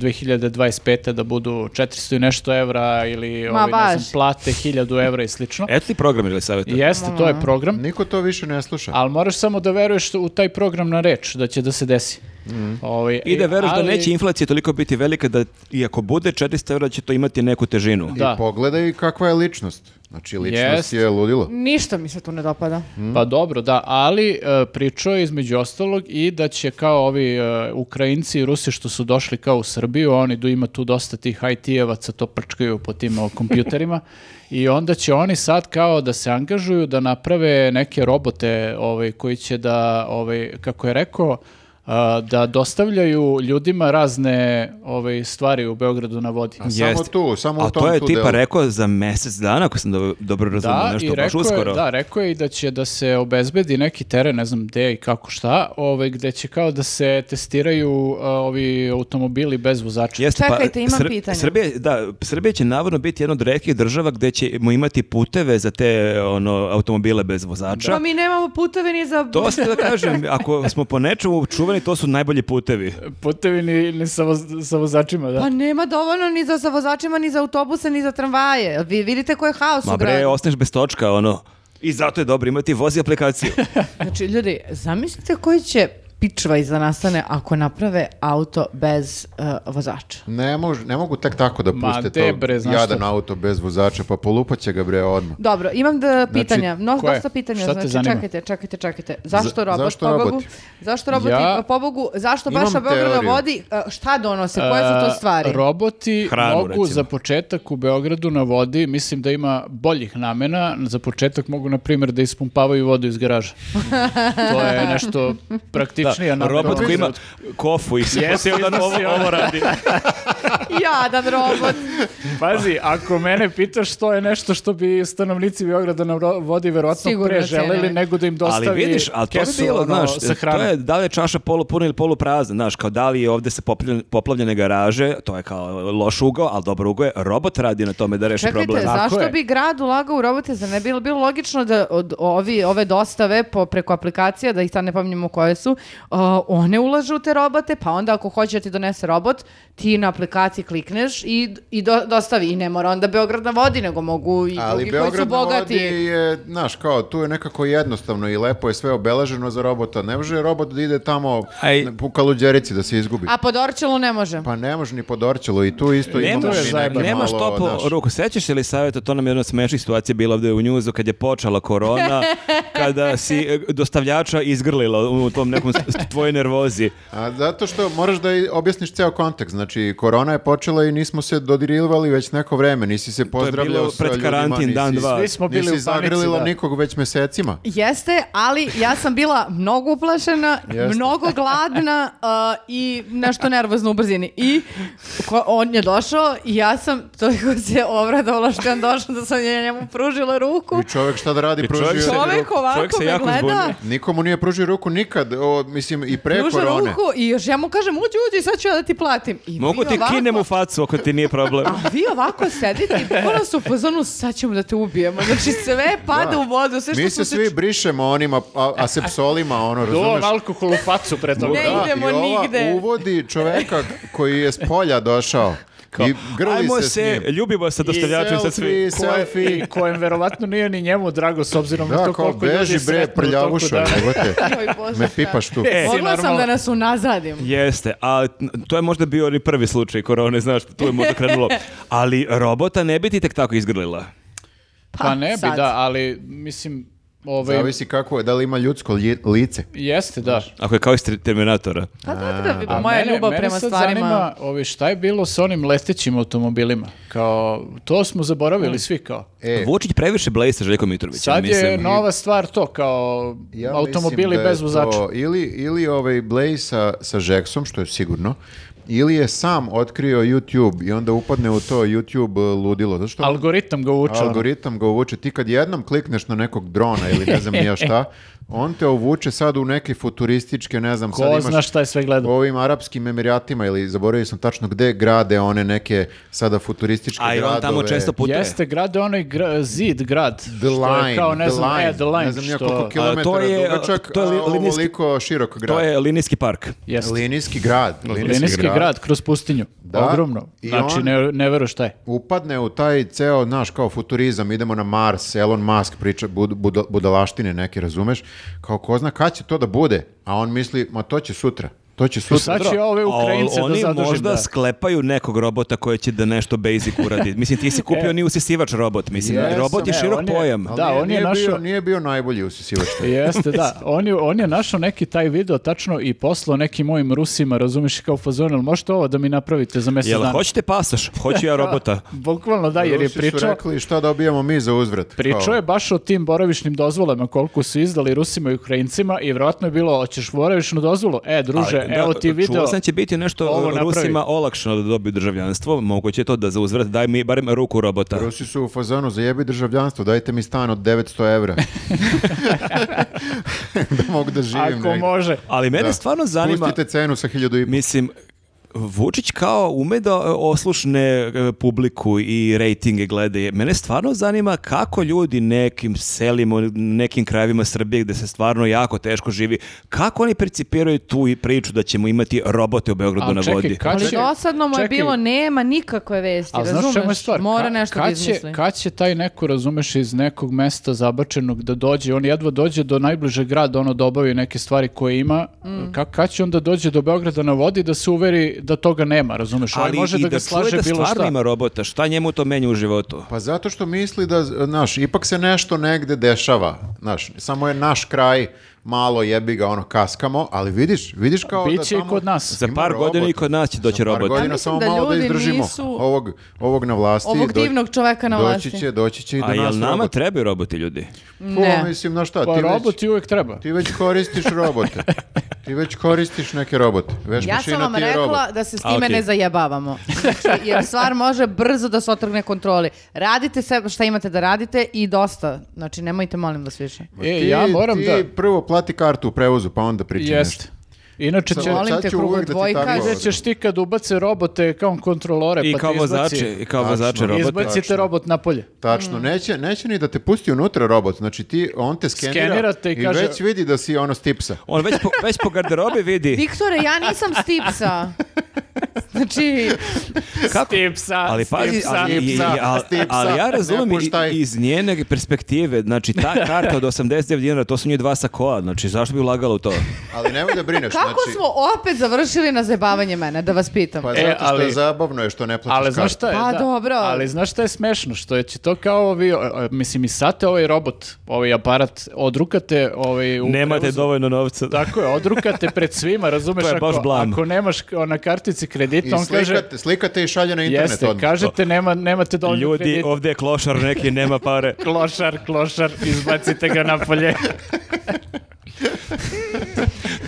Speaker 2: 2025. da budu 400 i nešto evra ili
Speaker 1: Ma,
Speaker 2: ovaj, ne
Speaker 1: baš.
Speaker 2: znam, plate 1000 evra i slično.
Speaker 4: Eto E, ti program ili savjeta.
Speaker 2: Jeste, to je program.
Speaker 3: Niko to više ne sluša.
Speaker 2: Ali moraš samo da veruješ u taj program na reč, da će da se desi. Ovaj,
Speaker 4: Mm. I da
Speaker 2: e,
Speaker 4: veruješ
Speaker 2: ali-
Speaker 4: da neće inflacija toliko biti velika da i ako bude 400 evra će to imati neku težinu.
Speaker 2: da.
Speaker 3: I pogledaj kakva je ličnost. Znači, ličnost
Speaker 2: Jest.
Speaker 3: je ludilo.
Speaker 1: Ništa mi se tu ne dopada.
Speaker 2: Pa dobro, da, ali e, pričao je između ostalog i da će kao ovi e, Ukrajinci i Rusi što su došli kao u Srbiju, oni do, ima tu dosta tih IT-evaca, to prčkaju po tim o, kompjuterima i onda će oni sad kao da se angažuju da naprave neke robote ovaj, koji će da, ovaj, kako je rekao, a, da dostavljaju ljudima razne ove, stvari u Beogradu na vodi.
Speaker 3: Samo
Speaker 4: Jeste.
Speaker 3: tu, samo u
Speaker 4: A
Speaker 3: tom
Speaker 4: to je
Speaker 3: tu
Speaker 4: tipa
Speaker 3: delu.
Speaker 4: rekao za mjesec dana, ako sam dobro, dobro razumio,
Speaker 2: Da,
Speaker 4: nešto
Speaker 2: i
Speaker 4: baš
Speaker 2: rekao je,
Speaker 4: uskoro.
Speaker 2: da, rekao je i da će da se obezbedi neki teren, ne znam gde i kako šta, ovaj, gde će kao da se testiraju a, ovi automobili bez vozača.
Speaker 4: Jeste, pa
Speaker 1: Čekajte, imam pitanje.
Speaker 4: Srbija, da, Srbija će navodno biti jedna od retkih država gde ćemo imati puteve za te ono, automobile bez vozača.
Speaker 1: Pa mi nemamo puteve ni za...
Speaker 4: To se da kažem, ako smo po nečemu čuveni, to su najbolji putevi.
Speaker 2: Putevi ni, ni sa, voz- sa vozačima, da.
Speaker 1: Pa nema dovoljno ni za, za vozačima, ni za autobuse, ni za tramvaje. Vi vidite koji je haos
Speaker 4: Ma
Speaker 1: u
Speaker 4: bre,
Speaker 1: gradu.
Speaker 4: ostaneš bez točka, ono. I zato je dobro imati vozi aplikaciju.
Speaker 1: Znači, ljudi, zamislite koji će pičva iza nastane ako naprave auto bez eh, vozača.
Speaker 3: Ne, mož, ne mogu tek tako da
Speaker 2: Ma,
Speaker 3: puste
Speaker 2: de
Speaker 3: to
Speaker 2: bre, znaš
Speaker 3: jadan
Speaker 2: šta?
Speaker 3: auto bez vozača, pa polupaće ga bre odmah.
Speaker 1: Dobro, imam da pitanja, mnogo
Speaker 2: Znači, koje?
Speaker 1: dosta pitanja,
Speaker 2: Šta te
Speaker 1: znači
Speaker 2: zanima?
Speaker 1: čekajte, čekajte, čekajte. Zašto robot
Speaker 3: zašto
Speaker 1: pobogu?
Speaker 3: roboti?
Speaker 1: Zašto roboti
Speaker 2: Ja-
Speaker 1: pobogu? Zašto baš
Speaker 3: Imam
Speaker 1: Beograda
Speaker 3: teoriju.
Speaker 1: vodi? E, Šta donose? Koje su to stvari?
Speaker 2: A, Roboti
Speaker 4: Hranu,
Speaker 2: mogu
Speaker 4: recimo.
Speaker 2: za početak u Beogradu na vodi, mislim da ima boljih namena, za početak mogu na primjer da ispumpavaju vodu iz garaža. to je nešto
Speaker 4: Da,
Speaker 2: praktičnije. namena.
Speaker 4: robot koji ima kofu i sve
Speaker 2: Jesi,
Speaker 4: onda ovo,
Speaker 2: iznosi ono.
Speaker 4: ovo radi.
Speaker 1: Jadan robot.
Speaker 2: Pazi, ako mene pitaš, to je nešto što bi stanovnici Beograda na ro- vodi verovatno
Speaker 1: Sigurno
Speaker 2: pre želeli
Speaker 1: cenili.
Speaker 2: nego da im dostavi
Speaker 4: Ali vidiš, ali to je
Speaker 2: kesu,
Speaker 4: bilo,
Speaker 2: ono,
Speaker 4: znaš,
Speaker 2: sa
Speaker 4: to
Speaker 2: hranom.
Speaker 4: je da li je čaša polupuna ili poluprazna, znaš, kao da li je ovdje se poplavljene, poplavljene garaže, to je kao loš ugao, ali dobro ugao je, robot radi na tome da reši
Speaker 1: Čekajte,
Speaker 4: problem.
Speaker 2: Tako
Speaker 1: zašto
Speaker 2: je.
Speaker 1: bi grad ulagao u robote? Zar ne bilo, bilo logično da od ovi, ove dostave po, preko aplikacija, da ih sad ne pomnimo koje su, a, one ulažu u te robote, pa onda ako hoće da ti donese robot, ti na aplikaciji klikneš i, i do- dostavi. I ne mora onda Beograd na vodi, nego mogu i
Speaker 3: Ali
Speaker 1: drugi koji su
Speaker 3: Beograd na
Speaker 1: bogati.
Speaker 3: vodi je, znaš, kao, tu je nekako jednostavno i lepo je sve obeleženo za robota. Ne može robot da ide tamo
Speaker 4: Aj.
Speaker 3: u kaluđerici da se izgubi.
Speaker 1: A po Dorčelu ne može.
Speaker 3: Pa ne može ni pod Orčelu i tu isto imamo
Speaker 4: Nemaš,
Speaker 3: mi neke
Speaker 4: nemaš
Speaker 3: malo,
Speaker 4: toplu
Speaker 3: znaš,
Speaker 4: ruku. Sećaš se li savjeta, to nam je jedna od smešnijih situacija bila ovdje u njuzu kad je počela korona, kada si e, dostavljača izgrlila u tom nekom s- s- tvojoj nervozi.
Speaker 3: A zato što moraš da i objasniš ceo kontekst. Znači, korona je počela i nismo se dodirivali već neko vreme. Nisi se pozdravljao
Speaker 4: bilo
Speaker 3: sa
Speaker 4: pred
Speaker 3: ljudima,
Speaker 4: karantin,
Speaker 3: nisi,
Speaker 4: dan, dva.
Speaker 2: Svi smo bili u
Speaker 3: nisi
Speaker 2: panici,
Speaker 3: zagrlila
Speaker 2: da.
Speaker 3: nikog već mesecima.
Speaker 1: Jeste, ali ja sam bila mnogo uplašena,
Speaker 3: Jeste.
Speaker 1: mnogo gladna uh, i nešto nervozna u brzini. I ko- on je došao i ja sam toliko se obradovala što je on došao da sam ja njemu pružila ruku.
Speaker 3: I čovjek šta da radi, pružio
Speaker 4: čovjek se-
Speaker 1: Čovek ovako
Speaker 4: Čovjek se
Speaker 1: me
Speaker 4: jako
Speaker 1: gleda,
Speaker 4: zbunio.
Speaker 3: Nikomu nije pružio ruku nikad, o, mislim, i pre
Speaker 1: pruža
Speaker 3: korone.
Speaker 1: ruku i još ja mu kažem uđi, uđi, sad ću ja da ti platim. I
Speaker 4: Mogu
Speaker 1: vi
Speaker 4: ti
Speaker 1: ovako-
Speaker 4: kinem u facu ako ti nije problem.
Speaker 1: A vi ovako sedite i bukvalno su u pozonu, sad ćemo da te ubijemo. Znači sve pada u vodu, sve što
Speaker 3: Mi
Speaker 1: smo
Speaker 3: se
Speaker 1: se
Speaker 3: svi brišemo onima, a, asepsolima, ono,
Speaker 2: Do
Speaker 3: razumeš?
Speaker 2: alkohol u facu pre toga.
Speaker 1: Ne
Speaker 3: Da,
Speaker 1: idemo
Speaker 3: i ova
Speaker 1: nigde.
Speaker 3: uvodi čoveka koji je s polja došao i grli
Speaker 4: Ajmo
Speaker 3: se, s njim.
Speaker 4: se, ljubimo sa dostavljačem sa
Speaker 3: selfie,
Speaker 4: svi.
Speaker 3: selfie.
Speaker 2: I kojem verovatno nije ni njemu drago s obzirom na
Speaker 3: Da,
Speaker 2: to
Speaker 3: kao
Speaker 2: koliko ljudi
Speaker 3: beži bre,
Speaker 2: sretnu u toku
Speaker 3: prljavuša,
Speaker 2: dana.
Speaker 3: evo te.
Speaker 1: Joj, Bože,
Speaker 3: Me
Speaker 1: šta?
Speaker 3: pipaš tu.
Speaker 4: E,
Speaker 1: Mogla sam
Speaker 2: normalno.
Speaker 1: da nas unazadim.
Speaker 4: Jeste, a t- to je možda bio i prvi slučaj korone, znaš, tu je možda krenulo. Ali robota ne bi ti tek tako izgrlila.
Speaker 2: Pa ne bi,
Speaker 1: sad.
Speaker 2: da, ali mislim, ovaj,
Speaker 3: Zavisi kako je, da li ima ljudsko lji- lice.
Speaker 2: jeste, da.
Speaker 4: Ako je kao iz Tri- Terminatora.
Speaker 1: Pa da, da, bi-
Speaker 2: A
Speaker 1: moja
Speaker 2: mene-
Speaker 1: ljubav
Speaker 2: mene
Speaker 1: prema
Speaker 2: sad
Speaker 1: stvarima.
Speaker 2: Zanima, ovi, šta je bilo sa onim letećim automobilima? Kao, to smo zaboravili svi kao.
Speaker 3: E,
Speaker 4: Vučić previše blejsa Željko Mitrović,
Speaker 2: Sad je
Speaker 4: mislim.
Speaker 2: nova stvar to, kao
Speaker 3: ja mislim
Speaker 2: automobili
Speaker 3: da je
Speaker 2: bez vozača.
Speaker 3: to Ili, ili ovaj Blaze sa, sa Jacksom, što je sigurno, ili je sam otkrio YouTube i onda upadne u to YouTube e, ludilo. Zato što
Speaker 2: Algoritam ga uče. ono.
Speaker 3: algoritam ga uvuče. Ti kad jednom klikneš na nekog drona ili ne znam ni ja šta, on te uvuče sad u neke futurističke, ne znam, sad
Speaker 2: Ko
Speaker 3: imaš...
Speaker 2: zna šta je sve
Speaker 3: u
Speaker 2: gledao.
Speaker 3: ovim arapskim emiratima ili zaboravio sam tačno gde grade one neke sada futurističke
Speaker 4: A i
Speaker 3: gradove.
Speaker 4: on tamo često putuje.
Speaker 2: Jeste, grade onaj gra- zid, grad.
Speaker 3: The line,
Speaker 2: kao, ne
Speaker 3: the
Speaker 2: znam,
Speaker 3: line,
Speaker 2: e, the line,
Speaker 3: ne znam ja
Speaker 2: što-
Speaker 3: koliko kilometara
Speaker 4: to je, a,
Speaker 3: dugačak,
Speaker 4: to je li-
Speaker 3: a
Speaker 4: linijski-
Speaker 3: ovoliko širok grad.
Speaker 4: To je linijski park.
Speaker 2: Jeste.
Speaker 3: Linijski grad.
Speaker 2: Linijski grad. kroz pustinju.
Speaker 3: Da.
Speaker 2: Ogromno.
Speaker 3: I
Speaker 2: znači,
Speaker 3: on-
Speaker 2: ne, ne veruš šta je.
Speaker 3: Upadne u taj ceo, znaš, kao futurizam, idemo na Mars, Elon Musk priča bud, buda- budalaštine neke, razumeš? Kao ko zna kad će to da bude, a on misli, ma to će sutra. To će sutra.
Speaker 2: Sad će ove
Speaker 4: A ol-
Speaker 2: Ukrajince da
Speaker 4: oni
Speaker 2: zadužim,
Speaker 4: možda
Speaker 2: da.
Speaker 4: sklepaju nekog robota koji će da nešto basic uradi. Mislim, ti si kupio ni usisivač robot. Mislim,
Speaker 3: Jesam,
Speaker 4: robot je
Speaker 2: e,
Speaker 4: širok
Speaker 2: on je-
Speaker 4: pojam.
Speaker 3: Ali
Speaker 2: Da,
Speaker 3: nije-
Speaker 2: on je
Speaker 3: nije
Speaker 2: našao-
Speaker 3: bio, nije bio najbolji usisivač.
Speaker 2: Jeste, da. On je, on je našao neki taj video tačno i poslao nekim mojim Rusima, razumiš, kao fazon, ali možete ovo da mi napravite za mjesec
Speaker 4: Jel,
Speaker 2: dana?
Speaker 4: hoćete pasoš? Hoću ja robota.
Speaker 2: Bukvalno da, jer je
Speaker 3: Rusi su
Speaker 2: pričao...
Speaker 3: rekli šta dobijamo mi za uzvrat.
Speaker 2: Pričao je baš o tim boravišnim dozvolama, koliko su izdali Rusima i Ukrajincima i vjerojatno je bilo, hoćeš boravišnu dozvolu? E, druže,
Speaker 4: Ali, da,
Speaker 2: evo ti video.
Speaker 4: Čuo sam će biti nešto
Speaker 2: Ovo napravi.
Speaker 4: Rusima olakšano da dobiju državljanstvo. Moguće je to da za uzvrat daj mi barem ruku robota.
Speaker 3: Kao, Rusi su u fazonu za jebi državljanstvo, dajte mi stan od 900 evra. da mogu da živim.
Speaker 2: Ako
Speaker 3: negde.
Speaker 2: može.
Speaker 4: Ali mene
Speaker 3: Da.
Speaker 4: stvarno zanima...
Speaker 3: Pustite cenu sa 1000 i
Speaker 4: Mislim, Vučić kao ume da e, oslušne e, publiku i rejtinge glede. Mene stvarno zanima kako ljudi nekim selima, nekim krajevima Srbije gde se stvarno jako teško živi, kako oni percipiraju tu i priču da ćemo imati robote u Beogradu
Speaker 2: A
Speaker 4: na
Speaker 2: čekaj,
Speaker 4: vodi.
Speaker 2: kad
Speaker 1: Ali
Speaker 2: će-
Speaker 1: dosadno mu je
Speaker 2: čekaj.
Speaker 1: bilo, nema nikakve vesti,
Speaker 2: A znaš u čemu je
Speaker 1: razumeš?
Speaker 2: stvar?
Speaker 1: Mora
Speaker 2: Ka-
Speaker 1: nešto da
Speaker 2: kad će-
Speaker 1: izmisli.
Speaker 2: Kad će taj neko, razumeš, iz nekog mesta zabačenog da dođe, on jedva dođe do najbližeg grada, ono da obavi neke stvari koje ima,
Speaker 1: Mm.
Speaker 2: ka, kad će onda dođe do Beograda na vodi da se uveri da toga nema, razumeš? Ali,
Speaker 4: Ali
Speaker 2: može
Speaker 4: i
Speaker 2: da ga
Speaker 4: čuje
Speaker 2: slaže
Speaker 4: da
Speaker 2: bilo
Speaker 4: stvarno
Speaker 2: šta.
Speaker 4: ima robota, šta njemu to menja u životu?
Speaker 3: Pa zato što misli da, znaš, ipak se nešto negde dešava, znaš, samo je naš kraj malo jebi ga, ono, kaskamo, ali vidiš, vidiš kao da
Speaker 2: Biće i
Speaker 3: tamo...
Speaker 2: kod nas.
Speaker 4: Za
Speaker 3: Ima
Speaker 4: par
Speaker 3: robot.
Speaker 4: godina i kod nas će doći
Speaker 3: Za par
Speaker 4: robot.
Speaker 1: Ja
Speaker 3: godina
Speaker 1: mislim
Speaker 3: samo
Speaker 1: da
Speaker 3: malo da
Speaker 1: ljudi
Speaker 3: izdržimo
Speaker 1: nisu-
Speaker 3: ovog, ovog na vlasti.
Speaker 1: Ovog
Speaker 3: doći-
Speaker 1: divnog čoveka na vlasti.
Speaker 3: Doći će, doći će i do
Speaker 4: A
Speaker 3: nas
Speaker 4: jel nama
Speaker 3: robot.
Speaker 4: trebaju roboti ljudi?
Speaker 1: Ne.
Speaker 3: Pa, mislim, na šta,
Speaker 2: Pa
Speaker 3: ti,
Speaker 2: robot
Speaker 3: već,
Speaker 2: ti uvek treba.
Speaker 3: ti već koristiš robote. ti već koristiš neke robote. Veš
Speaker 1: Ja sam
Speaker 3: mašina
Speaker 1: vam
Speaker 3: ti je
Speaker 1: rekla
Speaker 3: robot.
Speaker 1: da se s
Speaker 4: A,
Speaker 1: time
Speaker 4: okej.
Speaker 1: ne zajebavamo. Znači, jer stvar može brzo da se otrgne kontroli. Radite sve šta imate da radite i dosta. Znači, nemojte molim vas više.
Speaker 2: E,
Speaker 3: Ti-
Speaker 2: ja moram
Speaker 3: ti
Speaker 2: da...
Speaker 3: prvo plati kartu u prevozu, pa onda pričaj
Speaker 2: Jeste.
Speaker 3: nešto.
Speaker 2: Inače
Speaker 3: Sad-
Speaker 2: će...
Speaker 1: Molim
Speaker 3: sad
Speaker 1: te,
Speaker 3: ću uvek
Speaker 1: krugu
Speaker 3: da ti
Speaker 1: dvojka.
Speaker 3: tako
Speaker 1: Kaže
Speaker 2: Gde
Speaker 3: govorim.
Speaker 2: ćeš ti kad ubace robote kao kontrolore,
Speaker 4: E, I
Speaker 2: pa
Speaker 4: kao
Speaker 2: te izbaci-
Speaker 4: vozače, i kao
Speaker 3: Tačno.
Speaker 4: vozače robota.
Speaker 2: Izbacite robot napolje.
Speaker 1: Mm.
Speaker 3: Tačno, neće, neće ni da te pusti unutra robot, znači ti, on te skenira,
Speaker 2: Skenira te i kaže-
Speaker 3: već vidi da si ono stipsa.
Speaker 4: On već po, već po garderobi vidi
Speaker 1: Viktore, ja nisam stipsa. Znači,
Speaker 4: kako,
Speaker 2: Stipsa,
Speaker 4: Ali pazi,
Speaker 2: stipsa.
Speaker 4: ali, i- i-
Speaker 3: Stipsa,
Speaker 4: al-
Speaker 3: stipsa,
Speaker 4: ali ja
Speaker 3: ne
Speaker 4: razumem i-
Speaker 3: puštaj.
Speaker 4: iz njene perspektive, znači ta karta od 89 dinara, to su nje dva sakoa, znači zašto bi ulagala u to?
Speaker 3: Ali nemoj da brineš,
Speaker 1: kako
Speaker 3: znači,
Speaker 1: smo opet završili na zajebavanje mene, da vas pitam?
Speaker 3: pa
Speaker 2: E,
Speaker 3: zato što je
Speaker 2: ali-
Speaker 3: zabavno je što ne plaćaš
Speaker 2: Ali znaš
Speaker 3: kartu.
Speaker 2: šta je?
Speaker 1: Pa
Speaker 2: da.
Speaker 1: dobro.
Speaker 2: Ali znaš šta je smešno? Što je će to kao ovi, o, o, mislim i sad te ovaj robot, ovaj aparat, odrukate ovaj, u
Speaker 4: Nemate
Speaker 2: prevozu.
Speaker 4: dovoljno novca.
Speaker 2: Tako je, odrukate pred svima, razumeš?
Speaker 4: To je baš
Speaker 2: ako,
Speaker 4: blam.
Speaker 2: ako nemaš k- na kartici
Speaker 3: I
Speaker 2: kredita, on kaže...
Speaker 3: slikate, slikate i šalje na internet
Speaker 2: Jeste,
Speaker 3: odmah.
Speaker 2: kažete nema, nemate dovoljno
Speaker 4: Ljudi,
Speaker 2: kredita.
Speaker 4: ovdje je klošar neki, nema pare.
Speaker 2: Klošar, klošar, izbacite ga napolje.
Speaker 4: E.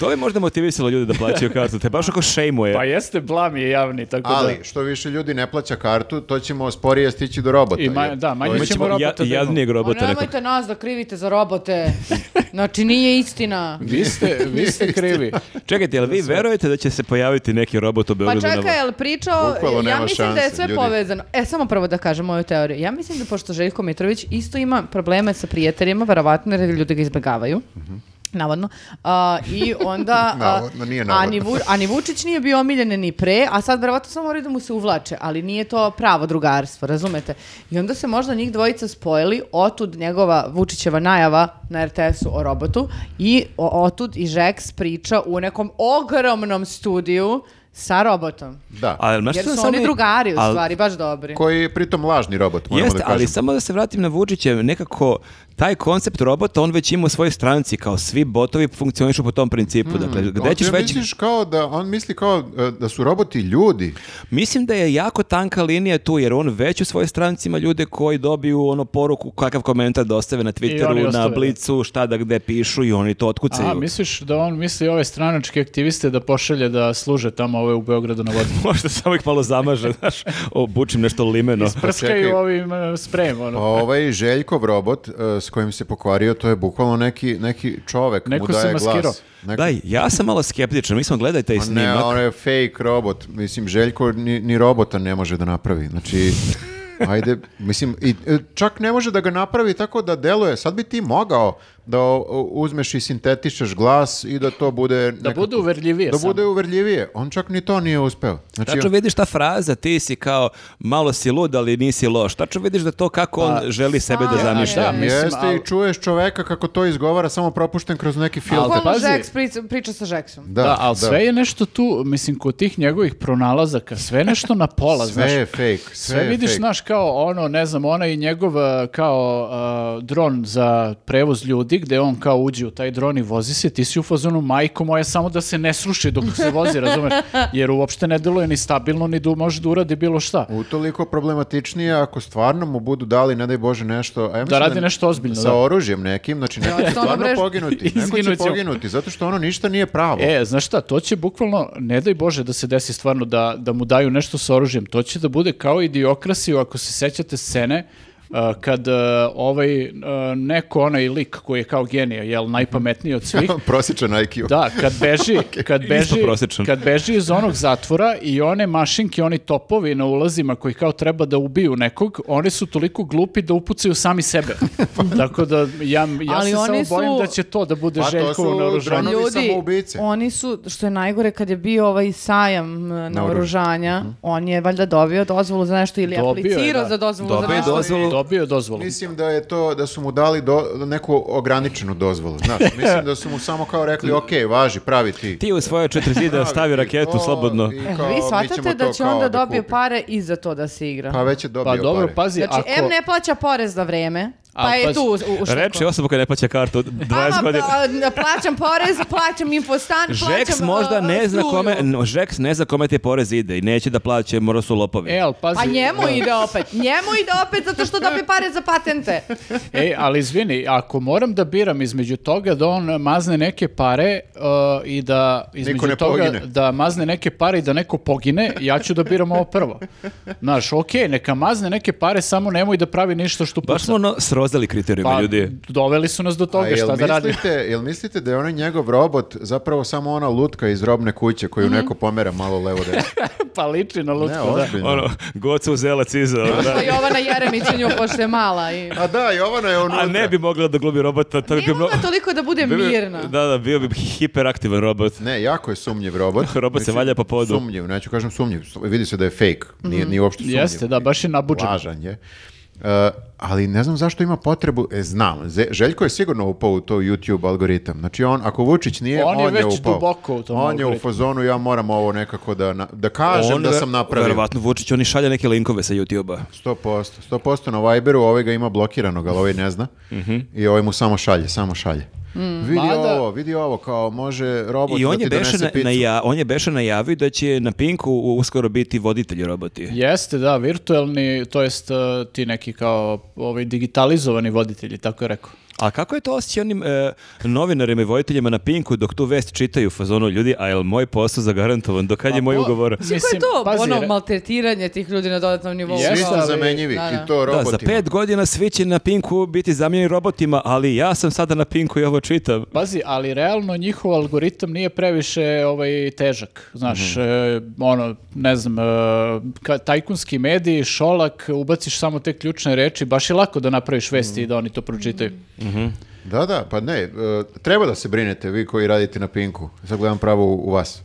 Speaker 4: To bi možda motivisalo ljude da plaćaju kartu, te baš ako šejmuje.
Speaker 2: Pa jeste, blam je javni, tako
Speaker 3: Ali
Speaker 2: da...
Speaker 3: što više ljudi ne plaća kartu, to ćemo sporije stići do robota.
Speaker 2: I ma-
Speaker 3: jer
Speaker 2: da, manje
Speaker 3: to je-
Speaker 2: ćemo robota da imamo.
Speaker 4: jadnijeg
Speaker 1: Ma
Speaker 4: robota nekog.
Speaker 1: Pa nemojte nas da krivite za robote. Znači, nije istina.
Speaker 2: Vi ste, vi ste krivi.
Speaker 4: Čekajte, jel vi verujete da će se pojaviti neki robot u
Speaker 1: Pa
Speaker 4: Beogradu? na
Speaker 1: čekaj,
Speaker 4: vo-
Speaker 1: jel pričao,
Speaker 3: Bukvalno
Speaker 1: ja
Speaker 3: nema
Speaker 1: mislim da je
Speaker 3: šanse,
Speaker 1: sve
Speaker 3: ljudi.
Speaker 1: povezano. E, samo prvo da kažem moju teoriju. Ja mislim da pošto Željko Mitrović isto ima probleme sa prijateljima, verovatno jer ljudi ga izbegavaju. Navodno. A, I onda... a,
Speaker 3: Mhm. Navodno, nije navodno.
Speaker 1: A ni, Vu- a ni Vučić nije bio omiljen ni pre, a sad verovatno samo moraju da mu se uvlače, ali nije to pravo drugarstvo, razumete? I onda se možda njih dvojica spojili, otud njegova Vučićeva najava na RTS-u o robotu i o- otud i Žeks priča u nekom ogromnom studiju sa robotom.
Speaker 3: Da,
Speaker 4: A jel znaš
Speaker 1: Jer
Speaker 4: što
Speaker 1: su
Speaker 4: sam
Speaker 1: oni
Speaker 4: i-
Speaker 1: drugari u
Speaker 4: al-
Speaker 1: stvari, baš dobri.
Speaker 3: koji je pritom lažni robot, moramo
Speaker 4: Jeste,
Speaker 3: da
Speaker 4: ali
Speaker 3: kažemo.
Speaker 4: samo da se vratim na Vučića, nekako taj koncept robota on već ima u svojoj stranci, kao svi botovi funkcionišu po tom principu.
Speaker 2: Hmm.
Speaker 4: dakle, gde
Speaker 3: On
Speaker 4: ćeš
Speaker 3: ti
Speaker 4: već...
Speaker 3: misliš kao da, on misli kao e, da su roboti ljudi.
Speaker 4: Mislim da je jako tanka linija tu, jer on već u svojoj stranci ima ljude koji dobiju ono poruku, kakav komentar dostave na
Speaker 2: oni
Speaker 4: Twitteru, na
Speaker 2: ostave, da.
Speaker 4: Blicu, šta da gde pišu i oni to otkucaju.
Speaker 2: A, misliš da on misli ove stranačke aktiviste da pošalje da služe tamo ove u Beogradu na vodi?
Speaker 4: Možda samo ih malo zamaže, znaš, obučim nešto limeno.
Speaker 2: Prskaju
Speaker 3: Pa čekaj.
Speaker 2: ovim e, sprejem,
Speaker 3: Pa
Speaker 2: ono.
Speaker 3: ovaj Željkov robot e, s kojim se pokvario, to je bukvalno neki, neki čovek
Speaker 2: Neko
Speaker 3: mu
Speaker 2: se
Speaker 3: daje
Speaker 2: maskirao.
Speaker 3: glas. Neko-
Speaker 4: Daj, ja sam malo skeptičan, mi smo gledali taj
Speaker 3: Ma ne,
Speaker 4: snimak.
Speaker 3: on je fake robot. Mislim, Željko ni, ni robota ne može da napravi. Znači, ajde, mislim, i, e, čak ne može da ga napravi tako da deluje. Sad bi ti mogao da o, uzmeš i sintetišeš glas i da to bude...
Speaker 2: Da bude uverljivije
Speaker 3: Da
Speaker 2: samo.
Speaker 3: bude uverljivije. On čak ni to nije uspeo. Znači,
Speaker 4: Tačno vidiš ta fraza, ti si kao malo si lud, ali nisi loš. Tačno vidiš da to kako
Speaker 1: Pa,
Speaker 4: on želi sebe da
Speaker 1: a,
Speaker 4: zamišlja.
Speaker 2: da, mislim,
Speaker 3: e, jeste
Speaker 2: al-
Speaker 3: i čuješ čoveka kako to izgovara, samo propušten kroz neki filter.
Speaker 1: Bukvalno
Speaker 2: pazi.
Speaker 1: ono Žeks priča, priča sa Žeksom.
Speaker 3: Da,
Speaker 2: Da, ali sve je nešto tu, mislim, kod tih njegovih pronalazaka, sve je nešto na pola,
Speaker 3: Sve
Speaker 2: Pa znaš.
Speaker 3: je fake. Sve,
Speaker 2: Sve
Speaker 3: je
Speaker 2: vidiš,
Speaker 3: fake.
Speaker 2: znaš, kao ono, ne znam, ona i njegov e, kao e, dron za prevoz ljudi, gde on kao uđe u taj dron i vozi se, ti si u fazonu majko moja samo da se ne sruši dok se vozi, razumeš? Jer uopšte ne deluje ni stabilno, ni da može da uradi bilo šta.
Speaker 3: Utoliko problematičnije ako stvarno mu budu dali, ne daj Bože, nešto... a ja mislim
Speaker 2: radi nešto ozbiljno,
Speaker 3: Sa
Speaker 2: da.
Speaker 3: oružjem nekim, znači neko
Speaker 1: Ja,
Speaker 3: će
Speaker 1: stvarno
Speaker 3: stvarno
Speaker 1: bre-
Speaker 3: poginuti. Neko će
Speaker 2: Izginut će.
Speaker 3: poginuti, zato što ono ništa nije pravo.
Speaker 2: E, znaš šta, to će bukvalno, ne daj Bože da se desi stvarno da, da mu daju nešto sa oružjem, to će da bude kao idiokrasiju ako se sećate scene a, kad a, ovaj a, neko onaj lik koji je kao genija, jel najpametniji od svih,
Speaker 3: Prosječan IQ.
Speaker 2: Da, kad beži, kad
Speaker 4: Isto
Speaker 2: beži,
Speaker 4: prosječan.
Speaker 2: kad beži iz onog zatvora i one mašinke, oni topovi na ulazima koji kao treba da ubiju nekog, oni su toliko glupi da upucaju sami sebe. Tako da ja, ja
Speaker 1: Ali
Speaker 2: se samo
Speaker 1: oni su-
Speaker 2: bojim da će to da bude
Speaker 3: Pa to
Speaker 2: Željkovo
Speaker 3: su
Speaker 2: naoružanje.
Speaker 3: dronovi samoubice.
Speaker 1: Pa oni su, što je najgore, kad je bio ovaj sajam e, naoružanja, on je valjda dobio dozvolu za nešto ili
Speaker 2: Dobio je,
Speaker 1: aplicirao
Speaker 2: da.
Speaker 1: za dozvolu
Speaker 4: Dobio
Speaker 1: za
Speaker 4: je
Speaker 1: nešto.
Speaker 4: dozvolu.
Speaker 2: Dobio je dozvolu.
Speaker 3: Mislim da je to, da su mu dali do, neku ograničenu dozvolu. Znaš, mislim da su mu samo kao rekli, ok, važi, pravi ti.
Speaker 4: Ti u svoje četiri zida
Speaker 3: Pravi
Speaker 4: stavi
Speaker 3: ti
Speaker 4: raketu
Speaker 3: to
Speaker 4: slobodno.
Speaker 3: i
Speaker 1: E,
Speaker 3: kao,
Speaker 1: vi
Speaker 3: mi ćemo
Speaker 1: shvatate da
Speaker 3: to
Speaker 1: će
Speaker 3: kao
Speaker 1: onda dobije
Speaker 3: kupi.
Speaker 1: pare i za to da se igra.
Speaker 3: Pa već je dobio
Speaker 2: Pa dobro,
Speaker 3: pare.
Speaker 2: pazi,
Speaker 1: Znači,
Speaker 2: ako...
Speaker 1: M ne plaća porez na vreme, pa
Speaker 2: A,
Speaker 1: je
Speaker 2: pazi,
Speaker 1: tu u, u ušliko.
Speaker 4: Reče osoba koja ne plaća kartu od
Speaker 1: Ama,
Speaker 4: 20 godina.
Speaker 1: pa, plaćam porez, plaćam infostan, plaćam
Speaker 4: Žeks možda
Speaker 1: uh,
Speaker 4: ne zna
Speaker 1: struju.
Speaker 4: kome, no, Žeks ne zna kome ti porez ide i neće da plaće, mora su lopovi.
Speaker 2: E, ali pazi,
Speaker 1: Pa njemu
Speaker 2: e,
Speaker 1: ide opet, njemu ide opet zato što dobije pare za patente.
Speaker 2: E, ali izvini, ako moram da biram između toga da on mazne neke pare uh, i da između
Speaker 3: ne
Speaker 2: toga
Speaker 3: pogine.
Speaker 2: da mazne neke pare i da neko pogine, ja ću da biram ovo prvo. Znaš, okej, neka mazne neke pare, samo nemoj da pravi ništa što
Speaker 4: Baš smo ono srozali kriterijuma
Speaker 2: Pa,
Speaker 4: ljudi.
Speaker 2: doveli su nas do
Speaker 3: A
Speaker 2: toga,
Speaker 3: Pa jel
Speaker 2: šta da radimo?
Speaker 3: mislite, jel mislite da je onaj njegov robot zapravo samo ona lutka iz robne kuće koju neko pomera malo levo desno?
Speaker 2: pa liči na
Speaker 3: Ne,
Speaker 2: lutko, Mhm. da.
Speaker 3: ozbiljno.
Speaker 4: Ono, gocu uzela ciza. da.
Speaker 1: Pa Jovana Jeremić u nju pošto je mala i...
Speaker 3: A da, Jovana je unutra.
Speaker 4: A ne bi mogla da glubi robota, to bi
Speaker 1: Nije
Speaker 4: bio...
Speaker 1: mogla toliko da bude
Speaker 4: bio bi-
Speaker 1: mirna.
Speaker 4: Da, da, bio bi hiperaktivan robot.
Speaker 3: Ne, jako je sumnjiv robot.
Speaker 4: Robot se
Speaker 3: Mislim,
Speaker 4: valja po podu.
Speaker 3: Sumnjiv, neću kažem sumnjiv. su- Vidi se da je fake. Nije, nije uopšte sumnjiv.
Speaker 2: Jeste, da, baš je nabuđen.
Speaker 3: Lažan je. E, ali ne znam zašto ima potrebu, e, znam, Ze- Željko je sigurno upao u to YouTube algoritam. Znači on, ako Vučić nije, on,
Speaker 2: On je
Speaker 3: je,
Speaker 2: već
Speaker 3: upao.
Speaker 2: duboko u tom
Speaker 3: On je u
Speaker 2: algoritmu.
Speaker 3: fazonu, ja moram ovo nekako da, na- da kažem da
Speaker 4: ve-
Speaker 3: sam napravio.
Speaker 4: Verovatno Vučić, oni šalje neke linkove sa YouTube-a.
Speaker 3: 100%. 100% na Viberu, ovaj ga ima blokiranog, ali ovaj ne zna.
Speaker 4: Mhm.
Speaker 3: I ovaj mu samo šalje, samo šalje.
Speaker 1: Mm,
Speaker 3: Vidi
Speaker 2: Mada-
Speaker 3: ovo, vidi ovo, kao može robot
Speaker 4: I on
Speaker 3: da
Speaker 4: je,
Speaker 3: ti
Speaker 4: beše
Speaker 3: donese
Speaker 4: na,
Speaker 3: picu.
Speaker 4: naja- on je beše najavio da će na Pinku u- uskoro biti voditelji roboti.
Speaker 2: Jeste, da, virtuelni, to jest uh, ti neki kao ovaj, digitalizovani voditelji, tako je rekao.
Speaker 4: A kako je to osjećaj onim e, novinarima i voditeljima na Pinku dok tu vest čitaju u fazonu ljudi, a jel moj posao zagarantovan, do kad je moj
Speaker 2: po-
Speaker 4: ugovor?
Speaker 1: Mislim,
Speaker 2: Pa, Mislim,
Speaker 1: to
Speaker 2: pazi,
Speaker 1: ono
Speaker 2: re-
Speaker 1: maltretiranje tih ljudi na dodatnom nivou.
Speaker 3: Svi
Speaker 2: Jeste,
Speaker 3: ste
Speaker 2: ali-
Speaker 3: zamenjivi
Speaker 1: Da, da.
Speaker 3: i to
Speaker 4: Da,
Speaker 3: robotima.
Speaker 4: za pet godina svi će na Pinku biti zamijenjeni robotima, ali ja sam sada na Pinku i ovo čitam.
Speaker 2: Pazi, ali realno njihov algoritam nije previše ovaj težak. Znaš,
Speaker 3: Mhm.
Speaker 2: e, ono, ne znam, e, ka, tajkunski mediji, šolak, ubaciš samo te ključne reči, baš je lako da napraviš vesti i da oni to pročitaju.
Speaker 1: Mhm.
Speaker 3: Da, da, pa ne, e, treba da se brinete vi koji radite na Pinku. Sad gledam pravo u, u vas.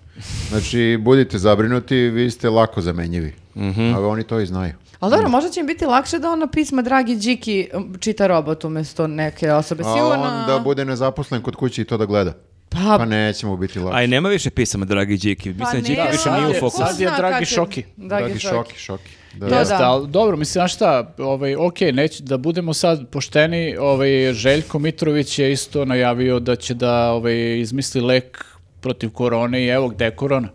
Speaker 3: Znači, budite zabrinuti, vi ste lako zamenjivi.
Speaker 4: Mhm.
Speaker 3: Ali oni to i znaju.
Speaker 1: Ali dobro, možda će im biti lakše da ona pisma Dragi Điki m, čita robot umjesto neke osobe.
Speaker 3: A
Speaker 1: Pa Sigurno...
Speaker 3: on da bude nezaposlen kod kuće i to da gleda.
Speaker 1: Pa-
Speaker 3: Pa neće mu biti lako.
Speaker 4: Aj, nema više pisama, dragi Điki.
Speaker 1: Pa
Speaker 4: Mislim, da Điki
Speaker 1: nema,
Speaker 4: više
Speaker 2: sad
Speaker 4: nije u
Speaker 2: je-
Speaker 4: fokusu.
Speaker 2: sad je
Speaker 1: Ko zna
Speaker 2: Dragi
Speaker 1: kad će-
Speaker 2: Šoki.
Speaker 1: Dragi,
Speaker 3: Dragi
Speaker 1: Šoki.
Speaker 3: šoki, šoki. Da,
Speaker 1: To
Speaker 3: da.
Speaker 2: Jeste,
Speaker 1: da.
Speaker 2: ali dobro, mislim, znaš šta, ovaj, ok, neć, da budemo sad pošteni, ovaj, Željko Mitrović je isto najavio da će da ovaj, izmisli lek protiv korone i evo gde je korona.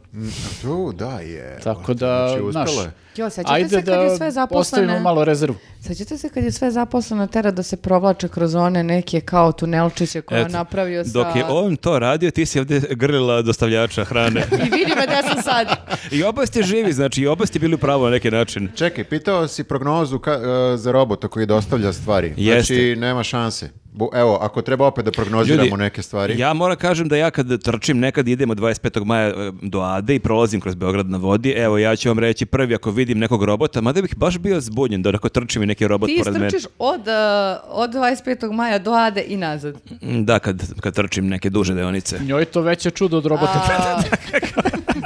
Speaker 3: Tu, Mm, da, je.
Speaker 2: Tako da,
Speaker 3: Znači, uspelo
Speaker 2: znaš,
Speaker 3: je.
Speaker 1: Jo, sećate se kad je sve
Speaker 2: ostavimo
Speaker 1: zaposlene?
Speaker 2: malo rezervu.
Speaker 1: Sećate se kad je sve zaposleno tera da se provlače kroz one neke kao tunelčiće koje je
Speaker 4: Eto,
Speaker 1: napravio sa...
Speaker 4: Dok je on to radio, ti si ovdje grlila dostavljača hrane.
Speaker 1: I vidi me da sam sad.
Speaker 4: I oba ste živi, znači i oba ste bili u pravu na neki način.
Speaker 3: Čekaj, pitao si prognozu ka- e, za robota koji dostavlja stvari.
Speaker 4: Jeste.
Speaker 3: Znači, nema šanse. Bu- Evo, ako treba opet da prognoziramo
Speaker 4: Ljudi,
Speaker 3: neke stvari.
Speaker 4: Ja moram kažem da ja kad trčim, nekad idem od 25. maja e, do Ade i prolazim kroz Beograd na vodi, evo ja ću vam reći prvi ako vidim nekog robota, mada bih baš bio zbunjen da ako trčim i neki robot
Speaker 1: Ti
Speaker 4: pored mene.
Speaker 1: strčiš od, uh, od 25. maja do Ade i nazad.
Speaker 4: Mm, Da, kad, kad trčim neke duže deonice.
Speaker 2: Njoj to veće čudo od robota.
Speaker 1: A,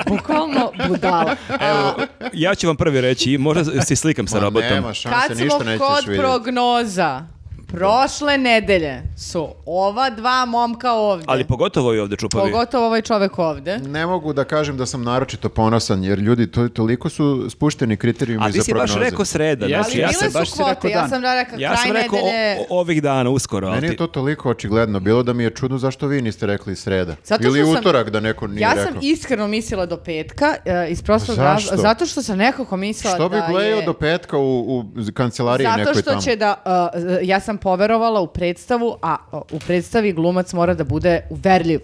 Speaker 1: Bukvalno budala.
Speaker 4: Evo, ja ću vam prvi reći, i možda se slikam sa
Speaker 3: Ma,
Speaker 4: robotom.
Speaker 3: Nema šanse,
Speaker 1: Kad smo
Speaker 3: ništa
Speaker 1: kod
Speaker 3: nećeš vidjeti.
Speaker 1: prognoza, prošle nedelje su ova dva momka ovdje.
Speaker 4: Ali pogotovo i ovdje čupavi.
Speaker 1: Pogotovo ovaj čovek ovde.
Speaker 3: Ne mogu da kažem da sam naročito ponosan, jer ljudi to, toliko su spušteni kriterijumi
Speaker 4: A ti
Speaker 3: za
Speaker 4: si baš
Speaker 3: prognoze.
Speaker 4: rekao sreda.
Speaker 2: Jesi,
Speaker 4: znači,
Speaker 1: Ali
Speaker 4: ja
Speaker 1: bile
Speaker 2: sam-
Speaker 1: su
Speaker 2: baš si
Speaker 1: kvote,
Speaker 2: rekao
Speaker 1: ja
Speaker 2: dan.
Speaker 1: sam da rekla,
Speaker 4: Ja
Speaker 1: kraj
Speaker 4: sam rekao o-
Speaker 1: nedelje...
Speaker 4: o- ovih dana, uskoro. ali
Speaker 3: Meni je
Speaker 4: ti-
Speaker 3: to toliko očigledno bilo da mi je čudno zašto vi niste rekli sreda.
Speaker 1: Zato što
Speaker 3: Ili
Speaker 1: sam-
Speaker 3: utorak da neko nije
Speaker 1: ja
Speaker 3: rekao. Pa
Speaker 1: sam iskreno mislila do petka, e, iz prostog
Speaker 3: Zašto?
Speaker 1: razloga, zato što sam nekako mislila
Speaker 3: Što bi
Speaker 1: da
Speaker 3: gledao
Speaker 1: je...
Speaker 3: do petka u, u kancelariji
Speaker 1: Zato
Speaker 3: nekoj
Speaker 1: što
Speaker 3: tamo?
Speaker 1: će da, uh, ja sam poverovala u predstavu, a uh, u predstavi glumac mora da bude uverljiv.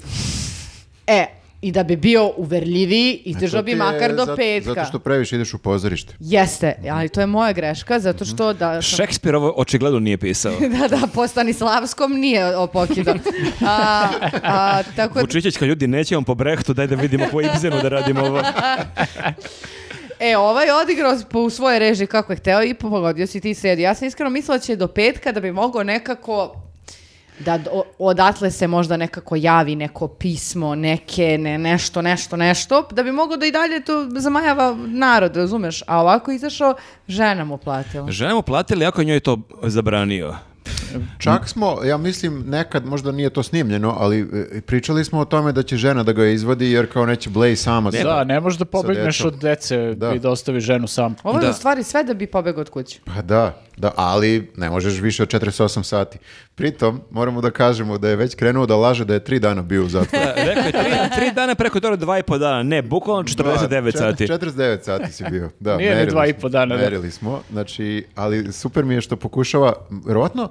Speaker 1: E, i da bi bio uverljiviji, izdržao
Speaker 3: E To
Speaker 1: bi
Speaker 3: ti je
Speaker 1: makar do
Speaker 3: zato-
Speaker 1: petka.
Speaker 3: Zato što previše ideš u pozorište.
Speaker 1: Jeste, ali to je moja greška, zato što da...
Speaker 3: Mhm.
Speaker 1: sam-
Speaker 4: Šekspir ovo očigledno nije pisao.
Speaker 1: da, da, po Stanislavskom nije opokido. A, a, tako da,
Speaker 4: Vučićić, kad ljudi neće vam po Brehtu, daj da vidimo po Ibzenu da radimo ovo.
Speaker 1: e, ovaj je odigrao po, u svojoj režiji kako je hteo i pogodio si ti sredu. Ja sam iskreno mislila da će do petka da bi mogao nekako da d- o- odatle se možda nekako javi neko pismo, neke, ne, nešto, nešto, nešto, da bi mogao da i dalje to zamajava narod, razumeš? A ovako je izašao, žena mu platila.
Speaker 4: Žena mu platili, ako je njoj to zabranio.
Speaker 1: Mm.
Speaker 3: Čak smo, ja mislim, nekad možda nije to snimljeno, ali e, pričali smo o tome da će žena da ga izvadi jer kao neće Blay sama. sa-
Speaker 2: Da, ne možeš da pobegneš
Speaker 3: decom.
Speaker 2: od dece
Speaker 3: Da.
Speaker 2: i da ostaviš ženu sam.
Speaker 1: Ovo je
Speaker 4: Da.
Speaker 1: u stvari sve da bi pobegao od kuće.
Speaker 3: Pa da, da, ali ne možeš više od 48 sati. Pritom, moramo da kažemo da je već krenuo da laže da je tri dana bio u zatvoru.
Speaker 4: E, Rekao je tri, tri dana preko toga, dva i po dana. Ne, bukvalno 49
Speaker 3: Da,
Speaker 4: sati.
Speaker 3: čet- 49 sati si bio. Da,
Speaker 2: Nije ni
Speaker 3: merili
Speaker 2: dva i
Speaker 3: smo-
Speaker 2: po dana, da.
Speaker 3: Merili smo, znači, ali super mi je što pokušava, vjerojatno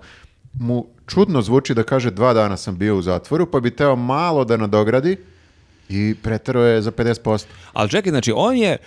Speaker 3: mu čudno zvuči da kaže dva dana sam bio u zatvoru, pa bi teo malo da nadogradi i pretero je za 50%.
Speaker 4: Ali čekaj, znači, on je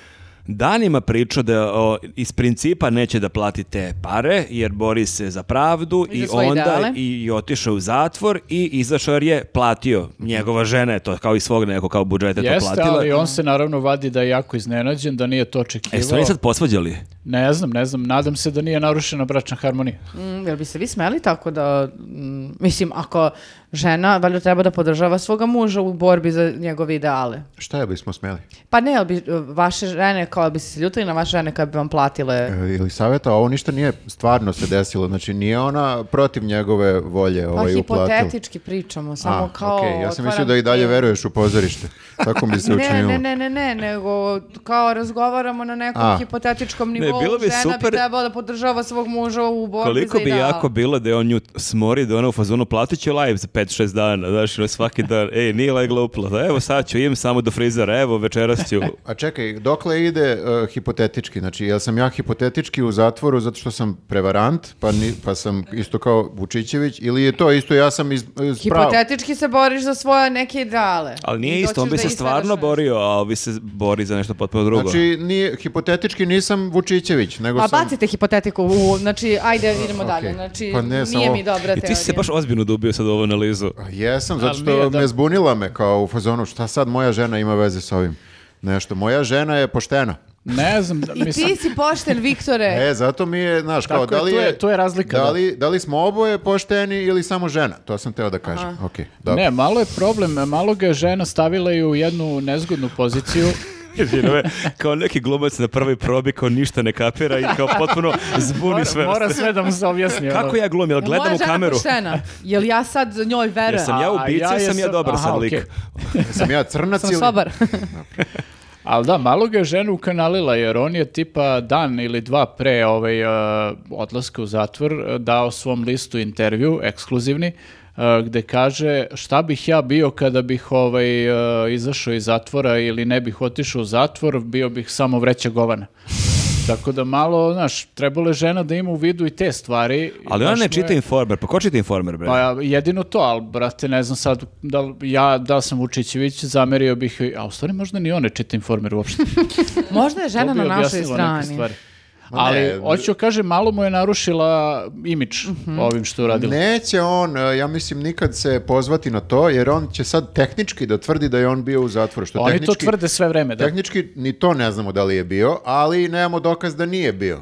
Speaker 4: danima pričao da o, iz principa neće da plati te pare, jer bori se za pravdu
Speaker 1: I
Speaker 4: i,
Speaker 1: za svoje ideale.
Speaker 4: onda i, i otišao u zatvor i izašao jer je platio. Njegova žena je to kao i svog neko kao budžeta to
Speaker 2: Jeste,
Speaker 4: platila.
Speaker 2: ali on se naravno vadi da je jako iznenađen, da nije to
Speaker 4: E, su oni
Speaker 2: očekivao.
Speaker 4: sad posvađali?
Speaker 2: Ne znam, ne znam, nadam se da nije narušena bračna harmonija.
Speaker 1: Mm, jel bi se vi smeli tako da, mm, mislim, ako žena, valjda treba da podržava svoga muža u borbi za njegove ideale.
Speaker 3: Šta je bismo smeli?
Speaker 1: Pa ne, jel bi e, vaše žene, kao bi se ljutili na vaše žene kad bi vam platile...
Speaker 3: E, Ili savjeta, ovo ništa nije stvarno se desilo, znači nije ona protiv njegove volje
Speaker 1: Pa
Speaker 3: ovaj, uplatila.
Speaker 1: hipotetički pričamo, samo
Speaker 3: A,
Speaker 1: kao...
Speaker 3: okej, ja sam mislio
Speaker 1: otvaram
Speaker 3: da i dalje
Speaker 1: temu.
Speaker 3: veruješ u pozorište. Tako mi se
Speaker 1: Ne,
Speaker 3: učinilo.
Speaker 1: ne, ne, ne, ne, nego kao razgovaramo na nekom
Speaker 3: A.
Speaker 1: hipotetičkom
Speaker 4: Ne,
Speaker 1: nivou,
Speaker 4: bilo bi
Speaker 1: žena
Speaker 4: super-
Speaker 1: bi trebala da podržava svog muža u borbi
Speaker 4: Koliko
Speaker 1: za
Speaker 4: bi
Speaker 1: ideal.
Speaker 4: jako bilo da je on nju smori da je ona u fazonu platit će live za 5-6 dana, znaš, ono, svaki dan, ej, nije legla uplata, evo sad ću, im samo do frizera, evo večeras ću.
Speaker 3: A čekaj, dokle ide e, hipotetički? Znači, jel sam ja hipotetički u zatvoru zato što sam prevarant, pa, ni- pa sam isto kao Vučićević, ili je to isto ja sam iz, iz prava?
Speaker 1: Hipotetički se boriš za svoje neke ideale.
Speaker 4: Ali nije
Speaker 1: I
Speaker 4: isto, on
Speaker 1: hoćeš
Speaker 4: bi
Speaker 1: da
Speaker 4: se
Speaker 1: ih
Speaker 4: stvarno
Speaker 1: sadržiš.
Speaker 4: borio, a ovi se bori za nešto potpuno drugo.
Speaker 3: Znači, nije, hipotetički nisam Vučićević, nego
Speaker 1: A
Speaker 3: sam...
Speaker 1: Pa bacite hipotetiku, u, znači, ajde, idemo dalje. Znači,
Speaker 3: Pa ne,
Speaker 1: nije
Speaker 3: samo-
Speaker 1: mi dobra
Speaker 4: I ti si se
Speaker 1: teorija.
Speaker 4: baš ozbiljno dubio sad u ovu analizu.
Speaker 3: A Pa Jesam, zato
Speaker 2: Ali
Speaker 3: što
Speaker 2: nije da-
Speaker 3: me zbunila me kao u fazonu, šta sad moja žena ima veze s ovim? Nešto, moja žena je poštena.
Speaker 2: Ne znam, da,
Speaker 1: I ti
Speaker 2: mislim,
Speaker 1: si pošten, Viktore.
Speaker 3: E, zato mi je, znaš, kao,
Speaker 2: Tako je,
Speaker 3: da li
Speaker 2: to je- to je razlika,
Speaker 3: Da
Speaker 2: da.
Speaker 3: li, da li smo oboje pošteni ili samo žena? To sam teo da kažem. Okej, dobro.
Speaker 2: ne, malo je problem, malo ga je žena stavila i u jednu nezgodnu poziciju.
Speaker 4: Izvino me, kao neki glumac na prvoj probi, kao ništa ne kapira i kao potpuno zbuni sve.
Speaker 2: Mora sve da mu se objasni. ono.
Speaker 4: Kako ja glumim, jel
Speaker 1: Jel
Speaker 4: gledam
Speaker 1: moja
Speaker 4: u
Speaker 1: žena
Speaker 4: kameru?
Speaker 1: poštena? Jel ja sad njoj verujem?
Speaker 4: Jesam ja
Speaker 2: A,
Speaker 4: ubica,
Speaker 2: ja
Speaker 4: sam ja
Speaker 2: jesam-
Speaker 4: dobar
Speaker 2: aha,
Speaker 4: sad lik.
Speaker 2: okej.
Speaker 3: Sam ja crnac
Speaker 1: Sam
Speaker 3: ili...
Speaker 1: sobar.
Speaker 2: Ali da, malo ga je žena ukanalila jer on je tipa dan ili dva pre ovaj, e, odlaska u zatvor e, dao svom listu intervju, ekskluzivni, e, gde kaže šta bih ja bio kada bih ovaj, e, izašao iz zatvora ili ne bih otišao u zatvor, bio bih samo vreća govana. Tako da malo, znaš, trebalo je žena da ima u vidu i te stvari.
Speaker 4: Ali ona
Speaker 2: Baš mu
Speaker 4: ne
Speaker 2: je-
Speaker 4: čita informer, pa ko čita informer, bre?
Speaker 2: Pa ja- jedino to, ali brate, ne znam sad, da, li- ja da sam Vučićević, zamerio bih, joj, a u stvari možda ni one čita informer uopšte.
Speaker 1: Možda je
Speaker 2: To
Speaker 1: žena
Speaker 2: bi
Speaker 1: na našoj
Speaker 2: objasnilo neke
Speaker 1: strani.
Speaker 2: stvari.
Speaker 3: Ma
Speaker 2: Ali
Speaker 3: ne,
Speaker 2: hoću kažem, malo mu je narušila imidž ovim što je uradila.
Speaker 3: Neće on, e, ja mislim, nikad se pozvati na to, jer on će sad tehnički da tvrdi da je on bio u zatvoru. Što
Speaker 2: Oni to
Speaker 3: tehnički,
Speaker 2: tvrde sve vreme, da.
Speaker 3: Tehnički ni to ne znamo da li je bio, ali nemamo dokaz da nije bio.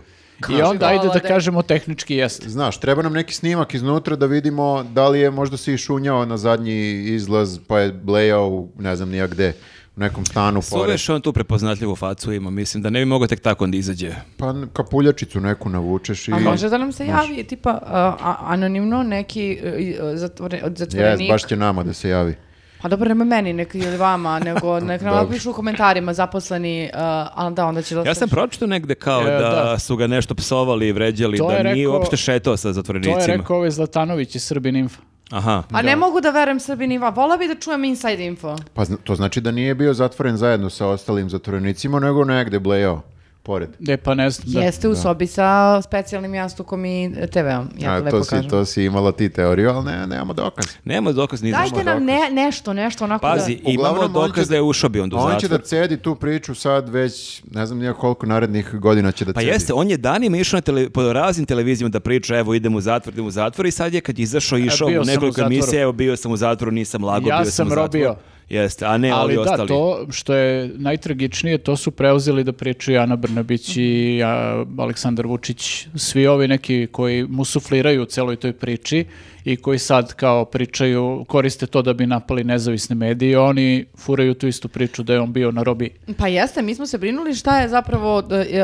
Speaker 2: I onda ajde da
Speaker 1: Kolode.
Speaker 2: kažemo tehnički jeste.
Speaker 3: Znaš, treba nam neki snimak iznutra da vidimo da li je možda se išunjao na zadnji izlaz pa je blejao u ne znam nija gde, u nekom stanu pored.
Speaker 4: Suveš on tu prepoznatljivu facu ima, mislim da ne bi mogao tek tako onda izađe.
Speaker 3: Pa n- kapuljačicu neku navučeš i...
Speaker 1: A može da nam se javi, tipa, uh, a- anonimno neki uh, zatvore, od
Speaker 3: Jes,
Speaker 1: zatvorenika.
Speaker 3: baš će nama da se javi.
Speaker 1: Pa dobro, nema meni neki ili vama, nego nek nam
Speaker 3: Dobro.
Speaker 1: napišu u komentarima zaposleni, uh, ali da, onda će da...
Speaker 4: Ja sam pročito negde kao
Speaker 2: E,
Speaker 4: da,
Speaker 2: da.
Speaker 4: su ga nešto psovali i vređali,
Speaker 2: To
Speaker 4: da
Speaker 2: je
Speaker 4: nije
Speaker 2: rekao-
Speaker 4: uopšte šetao sa
Speaker 2: To
Speaker 4: zatvorenicima.
Speaker 2: je rekao ovaj Zlatanović i Srbin Info.
Speaker 4: Aha.
Speaker 1: A ne mogu da verujem Srbini Iva, vola bi da čujem inside info.
Speaker 3: Pa zna- to znači da nije bio zatvoren zajedno sa ostalim zatvorenicima, nego negde blejao pored.
Speaker 2: E, pa ne znam. Da.
Speaker 1: Jeste u sobi sa specijalnim jastukom i TV-om, ja to
Speaker 3: A,
Speaker 1: lepo
Speaker 3: to, si,
Speaker 1: kažem.
Speaker 3: to si imala ti teoriju, ali ne, nemamo dokaz.
Speaker 4: Nema dokaz ni za
Speaker 1: Dajte
Speaker 4: što.
Speaker 1: nam ne, nešto, nešto onako
Speaker 4: Pazi, imamo
Speaker 3: Uglavnom, on će
Speaker 4: dokaz
Speaker 3: da-
Speaker 4: da je ušao bi onda u
Speaker 3: On će
Speaker 4: zatvor.
Speaker 3: da cedi tu priču sad već, ne znam nije koliko narednih godina će da
Speaker 4: Pa
Speaker 3: cedi.
Speaker 4: jeste, on je danima išao na tele, po raznim televizijama da priča, evo idem u zatvor, idem u zatvor i sad je kad je izašao išao
Speaker 2: E, bio
Speaker 4: u
Speaker 2: sam u
Speaker 4: nekoliko
Speaker 2: zatvoru.
Speaker 4: emisija, evo bio sam u zatvoru, nisam lago,
Speaker 2: Ja
Speaker 4: bio sam,
Speaker 2: sam
Speaker 4: u zatvoru.
Speaker 2: robio.
Speaker 4: Jeste, a ne
Speaker 2: Ali
Speaker 4: ovi
Speaker 2: da,
Speaker 4: ostali.
Speaker 2: to što je najtragičnije, to su preuzeli da pričaju Ana Brnabić i a, Aleksandar Vučić, svi ovi neki koji mu sufliraju u celoj toj priči i koji sad kao pričaju, koriste to da bi napali nezavisne medije, oni furaju tu istu priču da je on bio na robiji.
Speaker 1: Pa jeste, mi smo se brinuli šta je zapravo d- e,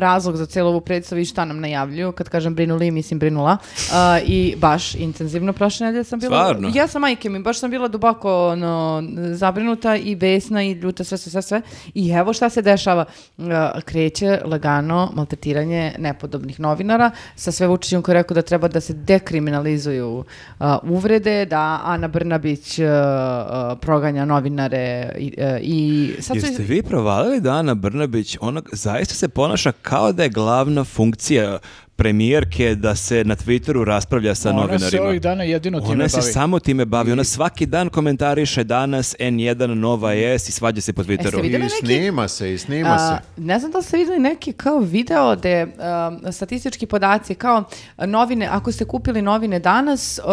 Speaker 1: razlog za cijelu ovu predstavu i šta nam najavljuju. Kad kažem brinuli, mislim brinula. E, I baš intenzivno prošle nedelje sam bila.
Speaker 4: Stvarno?
Speaker 1: Ja sam majke mi, baš sam bila duboko ono, zabrinuta i besna i ljuta, sve, sve, sve, sve. I evo šta se dešava. E, kreće lagano maltretiranje nepodobnih novinara sa sve Vučićem koji je rekao da treba da se dekriminalizuju e, uvrede, da Ana Brnabić e, e, proganja novinare i, e, i sad su iz-
Speaker 4: Jeste vi provalili da Ana Brnabić, ona zaista se ponaša kao da je glavna funkcija premijerke da se na Twitteru raspravlja sa
Speaker 2: Ona se
Speaker 4: novinarima.
Speaker 2: ovih dana jedino time
Speaker 4: Ona
Speaker 2: bavi.
Speaker 4: se samo time bavi, ona svaki dan komentariše danas N1, Nova S i svađa
Speaker 2: E,
Speaker 4: se po Twitteru.
Speaker 1: Jeste videli
Speaker 3: I
Speaker 1: neki-
Speaker 3: snima se, i snima
Speaker 1: A,
Speaker 3: se.
Speaker 1: ne znam da li ste vidjeli neki kao video da je um, statistički podaci kao novine, ako ste kupili novine danas, uh,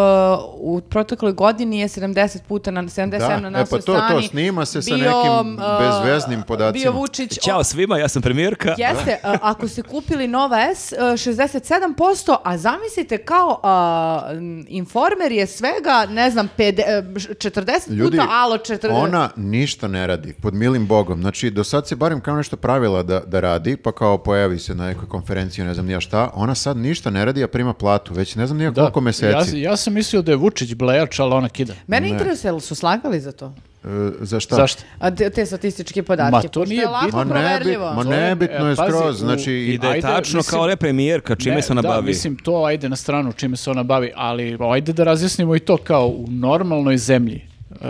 Speaker 1: u protekloj godini je 70 puta na 77
Speaker 3: Da,
Speaker 1: na
Speaker 3: e,
Speaker 1: našoj
Speaker 3: pa to- to,
Speaker 1: strani.
Speaker 3: snima se sa
Speaker 1: bio,
Speaker 3: nekim
Speaker 1: uh,
Speaker 3: bezveznim podacima.
Speaker 1: Bio Vučić,
Speaker 4: Ćao svima, ja sam premijerka.
Speaker 1: Jeste, a, ako ste kupili Nova S, e, 67%, a zamislite kao a, m, informer je svega, ne znam, pede- e, 40
Speaker 3: Ljudi,
Speaker 1: puta, alo 40.
Speaker 3: ona ništa ne radi, pod milim bogom. Znači, do sad se barem kao nešto pravila da, da radi, pa kao pojavi se na nekoj konferenciji, ne znam nija šta. Ona sad ništa ne radi, a prima platu, već ne znam nija
Speaker 2: Da.
Speaker 3: koliko
Speaker 2: Ja,
Speaker 3: meseci.
Speaker 2: ja sam mislio da je Vučić blejač, ali ona kida.
Speaker 1: Mene interesuje, jel su slagali za to?
Speaker 3: E, za šta?
Speaker 2: Zašto?
Speaker 1: A te, te statističke podatke.
Speaker 2: Ma, to
Speaker 1: pošto je
Speaker 2: nije
Speaker 1: lako
Speaker 2: bitno.
Speaker 3: Ma, nebi,
Speaker 1: proverljivo.
Speaker 3: ma
Speaker 2: To je,
Speaker 3: nebitno
Speaker 2: e,
Speaker 3: je
Speaker 2: pazi,
Speaker 3: skroz,
Speaker 2: u-
Speaker 3: znači...
Speaker 4: I da je
Speaker 2: Ajde,
Speaker 4: tačno
Speaker 2: mislim-
Speaker 4: kao da je premijerka, čime
Speaker 2: Ne,
Speaker 4: se ona
Speaker 2: da,
Speaker 4: bavi.
Speaker 2: mislim, to ajde na stranu čime se ona bavi, ali ajde da razjasnimo i to kao u normalnoj zemlji. e,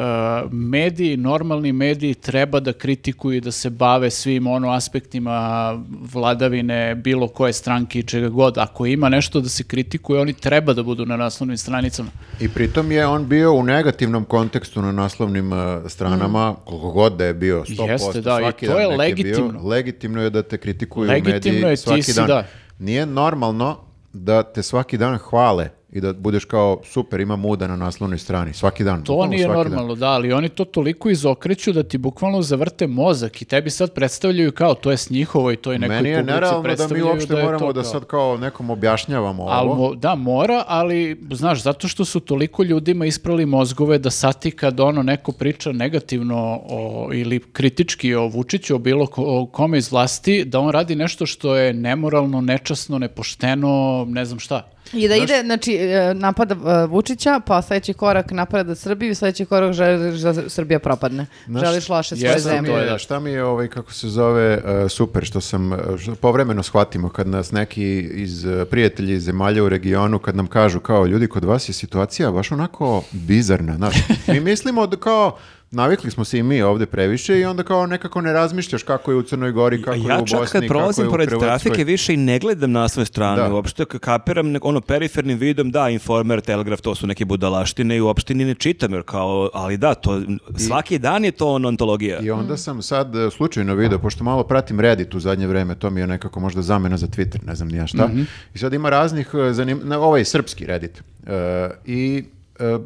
Speaker 2: mediji, normalni mediji treba da kritikuju i da se bave svim ono aspektima vladavine bilo koje stranke i čega god. Ako ima nešto da se kritikuje, oni treba da budu na naslovnim stranicama.
Speaker 3: I pritom je on bio u negativnom kontekstu na naslovnim e, stranama, koliko god da je bio, 100%,
Speaker 2: Mm. Jeste, da, i
Speaker 3: svaki
Speaker 2: to
Speaker 3: dan
Speaker 2: je
Speaker 3: neki
Speaker 2: legitimno.
Speaker 3: Bio, legitimno je da te kritikuju
Speaker 2: Legitimno
Speaker 3: mediji
Speaker 2: je, ti
Speaker 3: svaki
Speaker 2: si,
Speaker 3: dan.
Speaker 2: da.
Speaker 3: Nije normalno da te svaki dan hvale i da budeš kao super, ima muda na naslovnoj strani, svaki dan.
Speaker 2: To
Speaker 3: bukvalno
Speaker 2: nije
Speaker 3: svaki dan.
Speaker 2: normalno, da, ali oni to toliko izokreću da ti bukvalno zavrte mozak i tebi sad predstavljaju kao to je s njihovo i to je nekoj
Speaker 3: Meni je
Speaker 2: publici
Speaker 3: nerealno da mi
Speaker 2: predstavljaju
Speaker 3: uopšte
Speaker 2: je
Speaker 3: moramo
Speaker 2: to
Speaker 3: da
Speaker 2: kao-
Speaker 3: sad kao nekom objašnjavamo
Speaker 2: Al
Speaker 3: ovo.
Speaker 2: mo- da, mora, ali znaš, zato što su toliko ljudima isprali mozgove da sati kad ono neko priča negativno o, ili kritički o Vučiću, o bilo ko- o kome iz vlasti, da on radi nešto što je nemoralno, nečasno, nepošteno, ne znam šta.
Speaker 1: I da ide, znači, e, napada e, Vučića, pa sljedeći korak napada Srbiju, sljedeći korak želiš da Srbija propadne.
Speaker 3: Znaš,
Speaker 1: želiš loše svoje
Speaker 2: jesam
Speaker 3: Šta mi
Speaker 1: zemlje.
Speaker 2: to je,
Speaker 3: je,
Speaker 2: da.
Speaker 3: šta mi je ovaj, kako se zove, e, super što sam, e, što povremeno shvatimo kad nas neki iz e, prijatelji iz zemalja u regionu, kad nam kažu kao ljudi, kod vas je situacija baš onako bizarna, znaš, mi mislimo da kao, navikli smo se i mi ovde previše i onda kao nekako ne razmišljaš kako je u Crnoj Gori, kako
Speaker 4: ja
Speaker 3: je u
Speaker 4: čak
Speaker 3: Bosni, kako
Speaker 4: kad prolazim
Speaker 3: je u
Speaker 4: pored
Speaker 3: Hrvatskoj.
Speaker 4: trafike više i ne gledam naslovne strane
Speaker 3: Da.
Speaker 4: uopšte, k- kapiram nek- ono perifernim vidom, da, informer, telegraf, to su neke budalaštine i uopšte ni ne čitam, jer kao, ali da, to, svaki dan je to ono ontologija.
Speaker 3: I onda sam sad e, slučajno video, pošto malo pratim Reddit u zadnje vreme, to mi je nekako možda zamena za Twitter, ne znam ni ja
Speaker 2: Mhm.
Speaker 3: šta. I sad ima raznih, e, zanim... na, ovaj srpski Reddit. E, I e,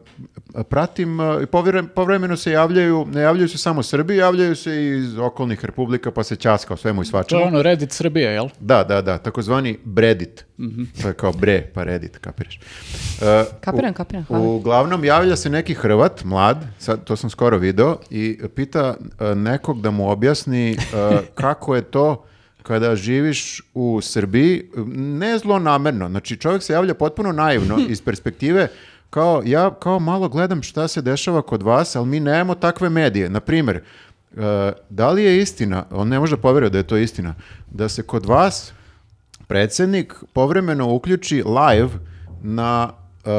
Speaker 3: pratim, e, i povre- povremeno se javljaju, ne javljaju se samo Srbi, javljaju se i iz okolnih republika, pa se ćaska o svemu i
Speaker 2: To
Speaker 3: svačemu.
Speaker 2: je ono Reddit Srbije, jel?
Speaker 3: Da, da, da, takozvani Bredit.
Speaker 2: Mhm.
Speaker 3: To je kao bre, pa Reddit, kapiraš. E,
Speaker 1: Kapiram,
Speaker 3: u-
Speaker 1: kapiram, hvala.
Speaker 3: Uglavnom, javlja se neki Hrvat, mlad, sad to sam skoro video, i pita e, nekog da mu objasni e, kako je to kada živiš u Srbiji, ne zlonamerno, znači čovjek se javlja potpuno naivno iz perspektive kao ja kao malo gledam šta se dešava kod vas, ali mi nemamo takve medije. Na primjer, da li je istina, on ne može da poveruje da je to istina, da se kod vas predsjednik povremeno uključi live na e,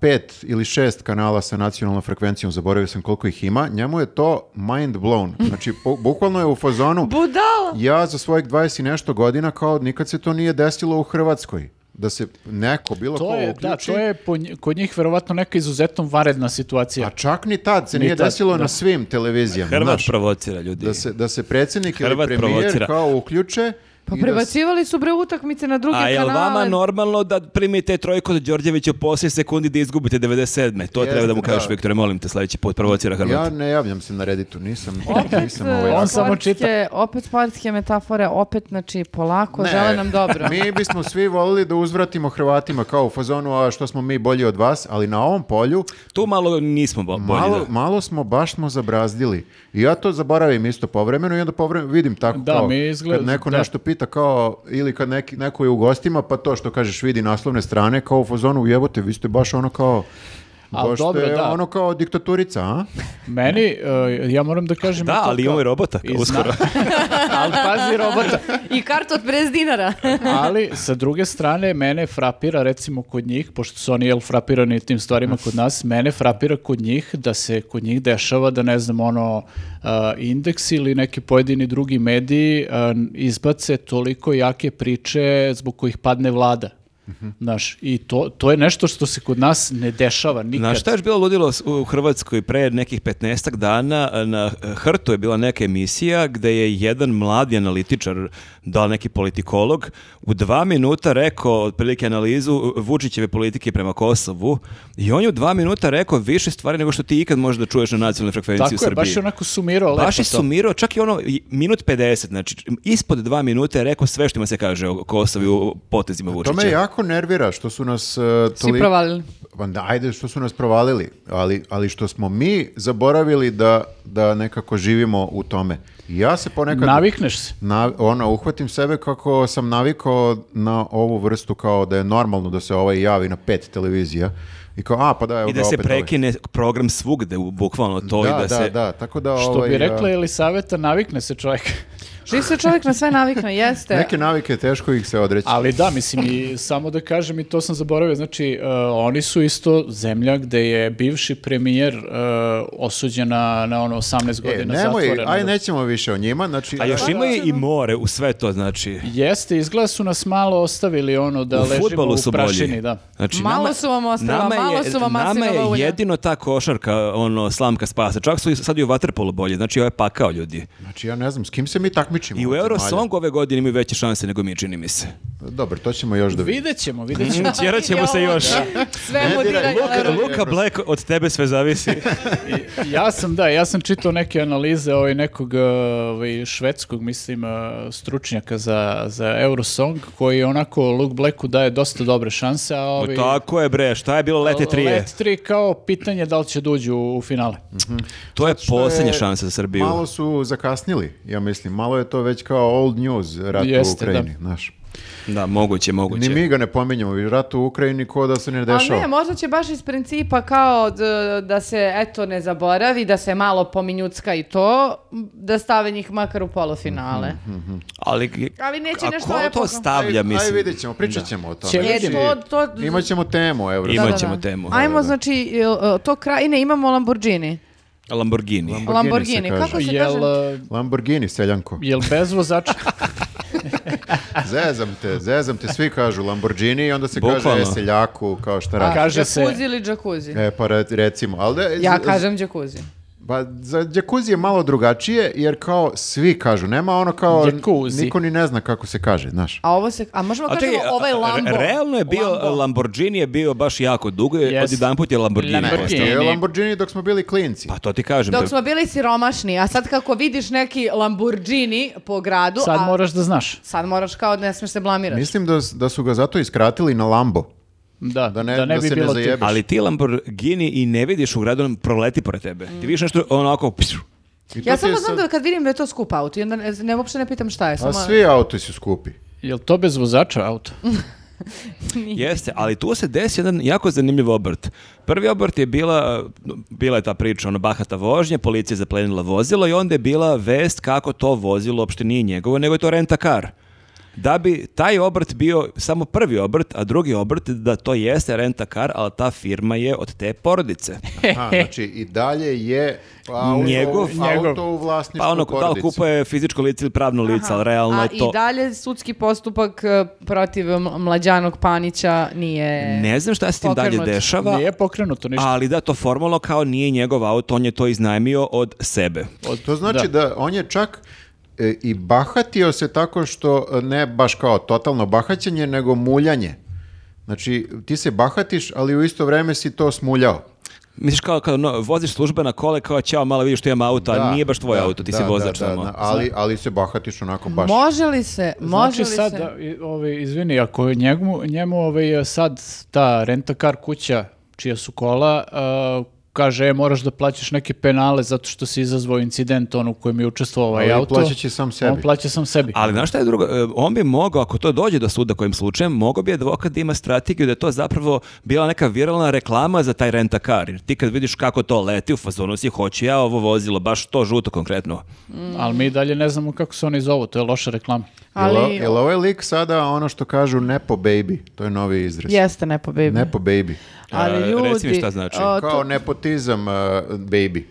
Speaker 3: pet ili šest kanala sa nacionalnom frekvencijom, zaboravio sam koliko ih ima, njemu je to mind blown. Znači, bu- bukvalno je u fazonu,
Speaker 1: Budala!
Speaker 3: ja za svojih 20 i nešto godina kao nikad se to nije desilo u Hrvatskoj. Da se neko, bilo ko
Speaker 2: To je, da,
Speaker 3: uključi,
Speaker 2: to je po nji- kod njih verovatno neka izuzetno varedna
Speaker 3: a
Speaker 2: situacija.
Speaker 3: čak ni tad se
Speaker 2: Ni
Speaker 3: nije
Speaker 2: tad,
Speaker 3: desilo
Speaker 2: da.
Speaker 3: na svim televizijama.
Speaker 4: Hrvat
Speaker 3: znaš.
Speaker 4: provocira ljudi.
Speaker 3: da se, da se predsjednik
Speaker 4: Hrvat
Speaker 3: ili premijer
Speaker 4: provocira.
Speaker 3: kao uključe
Speaker 1: Pa
Speaker 3: i da se-
Speaker 1: prebacivali su bre utakmice na druge
Speaker 4: A
Speaker 1: kanale.
Speaker 4: je vama normalno da primite trojku od Đorđevića u poslije sekundi da izgubite 97. To
Speaker 3: Jeste,
Speaker 4: treba da mu kažeš,
Speaker 3: da.
Speaker 4: Viktore, molim te, sledeći put provocira Hrvat.
Speaker 3: Ja ne javljam se na Redditu, nisam,
Speaker 1: Opet, e,
Speaker 3: nisam ovaj...
Speaker 2: On samo
Speaker 1: sportske-
Speaker 2: čita.
Speaker 1: opet sportske metafore, opet, znači, polako,
Speaker 3: Ne,
Speaker 1: žele nam dobro.
Speaker 3: mi bismo svi volili da uzvratimo Hrvatima kao u fazonu a što smo mi bolji od vas, ali na ovom polju
Speaker 4: Tu malo nismo bo- bolji.
Speaker 3: malo,
Speaker 4: da.
Speaker 3: malo smo, baš smo zabrazdili. I ja to zaboravim isto povremeno i onda povremeno vidim tako
Speaker 2: Da,
Speaker 3: kao
Speaker 2: mi izgleda-
Speaker 3: kad neko
Speaker 2: da.
Speaker 3: nešto pita kao ili kad neki, neko je u gostima pa to što kažeš vidi naslovne strane kao u fazonu jebote, vi ste baš ono kao
Speaker 2: Ali
Speaker 3: baš ste
Speaker 2: dobro, da.
Speaker 3: ono kao diktaturica, a?
Speaker 2: Meni, e, ja moram da kažem... i
Speaker 4: Pa, Da,
Speaker 2: to
Speaker 4: ali
Speaker 2: kao-
Speaker 4: imamo i robota
Speaker 2: I zna-
Speaker 4: uskoro.
Speaker 2: ali pazi robota.
Speaker 1: I kartu od 50 dinara.
Speaker 2: Ali, sa druge strane, mene frapira, recimo, kod njih, pošto su oni, jel, frapirani tim stvarima kod nas, mene frapira kod njih da se kod njih dešava da, ne znam, ono, a, indeks ili neki pojedini drugi mediji a, izbace toliko jake priče zbog kojih padne vlada. Znaš, i to, to je nešto što se kod nas ne dešava nikad.
Speaker 4: Znaš šta je još bilo ludilo s- u Hrvatskoj pre nekih 15 dana? e, Na e, Hrtu je bila neka emisija gde je jedan mladi analitičar, da li neki politikolog, u dva minuta rekao otprilike analizu e, Vučićeve politike prema Kosovu i on je u dva minuta rekao više stvari nego što ti ikad možeš da čuješ na nacionalnoj frekvenciji
Speaker 2: Tako
Speaker 4: u
Speaker 2: je,
Speaker 4: Srbiji.
Speaker 2: baš je onako sumirao lepo
Speaker 4: Baš je
Speaker 2: to.
Speaker 4: sumirao, čak i ono i minut 50, znači ispod dva minute je rekao sve što ima se kaže o Kosovu i o potezima
Speaker 3: To
Speaker 4: Vučića.
Speaker 3: me jako nervira što su nas uh,
Speaker 1: Svi
Speaker 3: toliko...
Speaker 1: provalili.
Speaker 3: Pa da, ajde što su nas provalili, ali, ali što smo mi zaboravili da, da nekako živimo u tome. I Ja se ponekad...
Speaker 2: Navikneš se.
Speaker 3: na- ono, uhvatim sebe kako sam navikao na ovu vrstu kao da je normalno da se ovaj javi na pet televizija i kao, a pa da, evo
Speaker 4: I da
Speaker 3: ga
Speaker 4: se
Speaker 3: opet ovaj.
Speaker 4: prekine program svugde, u- bukvalno to
Speaker 3: Da,
Speaker 4: i da,
Speaker 3: da,
Speaker 4: se...
Speaker 3: da, tako da...
Speaker 2: Što
Speaker 3: ovaj,
Speaker 2: bi rekla
Speaker 3: a,
Speaker 2: Elisaveta, navikne se čovjek.
Speaker 1: Živ se čovjek na sve navikne, jeste.
Speaker 3: Neke navike teško ih se odreći.
Speaker 2: Ali da, mislim, i samo da kažem, i to sam zaboravio, znači, e, oni su isto zemlja gde je bivši premijer e, osuđen na, na ono 18
Speaker 3: E,
Speaker 2: godina
Speaker 3: nemoj,
Speaker 2: zatvora.
Speaker 3: aj nećemo više o njima, znači...
Speaker 4: A još
Speaker 3: aj-
Speaker 4: ima i more u sve to, znači...
Speaker 2: Jeste, izgleda su nas malo ostavili ono da
Speaker 4: u
Speaker 2: ležimo
Speaker 4: fudbalu
Speaker 2: u
Speaker 4: su
Speaker 2: prašini,
Speaker 4: bolji.
Speaker 2: da.
Speaker 4: Znači,
Speaker 1: Malo su vam ostala,
Speaker 4: nama je-
Speaker 1: malo su vam
Speaker 4: Nama
Speaker 1: maslinova
Speaker 4: je
Speaker 1: ulja.
Speaker 4: jedino ta košarka, ono, slamka spasa. Čak su i sad i u vaterpolu bolje, znači ovo je pakao ljudi.
Speaker 3: Znači ja ne znam, s kim se mi takmičimo?
Speaker 4: I u
Speaker 3: od zemalja?
Speaker 4: Eurosongu ove godine imaju veće šanse nego mi, čini mi se.
Speaker 3: Dobro, to ćemo još da vidimo.
Speaker 2: Vidjet ćemo, vidjet ćemo.
Speaker 4: Tjerat ćemo se još.
Speaker 1: Sve
Speaker 3: Ne diraj,
Speaker 1: modiranje.
Speaker 3: Luka-
Speaker 1: Luka,
Speaker 4: Luka Black, od tebe sve zavisi.
Speaker 2: ja sam, da, ja sam čitao neke analize ovaj, nekog e, ovaj, švedskog, mislim, e, stručnjaka za, za Eurosong, koji onako Luke Blacku daje dosta dobre šanse, a ovaj,
Speaker 4: Pa Tako je bre, šta je bilo lete trije?
Speaker 2: Let 3 kao pitanje da li će dođu u, u finale.
Speaker 4: To je
Speaker 3: što je
Speaker 4: posljednja šansa za Srbiju.
Speaker 3: Malo su zakasnili, ja mislim. Malo je to već kao old news rat u
Speaker 2: Jeste, da.
Speaker 3: Ukrajini, znaš.
Speaker 4: Da, moguće, moguće.
Speaker 3: Ni mi ga ne pominjamo, i rat u Ukrajini ko da se ne
Speaker 1: Ali ne,
Speaker 3: dešava.
Speaker 1: možda će baš iz principa kao d- da se, eto, ne zaboravi, da se malo pominjucka i to, da stave njih makar u polufinale.
Speaker 4: Ali,
Speaker 1: Ali neće
Speaker 4: a
Speaker 1: nešto
Speaker 4: ko to
Speaker 1: epohalno.
Speaker 3: Ajde,
Speaker 4: stavlja,
Speaker 3: ajde
Speaker 4: mislim?
Speaker 3: vidjet ćemo, pričat ćemo o tome.
Speaker 2: Će-
Speaker 1: E, to, to...
Speaker 3: Imaćemo temu, evo.
Speaker 4: Imaćemo temu.
Speaker 1: Ajmo, e,
Speaker 3: Da, da.
Speaker 1: znači, il- to kraj... Ne, imamo Lamborghini.
Speaker 4: Lamborghini.
Speaker 3: Lamborghini.
Speaker 1: Lamborghini,
Speaker 3: se kaže.
Speaker 1: kako se
Speaker 2: Jel,
Speaker 1: kaže?
Speaker 2: e,
Speaker 3: Lamborghini, seljanko.
Speaker 2: jel bez vozača?
Speaker 3: Zezam te, zezam te, svi kažu Lamborghini i onda se
Speaker 4: Bukvalno.
Speaker 3: kaže e, seljaku, kao šta
Speaker 1: A,
Speaker 3: radi.
Speaker 2: kaže se-
Speaker 1: Jacuzzi ili jacuzzi?
Speaker 3: E, pa re- recimo, ali... da-
Speaker 1: Ja
Speaker 3: z-
Speaker 1: kažem jacuzzi.
Speaker 3: Ba, za džakuzi je malo drugačije, jer kao svi kažu, nema ono kao,
Speaker 2: Džakuzi.
Speaker 3: niko ni ne zna kako se kaže, znaš.
Speaker 1: A ovo se, a možemo
Speaker 4: A
Speaker 1: kažemo
Speaker 4: čekaj, a-
Speaker 1: ovaj
Speaker 4: a-
Speaker 1: Lambo.
Speaker 4: Realno je bio,
Speaker 1: Lambo.
Speaker 4: Lamborghini je bio baš jako dugo, yes.
Speaker 2: Yes.
Speaker 4: odjedan put je Lamborghini.
Speaker 2: Ne.
Speaker 4: postao.
Speaker 3: Postoje
Speaker 2: Lamborghini.
Speaker 3: Lamborghini dok smo bili klinci.
Speaker 4: Pa to ti kažem.
Speaker 1: Dok
Speaker 4: da-
Speaker 1: smo bili siromašni, a sad kako vidiš neki Lamborghini po gradu,
Speaker 2: Sad
Speaker 1: a
Speaker 2: moraš da znaš.
Speaker 1: sad moraš kao ne smiješ se blamirati.
Speaker 3: Mislim da, s- da su ga zato iskratili na Lambo.
Speaker 2: Da,
Speaker 3: Da
Speaker 2: da
Speaker 3: ne-
Speaker 2: ne,
Speaker 3: da
Speaker 2: bi
Speaker 3: se ne
Speaker 2: bilo ti-
Speaker 3: zajebe.
Speaker 4: Ali ti Lamborghini i ne vidiš u gradu, on proleti pored tebe.
Speaker 1: Mm.
Speaker 4: Ti vidiš nešto onako... pšu.
Speaker 3: I to
Speaker 1: Ja
Speaker 3: ti
Speaker 1: samo
Speaker 3: je
Speaker 1: znam
Speaker 3: sad-
Speaker 1: da kad vidim da je to skup auto i onda ne, ne uopšte ne pitam šta je. Samo,
Speaker 3: A svi auti su skupi.
Speaker 2: Jel to bez vozača auto?
Speaker 4: Jeste, ali tu se desi jedan jako zanimljiv obrt. Prvi obrt je bila, bila je ta priča, ono, bahata vožnja, policija je zaplenila vozilo i onda je bila vest kako to vozilo uopšte nije njegovo, nego je to renta kar. Da bi taj obrt bio samo prvi obrt, a drugi obrt da to jeste renta kar, ali ta firma je od te porodice.
Speaker 3: Aha, znači i dalje je auto,
Speaker 4: Njegov,
Speaker 3: auto
Speaker 2: njegov.
Speaker 3: u vlasništvu
Speaker 4: Pa ono, da li
Speaker 3: porodice.
Speaker 4: kupuje fizičko lice ili pravno lice, ali realno
Speaker 1: a
Speaker 4: je to...
Speaker 1: i dalje sudski postupak e, protiv mla- mlađanog Panića nije...
Speaker 4: Ne znam šta se tim dalje
Speaker 1: Pokrenut.
Speaker 4: dešava,
Speaker 2: Nije pokrenuto ništa.
Speaker 4: ali da, to formalno kao nije njegov auto, on je to iznajmio od sebe.
Speaker 3: To znači da, on je čak e, i bahatio se tako što e, ne baš kao totalno bahaćenje, nego muljanje. Znači, ti se bahatiš, ali u isto vreme si to smuljao.
Speaker 4: Misliš kao kad no, voziš službena kole, kao ćao, malo vidiš što imam auto, a Pa nije baš tvoj
Speaker 3: da,
Speaker 4: auto, ti
Speaker 3: da,
Speaker 4: si
Speaker 3: da,
Speaker 4: vozač
Speaker 3: da,
Speaker 4: samo.
Speaker 3: da, ali, ali se bahatiš onako baš.
Speaker 1: Može li se, može
Speaker 2: Znači
Speaker 1: li
Speaker 2: sad,
Speaker 1: se...
Speaker 2: da, i- ovaj, izvini, ako je njemu, njemu ovaj, sad ta rentakar kuća čija su kola, a, kaže, e, moraš da plaćaš neke penale zato što si izazvao incident on u kojem je učestvovao ovaj
Speaker 3: Ali
Speaker 2: auto.
Speaker 3: plaćat će sam sebi.
Speaker 2: On plaća sam sebi.
Speaker 4: Ali znaš šta je drugo? E, On bi mogao, ako to dođe do suda kojim slučajem, mogao bi advokat da ima strategiju da je to zapravo bila neka viralna reklama za taj rentakar. Jer ti kad vidiš kako to leti u fazonu si, hoću ja ovo vozilo, baš to žuto konkretno.
Speaker 2: Ali mi dalje ne znamo kako se oni zovu, to je loša reklama.
Speaker 3: Jel,
Speaker 1: Ali-
Speaker 3: jel ovaj lik sada ono što kažu nepo baby? To je novi izraz.
Speaker 1: Jeste, ne po baby.
Speaker 3: Nepo baby.
Speaker 4: A,
Speaker 1: Ali ljudi...
Speaker 4: reci mi šta znači.
Speaker 1: o, to-
Speaker 3: Kao nepotizam uh, baby.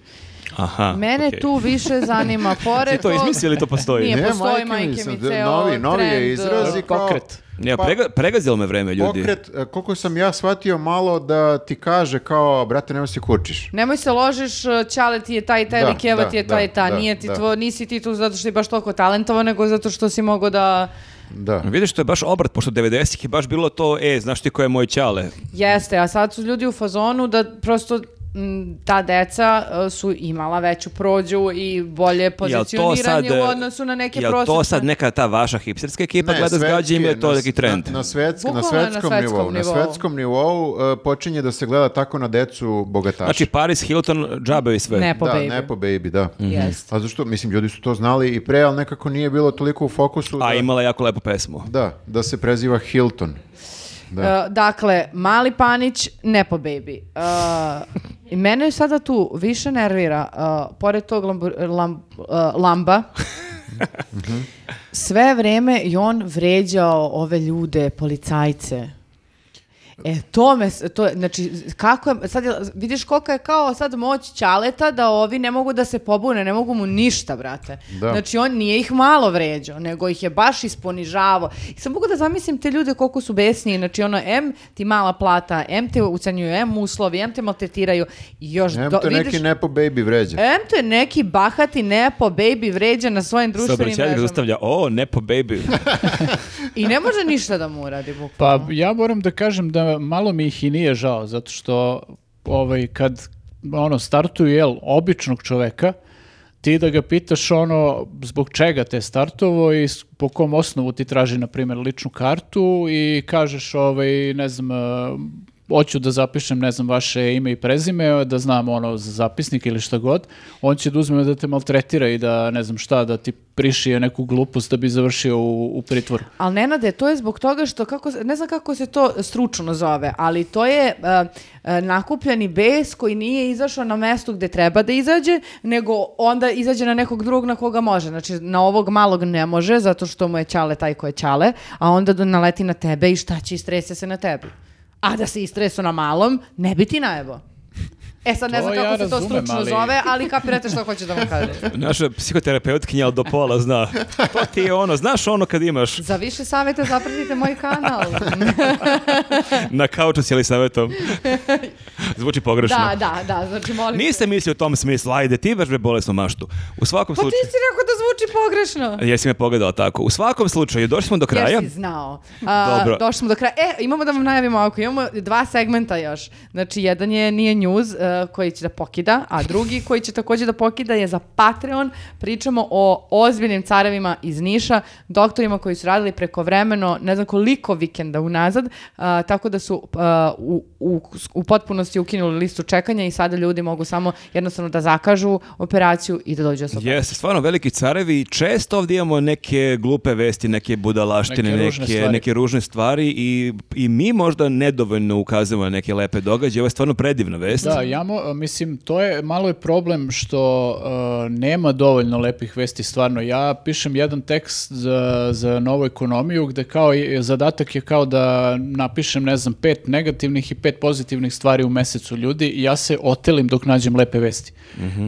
Speaker 4: Aha,
Speaker 1: Mene
Speaker 4: okej.
Speaker 1: tu više zanima, pored
Speaker 4: Ti to
Speaker 1: tog-
Speaker 4: izmisli ili to postoji?
Speaker 1: Nije,
Speaker 3: Ne,
Speaker 1: postoji,
Speaker 3: majke mi,
Speaker 1: majke mi,
Speaker 3: sad,
Speaker 1: ceo
Speaker 3: novi- novi je
Speaker 1: trend, uh,
Speaker 3: izraz i- Kao-
Speaker 2: Pokret.
Speaker 4: Ja, prega- pregazilo me vreme, ljudi.
Speaker 3: Pokret, e, koliko sam ja shvatio malo da ti kaže kao, brate, nema se kučiš.
Speaker 1: Nemoj se ložiš, e, Ćale ti je taj i taj,
Speaker 3: Da,
Speaker 1: ili Keva
Speaker 3: da,
Speaker 1: ti je
Speaker 3: da,
Speaker 1: taj i ta.
Speaker 3: da,
Speaker 1: Nije ti
Speaker 3: da.
Speaker 1: tvo, nisi ti tu zato što je baš toliko talentovan, nego zato što si mogao da...
Speaker 3: Da.
Speaker 4: Pa Vidiš, to je baš obrat, pošto 90-ih je baš bilo to, e, znaš ti ko je moj čale?
Speaker 1: Jeste, a sad su ljudi u fazonu da prosto m, ta deca e, su imala veću prođu i bolje pozicioniranje u odnosu na neke
Speaker 4: e, jel
Speaker 1: prosječne.
Speaker 4: to sad neka ta vaša hipsterska ekipa
Speaker 3: Ne,
Speaker 4: pa gleda
Speaker 3: svetski
Speaker 4: zgađa im
Speaker 3: je,
Speaker 4: je to
Speaker 3: na-
Speaker 4: neki trend?
Speaker 3: Na, na, svetsk- na
Speaker 1: Bukvalno je na
Speaker 3: svetskom
Speaker 1: svetskom
Speaker 3: nivou. Na
Speaker 1: nivou.
Speaker 3: svetskom nivou e, počinje da se gleda tako na decu bogataša.
Speaker 4: Znači Paris Hilton džabe i sve.
Speaker 1: Ne, po
Speaker 3: da,
Speaker 1: baby. Mhm.
Speaker 3: nepo baby, da.
Speaker 1: Jeste.
Speaker 3: A zašto? Mislim, ljudi su to znali i pre, ali nekako nije bilo toliko u fokusu.
Speaker 4: A
Speaker 3: da,
Speaker 4: imala je jako lepu pesmu.
Speaker 3: Da, da se preziva Hilton. Da.
Speaker 1: E, dakle, mali panić, ne po baby. E, I mene sada tu više nervira, e, pored tog lambu- lam- e, lamba, sve vreme je on vređao ove ljude, policajce. E, to me, s- to, je- znači, kako je, sad, je- vidiš kolika je kao sad moć Ćaleta da ovi ne mogu da se pobune, ne mogu mu ništa, brate.
Speaker 3: Da.
Speaker 1: Znači, on nije ih malo vređao, nego ih je baš isponižavao. I sad mogu da zamislim te ljude koliko su besni, znači, ono, M ti mala plata, M te ucenjuju, M uslovi, M te maltretiraju i još...
Speaker 3: Em
Speaker 1: E, do-
Speaker 3: to
Speaker 1: vidiš- E,
Speaker 3: neki nepo baby vređa.
Speaker 1: Em te neki bahati nepo baby vređa na svojim društvenim
Speaker 4: Saobraćajnik
Speaker 1: mrežama.
Speaker 4: zaustavlja, o, ne po baby.
Speaker 1: I ne može ništa da mu uradi, bukvalno.
Speaker 2: Pa ja moram da kažem da malo mi ih i nije žao, zato što ovaj, kad ono, startuju jel, običnog čoveka, ti da ga pitaš ono zbog čega te startovo i s- po kom osnovu ti traži na primjer ličnu kartu i kažeš ovaj ne znam e, hoću da zapišem ne znam vaše ime i prezime da znam ono za zapisnik ili šta god on će da uzme da te maltretira i da ne znam šta da ti prišije neku glupost da bi završio u, u pritvoru.
Speaker 1: Ali Nenade, to je zbog toga što, kako, se- ne znam kako se to stručno zove, ali to je e, e, nakupljeni bes koji nije izašao na mesto gde treba da izađe, nego onda izađe na nekog drugog na koga može. Znači, na ovog malog ne može, zato što mu je ćale taj ko je ćale, a onda do- naleti na tebe i šta će, istrese se na tebi. A da se istresu na malom, ne bi ti najebo. E sad ne
Speaker 2: To
Speaker 1: znam
Speaker 2: ja
Speaker 1: kako se to
Speaker 2: razumem,
Speaker 1: stručno
Speaker 2: ali-
Speaker 1: zove, ali kapirate što hoću da vam kažem.
Speaker 4: Naša psihoterapeutkinja do pola zna. To ti je ono, znaš ono kad imaš
Speaker 1: Za više savete zapratite moj kanal.
Speaker 4: na kauču sjeli savjetom. Zvuči pogrešno.
Speaker 1: da, da, da, znači molim. te.
Speaker 4: Nisam mislio u tom smislu, ajde ti baš bre bolesnu maštu. U svakom
Speaker 1: Pa ti
Speaker 4: slučaju...
Speaker 1: si rekao da zvuči pogrešno.
Speaker 4: Jesi me pogledao tako. U svakom slučaju, došli smo do E, kraja.
Speaker 1: Jer si znao. A,
Speaker 4: Dobro.
Speaker 1: Došli smo do kraja. E, imamo da vam najavimo ovako. Imamo dva segmenta još. Znači, jedan je Nije News e, koji će da pokida, a drugi koji će takođe da pokida je za Patreon. Pričamo o ozbiljnim carevima iz Niša, doktorima koji su radili prekovremeno, ne znam koliko vikenda unazad, a, tako da su a, u, u, u potpunosti ukinuli listu čekanja i sada ljudi mogu samo jednostavno da zakažu operaciju i da dođu osoba.
Speaker 4: Jeste, stvarno veliki carevi i često ovdje imamo neke glupe vesti, neke
Speaker 2: Neke
Speaker 4: budalaštine, neke,
Speaker 2: ružne
Speaker 4: neke,
Speaker 2: stvari.
Speaker 4: ružne stvari i, i mi možda nedovoljno ukazujemo na neke lepe događaje. Ovo je stvarno predivna vest.
Speaker 2: Da, ja mo- mislim, to je, malo je problem što e, nema dovoljno lepih vesti, stvarno. Ja pišem jedan tekst za, za novu ekonomiju gde kao, je- zadatak je kao da napišem, ne znam, pet negativnih i pet pozitivnih stvari u mesecu ljudi i ja se otelim dok nađem lepe vesti.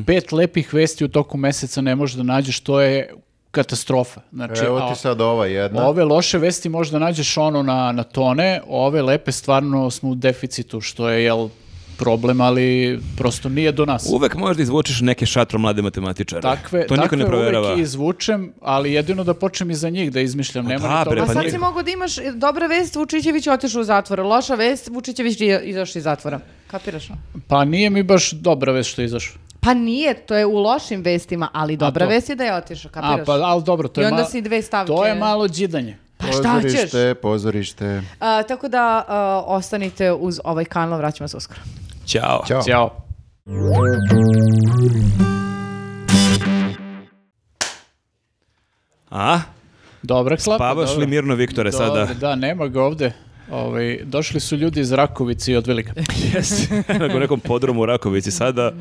Speaker 2: Pet lepih vesti u toku meseca ne možeš da nađeš, to je katastrofa. Znači,
Speaker 3: Evo
Speaker 2: a-
Speaker 3: ti sad ova jedna.
Speaker 2: Ove loše vesti možda nađeš ono na, na tone, ove lepe stvarno smo u deficitu, što je jel, problem, ali prosto nije do nas.
Speaker 4: Uvek možeš da izvučeš neke šatro mlade matematičare.
Speaker 2: takve
Speaker 4: to niko
Speaker 2: takve
Speaker 4: ne provjerava.
Speaker 2: uvek izvučem, ali jedino da počnem iza njih da izmišljam. Nema
Speaker 4: da,
Speaker 2: ni toga.
Speaker 4: bre,
Speaker 1: A
Speaker 4: pa
Speaker 1: sad
Speaker 4: nije-
Speaker 1: si mogao da imaš e, dobra vest, Vučićević je otišao u zatvor, loša vest, Vučićević je izašao iz zatvora. Kapiraš? no?
Speaker 2: Pa nije mi baš dobra vest što je izašao.
Speaker 1: Pa nije, to je u lošim vestima, ali dobra
Speaker 2: to?
Speaker 1: vest je da je otišao,
Speaker 2: A,
Speaker 1: kapiraš?
Speaker 2: pa, ali dobro, to
Speaker 1: I
Speaker 2: je
Speaker 1: onda
Speaker 2: malo-
Speaker 1: si dve stavke.
Speaker 2: To je malo džidanje.
Speaker 1: Pa šta ćeš?
Speaker 3: Pozorište, pozorište.
Speaker 1: A, tako da a, ostanite uz ovaj kanal, vraćamo se uskoro.
Speaker 4: Ćao.
Speaker 3: Ćao.
Speaker 2: Ćao.
Speaker 4: A?
Speaker 2: Dobra klapa.
Speaker 4: Pavaš
Speaker 2: dobra.
Speaker 4: li mirno Viktore sada?
Speaker 2: Dobro, Da, nema ga ovde. Ovaj, došli su ljudi iz Rakovice i od Velika.
Speaker 4: Jesi. Na nekom podromu u Rakovici sada.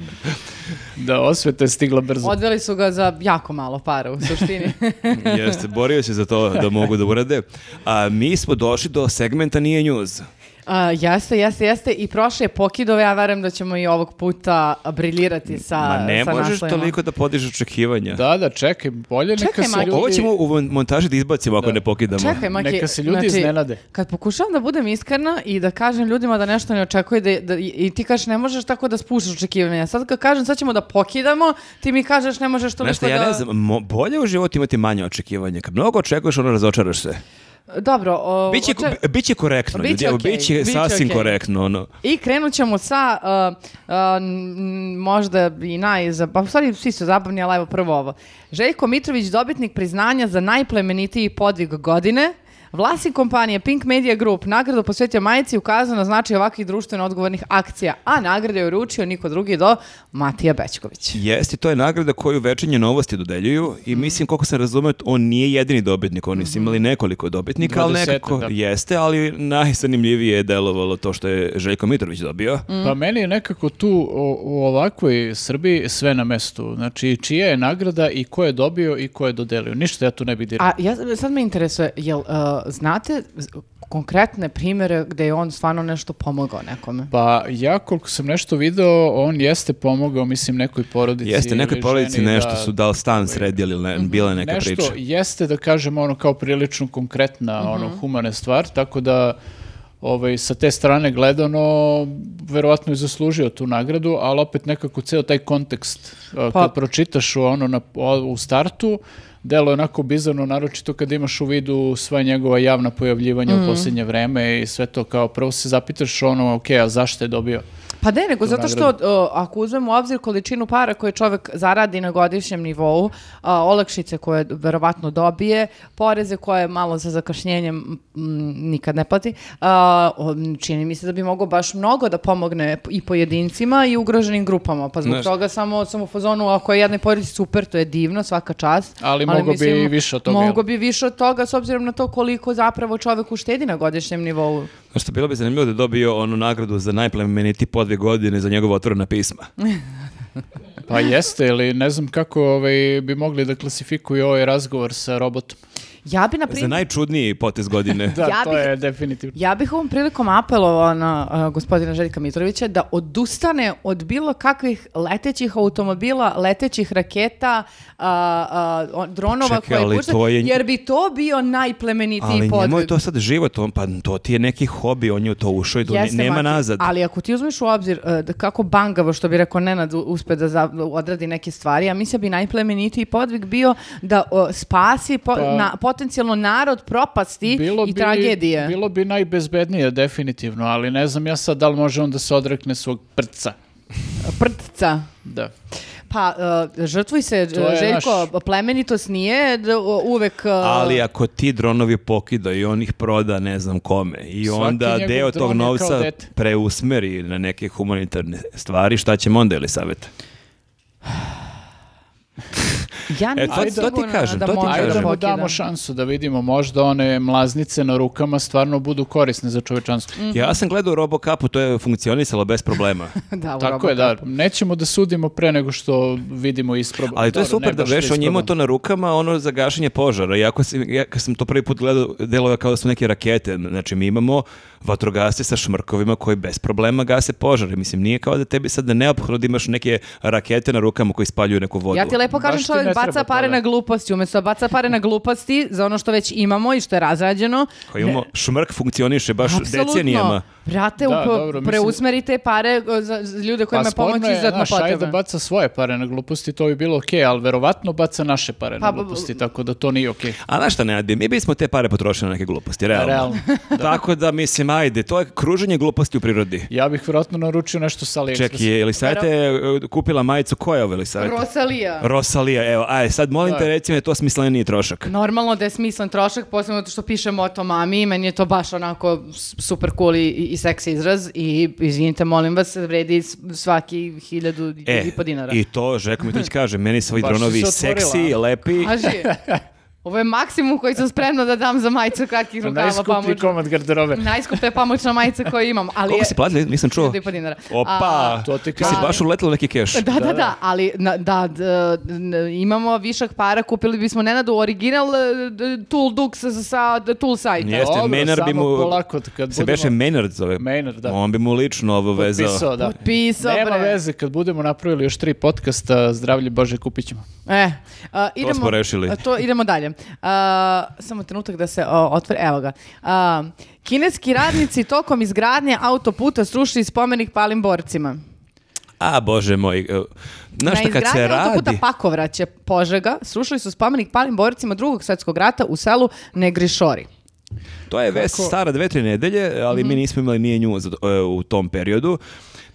Speaker 2: Da, osveta je stigla brzo.
Speaker 1: Odveli su ga za jako malo para u suštini.
Speaker 4: Jeste, borio se za to da mogu da urade. A mi smo došli do segmenta Nije njuz.
Speaker 1: A, jeste, jeste, jeste. I prošle je pokidove, ja verujem da ćemo i ovog puta briljirati sa
Speaker 4: Ma ne
Speaker 1: sa
Speaker 4: možeš
Speaker 1: naslovima.
Speaker 4: toliko da podižeš očekivanja.
Speaker 2: Da, da, čekaj, bolje neka
Speaker 1: Čekaj,
Speaker 2: se
Speaker 1: Maki.
Speaker 2: ljudi...
Speaker 4: Ovo ćemo u mon- montaži da izbacimo ako ne pokidamo.
Speaker 1: Čekaj, Maki, znači,
Speaker 2: Neka se ljudi iznenade.
Speaker 1: Kad pokušavam da budem iskrena i da kažem ljudima da nešto ne očekuje da, da- i- i ti kažeš ne možeš tako da spušaš očekivanja. Sad kad kažem sad ćemo da pokidamo, ti mi kažeš ne možeš to
Speaker 4: Znaš šta,
Speaker 1: nešto
Speaker 4: ja
Speaker 1: da...
Speaker 4: ne znam, mo- bolje u životu imati manje očekivanja. Kad mnogo očekuješ, ono razočaraš se.
Speaker 1: Dobro. o,
Speaker 4: Biće,
Speaker 1: oče-
Speaker 4: biće korektno,
Speaker 1: Biće
Speaker 4: ljudi, evo,
Speaker 1: okej,
Speaker 4: biće,
Speaker 1: biće
Speaker 4: sasvim
Speaker 1: okej.
Speaker 4: korektno. Ono.
Speaker 1: I krenut ćemo sa uh, uh, n- možda i najza... Pa u stvari svi su zabavni, ali evo prvo ovo. Željko Mitrović, dobitnik priznanja za najplemenitiji podvig godine. Vlasnik kompanije Pink Media Group nagradu posvetio majici i ukazao na značaj ovakvih društveno odgovornih akcija, a nagrade je uručio niko drugi do Matija Bećković.
Speaker 4: Jeste, to je nagrada koju večernje novosti dodeljuju i
Speaker 1: Mhm.
Speaker 4: mislim, koliko sam razumio, on nije jedini dobitnik, oni su imali nekoliko dobitnika, ali
Speaker 2: 20-ak,
Speaker 4: nekako
Speaker 2: da.
Speaker 4: jeste, ali najzanimljivije je delovalo to što je Željko Mitrović dobio.
Speaker 1: Mhm.
Speaker 2: Pa meni je nekako tu o- u ovakvoj Srbiji sve na mestu. Znači, čija je nagrada i ko je dobio i ko je dodelio. Ništa ja tu ne bih dirao.
Speaker 1: A ja, sad me interesuje, jel uh, znate z- konkretne primere gde je on stvarno nešto pomogao nekome?
Speaker 2: Pa ja koliko sam nešto video, on jeste pomogao, mislim, nekoj porodici.
Speaker 4: Jeste, nekoj
Speaker 2: ili
Speaker 4: porodici
Speaker 2: ženi
Speaker 4: nešto
Speaker 2: da-
Speaker 4: su dal stan sredili ili ne,
Speaker 1: Mhm.
Speaker 4: bila je neka
Speaker 2: Nešto
Speaker 4: priča.
Speaker 2: jeste, da kažem, ono kao prilično konkretna, ono,
Speaker 1: Mhm.
Speaker 2: humane stvar, tako da ovaj, sa te strane gledano, verovatno je zaslužio tu nagradu, ali opet nekako ceo taj kontekst, a,
Speaker 1: Pa-
Speaker 2: kad pročitaš ono na, o- u startu, delo je onako bizarno, naročito kad imaš u vidu sva njegova javna pojavljivanja
Speaker 1: Mhm.
Speaker 2: u posljednje vreme i sve to kao, prvo se zapitaš ono, ok, a zašto je dobio?
Speaker 1: Pa ne, nego zato što
Speaker 2: nagradu.
Speaker 1: o, ako uzmemo u obzir količinu para koje čovek zaradi na godišnjem nivou, a, olakšice koje verovatno dobije, poreze koje malo sa zakašnjenjem mm, nikad ne plati, a, o, m, čini mi se da bi mogao baš mnogo da pomogne i pojedincima i ugroženim grupama. Pa zbog
Speaker 4: Znaš-
Speaker 1: toga samo sam u fazonu, ako je jednoj porodici super, to je divno, svaka čast.
Speaker 2: Ali mogao bi i više od toga, jel?
Speaker 1: Mogao bi više od toga s obzirom na to koliko zapravo čovek uštedi na godišnjem nivou.
Speaker 4: Znaš što, bilo bi zanimljivo da je dobio onu nagradu za najplemeniti po dve godine za njegova otvorena pisma.
Speaker 2: Pa jeste, ili ne znam kako ovaj, bi mogli da klasifikuju ovaj razgovor sa robotom.
Speaker 1: Ja bi, na
Speaker 4: Za
Speaker 1: primjer,
Speaker 4: najčudniji potez godine.
Speaker 2: Da,
Speaker 1: Ja
Speaker 2: to
Speaker 1: bih-
Speaker 2: je definitivno.
Speaker 1: Ja bih ovom prilikom apelovao na a, gospodina Željka Mitrovića da odustane od bilo kakvih letećih automobila, letećih raketa, a, a, o- dronova
Speaker 4: Čekaj, ali
Speaker 1: koje pušta,
Speaker 4: to je-
Speaker 1: jer bi to bio
Speaker 4: Ali
Speaker 1: najplemenitiji
Speaker 4: njemu je
Speaker 1: podvig.
Speaker 4: to sad život, on, pa to ti je neki hobi, on je u to ušao i to ne-
Speaker 1: Jeste,
Speaker 4: nema
Speaker 1: Maki,
Speaker 4: nazad.
Speaker 1: Ali ako ti uzmeš u obzir e, da kako bangavo, što bi rekao Nenad, u- uspe da za- odradi neke stvari, a mislim da bi najplemenitiji podvig bio da o, spasi po-
Speaker 2: Pa-
Speaker 1: na- potencijalno narod propasti i tragedije.
Speaker 2: Bilo bi najbezbednije, definitivno, ali ne znam ja sad da li može on da se odrekne svog prca.
Speaker 1: Prdca.
Speaker 2: Da.
Speaker 1: Pa, e, žrtvuj se,
Speaker 2: To je
Speaker 1: Željko, plemenitost nije d- u- uvek... e,
Speaker 4: Ali ako ti dronovi pokida i on ih proda ne znam kome i
Speaker 2: Svaki
Speaker 4: onda
Speaker 2: njegov
Speaker 4: deo tog
Speaker 2: dron je kao
Speaker 4: novca
Speaker 2: dete.
Speaker 4: preusmeri na neke humanitarne stvari, šta ćemo onda ili savjet?
Speaker 1: ja
Speaker 4: E, to-
Speaker 1: nisam
Speaker 4: to ti
Speaker 1: sigurna
Speaker 4: kažem,
Speaker 1: da
Speaker 4: to ti
Speaker 1: može
Speaker 4: kažem.
Speaker 2: Ajde da mu
Speaker 1: pokida.
Speaker 2: damo šansu da vidimo možda one mlaznice na rukama stvarno budu korisne za čovečanstvo.
Speaker 1: Mm,
Speaker 4: Ja sam gledao Robocupu, to je funkcionisalo bez problema.
Speaker 1: Da, u
Speaker 2: Tako je, da.
Speaker 1: Robocupu.
Speaker 2: Nećemo da sudimo pre nego što vidimo isprobu.
Speaker 4: Ali to je
Speaker 2: Dobro,
Speaker 4: super
Speaker 2: ne
Speaker 4: da
Speaker 2: baš da
Speaker 4: veš, on je imao
Speaker 2: isprobamo.
Speaker 4: to na rukama, ono za gašenje požara. Iako sam, ja kad sam to prvi put gledao, delo je kao da su neke rakete. Znači, mi imamo vatrogasce sa šmrkovima koji bez problema gase požare. Mislim, nije kao da tebi sad da neophodno da imaš neke rakete na rukama koji spaljuju neku vodu.
Speaker 1: Ja ti lepo
Speaker 2: Baš
Speaker 1: kažem
Speaker 2: ti ne
Speaker 1: čovjek
Speaker 2: treba
Speaker 1: baca
Speaker 2: to,
Speaker 1: pare
Speaker 2: da.
Speaker 1: na gluposti, umjesto da baca pare na gluposti za ono što već imamo i što je razrađeno.
Speaker 4: Koji Pa imamo, šmrk funkcioniše baš
Speaker 1: Apsolutno.
Speaker 4: decenijama.
Speaker 1: Brate,
Speaker 2: Da,
Speaker 1: upo-
Speaker 2: dobro, mislim-
Speaker 1: preusmerite pare e, za, za ljude
Speaker 2: Pa
Speaker 1: kojima je
Speaker 2: sporno
Speaker 1: pomoć
Speaker 2: je,
Speaker 1: izuzetno
Speaker 2: znaš, ajde da
Speaker 1: potrebna.
Speaker 2: baca svoje pare na gluposti, to bi bilo okej, ali verovatno baca naše pare
Speaker 1: Pa,
Speaker 2: na
Speaker 1: b-
Speaker 2: gluposti, tako da to nije okej.
Speaker 4: A znaš šta, Nenad, mi bismo te pare potrošili na neke gluposti, realno.
Speaker 2: Realno,
Speaker 4: Tako da, mislim, ajde, to je kruženje gluposti u prirodi.
Speaker 2: Ja bih vjerojatno naručio nešto sa AliExpressa.
Speaker 4: Ček, je Elisaveta je e, kupila majicu, koja je ovo Elisaveta?
Speaker 1: Rosalija.
Speaker 4: Rosalija, evo, aj, sad molim te
Speaker 2: Da.
Speaker 4: reci mi, je to smisleniji trošak.
Speaker 1: Normalno da je smislen trošak, posebno zato što pišem o to mami, meni je to baš onako s- super cool i, i seksi izraz i izvinite, molim vas, vredi s- svaki hiljadu i- i po dinara.
Speaker 4: E, i to Željko Mitrović kaže, meni su ovi
Speaker 2: Baš si
Speaker 4: dronovi
Speaker 2: se otvorila.
Speaker 4: seksi, lepi.
Speaker 1: Kaži, ovo je maksimum koji sam spremna da dam za majicu kratkih rukava
Speaker 2: Najskuplji
Speaker 1: pamučna.
Speaker 2: komad garderobe.
Speaker 1: Najskuplja pamučna majica koju imam. Ali
Speaker 4: Koliko
Speaker 1: je-
Speaker 4: si platili? Nisam čuo.
Speaker 1: Hiljadu i po dinara.
Speaker 4: Opa,
Speaker 1: A-
Speaker 2: To ti
Speaker 4: ti si
Speaker 2: kažem.
Speaker 4: baš uletila u neki keš.
Speaker 1: Da, da, da, ali na- da, d- n- imamo višak para, kupili bismo Nenadu original e, d- Tool Dux sa, sa d- Tool sajta.
Speaker 4: Jeste,
Speaker 2: Dobro,
Speaker 4: Maynard bi
Speaker 2: samo
Speaker 4: mu...
Speaker 2: polako, kad
Speaker 4: se
Speaker 2: budemo-
Speaker 4: beše Maynard zove.
Speaker 2: Maynard, da.
Speaker 4: On bi mu lično ovo vezao.
Speaker 2: Potpisao, da.
Speaker 1: Potpisao,
Speaker 2: Nema
Speaker 1: bre.
Speaker 2: veze, kad budemo napravili još tri podcasta, zdravlje Bože, kupit ćemo.
Speaker 1: E, a, idemo,
Speaker 4: smo rešili.
Speaker 1: a, to idemo dalje. A, samo trenutak da se o, otvori, evo ga. A, kineski radnici tokom izgradnje autoputa srušili spomenik palim borcima.
Speaker 4: A, bože moj. e, Znaš šta,
Speaker 1: Na
Speaker 4: kad
Speaker 1: izgradnji
Speaker 4: se
Speaker 1: autoputa
Speaker 4: radi...
Speaker 2: pa-
Speaker 1: Pakovraće, Požega, srušili su spomenik palim borcima drugog svjetskog rata u selu Negrišori.
Speaker 4: To je vest stara dve, tri nedelje, ali
Speaker 2: Mhm.
Speaker 4: mi nismo imali nije nju za- e, u tom periodu.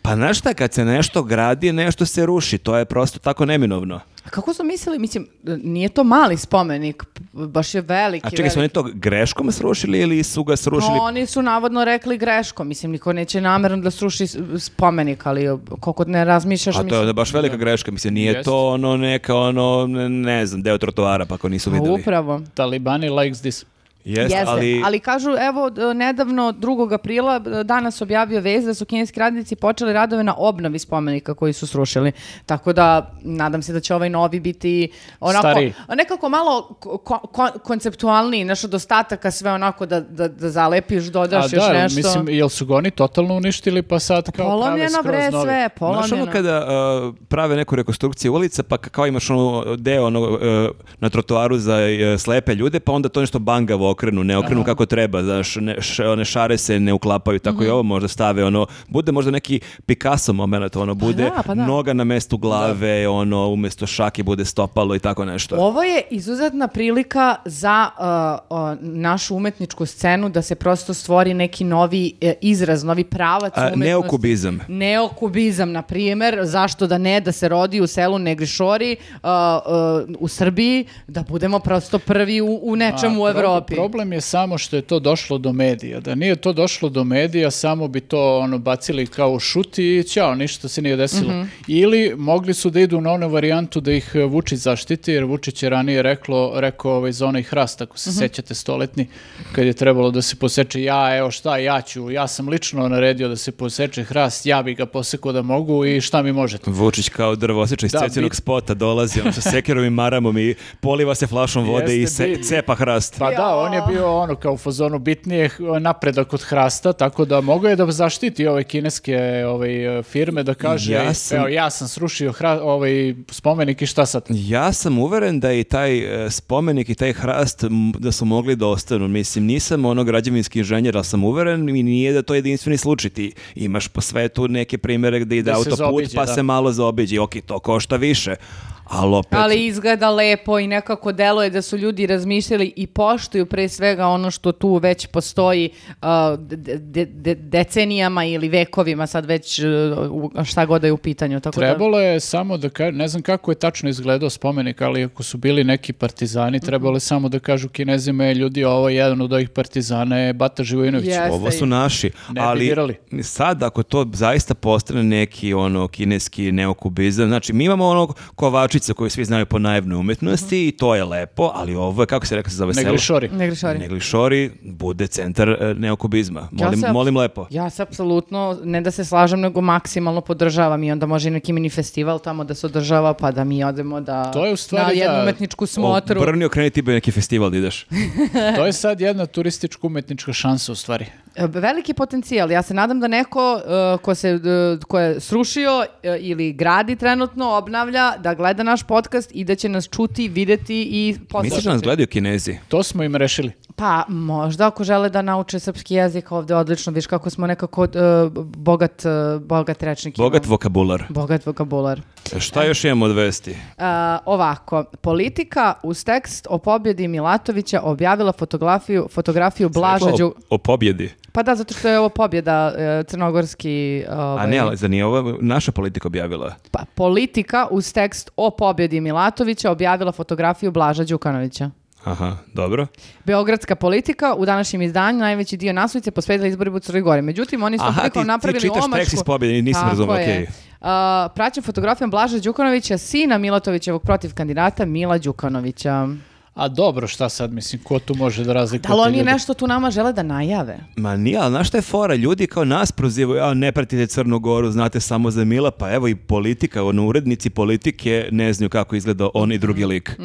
Speaker 4: Pa znaš šta, kad se nešto gradi, nešto se ruši. To je prosto tako neminovno.
Speaker 1: A kako su mislili, mislim, nije to mali spomenik, p- baš je veliki.
Speaker 4: A čekaj, su oni
Speaker 1: veliki.
Speaker 4: to greškom srušili ili su ga srušili
Speaker 1: Pa oni su navodno rekli greškom, mislim, niko neće namjerno da sruši s- spomenik, ali o, koliko ne razmišljaš,
Speaker 4: A to je
Speaker 1: mislim,
Speaker 4: onda baš velika greška, mislim, nije
Speaker 2: Jeste.
Speaker 4: to ono neka, ono, ne, ne znam, deo trotoara, pa ako nisu
Speaker 1: Pa
Speaker 4: videli.
Speaker 1: upravo.
Speaker 2: Talibani likes this.
Speaker 4: Jeste,
Speaker 1: Jeste,
Speaker 4: ali,
Speaker 1: ali... kažu, evo, d- nedavno, 2. aprila, d- danas objavio vez da su kineski radnici počeli radove na obnovi spomenika koji su srušili. Tako da, nadam se da će ovaj novi biti onako,
Speaker 2: Stariji.
Speaker 1: nekako malo ko- ko- ko- konceptualniji, nešto dostataka sve onako da, da, da zalepiš, dodaš
Speaker 2: A
Speaker 1: još
Speaker 2: da,
Speaker 1: nešto.
Speaker 2: mislim, jel su ga oni totalno uništili, pa sad kao prave
Speaker 1: Polomljeno
Speaker 2: skroz
Speaker 1: bre
Speaker 2: novi?
Speaker 1: sve,
Speaker 4: Znaš ono
Speaker 1: polomljeno.
Speaker 4: kada uh, prave neku rekonstrukciju ulica, pa ka- kao imaš ono deo ono, uh, na trotoaru za uh, slepe ljude, pa onda to nešto bangavo okrenu, ne okrenu kako treba, znaš, ne, š- one šare se ne uklapaju, tako
Speaker 1: Mhm.
Speaker 4: i ovo možda stave, ono, bude možda neki Picasso moment, ono, bude
Speaker 1: da, pa da.
Speaker 4: noga na mestu glave, ono, umjesto šake bude stopalo i tako nešto.
Speaker 1: Ovo je izuzetna prilika za uh, o, našu umetničku scenu da se prosto stvori neki novi e, izraz, novi pravac
Speaker 4: A,
Speaker 1: umetnosti.
Speaker 4: neokubizam.
Speaker 1: Neokubizam, na primjer, zašto da ne, da se rodi u selu Negrišori, uh, uh, u Srbiji, da budemo prosto prvi u, u nečemu u
Speaker 2: A, pro-
Speaker 1: Evropi.
Speaker 2: problem je samo što je to došlo do medija. Da nije to došlo do medija, samo bi to ono bacili kao šut i ćao, ništa se nije desilo.
Speaker 1: Mhm.
Speaker 2: Ili mogli su da idu na onu varijantu da ih e, Vučić zaštiti, jer Vučić je ranije reklo, rekao ovaj, za onaj hrast, ako
Speaker 1: Mhm.
Speaker 2: se sećate stoletni, kad je trebalo da se poseče ja, evo šta, ja ću, ja sam lično naredio da se poseče hrast, ja bi ga posekao da mogu i šta mi možete.
Speaker 4: Vučić kao drvo osjeća iz
Speaker 2: Da,
Speaker 4: cecinog
Speaker 2: bit-
Speaker 4: spota dolazi on sa sekirom i maramom i poliva se flašom vode i
Speaker 2: Jeste,
Speaker 4: se,
Speaker 2: bi-
Speaker 4: cepa hrast.
Speaker 2: Pa da,
Speaker 1: Jao.
Speaker 2: on je bio ono kao u fazonu bitnije h- napredak od hrasta, tako da mogao je da zaštiti ove kineske ove, firme, da kaže,
Speaker 4: Ja sam-
Speaker 2: evo ja sam srušio hra, ovaj, spomenik i šta sad?
Speaker 4: Ja sam uveren da i taj e, spomenik i taj hrast m, da su mogli da ostanu. Mislim, nisam ono građevinski inženjer, ali sam uveren i nije da to je jedinstveni slučaj. Ti imaš po svetu neke primere gde ide
Speaker 2: Da se
Speaker 4: autoput
Speaker 2: zaobiđe,
Speaker 4: pa
Speaker 2: da.
Speaker 4: se malo zaobiđi. Ok, to košta više, ali opet...
Speaker 1: Ali izgleda lepo i nekako deluje da su ljudi razmišljali i poštuju pre svega ono što tu već postoji uh, de- de- de- decenijama ili vekovima, sad već uh, u- šta god da je u pitanju. Tako da-
Speaker 2: Trebalo je samo da kaže, ne znam kako je tačno izgledao spomenik, ali ako su bili neki partizani, trebalo
Speaker 1: Mhm.
Speaker 2: je samo da kažu kinezime, ljudi, ovo je jedan od ovih partizana je Bata Živojinović.
Speaker 1: Jeste.
Speaker 4: Ovo su naši,
Speaker 2: Ne bi
Speaker 4: ali
Speaker 2: dirali.
Speaker 4: sad ako to zaista postane neki ono kineski neokubizam, znači mi imamo onog kovačica koju svi znaju po naivnoj umetnosti i to je lepo, ali ovo je, kako se rekao, se zove selo?
Speaker 2: Neglišori.
Speaker 1: Ne grešari.
Speaker 4: Neglišori bude centar e, neokubizma. Molim,
Speaker 1: se-
Speaker 4: molim lepo.
Speaker 1: Ja se apsolutno, ne da se slažem, nego maksimalno podržavam i onda može i neki mini festival tamo da se održava, pa da mi odemo da,
Speaker 2: To je u stvari,
Speaker 1: na jednu
Speaker 2: da,
Speaker 1: umetničku smotru.
Speaker 4: O, Brni okreni ti bi neki festival da ideš.
Speaker 2: To je sad jedna turističko-umetnička šansa u stvari.
Speaker 1: E, Veliki potencijal. Ja se nadam da neko e, ko, se, e, ko je srušio e, ili gradi trenutno, obnavlja, da gleda naš podcast i da će nas čuti, videti i
Speaker 4: Misliš da nas
Speaker 1: poslušati.
Speaker 4: gledaju kinezi?
Speaker 2: To smo im rešili.
Speaker 1: Pa možda ako žele da nauče srpski jezik ovde odlično, viš kako smo nekako e, bogat, e, bogat rečnik.
Speaker 4: Bogat
Speaker 1: imamo.
Speaker 4: vokabular.
Speaker 1: bogat vokabular.
Speaker 4: Šta još imamo od vesti?
Speaker 1: E, ovako, politika uz tekst o pobjedi Milatovića objavila fotografiju, fotografiju Blaža
Speaker 4: Rekla
Speaker 1: Đu...
Speaker 4: O, o pobjedi.
Speaker 1: Pa da, zato što je ovo pobjeda e, crnogorski...
Speaker 4: A
Speaker 1: ovaj,
Speaker 4: ne, ali za nije ova naša politika objavila.
Speaker 1: Pa, politika uz tekst o pobjedi Milatovića objavila fotografiju Blaža Đukanovića.
Speaker 4: Aha, dobro.
Speaker 1: Beogradska politika u današnjem izdanju najveći dio naslovice posvetila izborima u Crnoj Gori. Međutim, oni su
Speaker 4: Aha,
Speaker 1: prilikom
Speaker 4: ti- ti
Speaker 1: napravili
Speaker 4: čitaš tekst
Speaker 1: omašku.
Speaker 4: iz pobjede, nisam
Speaker 1: Tako
Speaker 4: razumeo,
Speaker 1: je.
Speaker 4: okej.
Speaker 1: A, praćen fotografijom Blaža Đukanovića, sina Milatovićevog protiv kandidata Mila Đukanovića.
Speaker 2: A dobro, šta sad, mislim, ko tu može da razlikuje
Speaker 1: Da li
Speaker 2: te
Speaker 1: oni
Speaker 2: ljude?
Speaker 1: nešto tu nama žele da najave?
Speaker 4: Ma nije, ali znaš šta je fora? Ljudi kao nas prozivaju, a ne pratite Crnu Goru, znate samo za Mila, pa evo i politika, ono urednici politike ne znaju kako izgleda on i
Speaker 1: Mhm.
Speaker 4: drugi lik.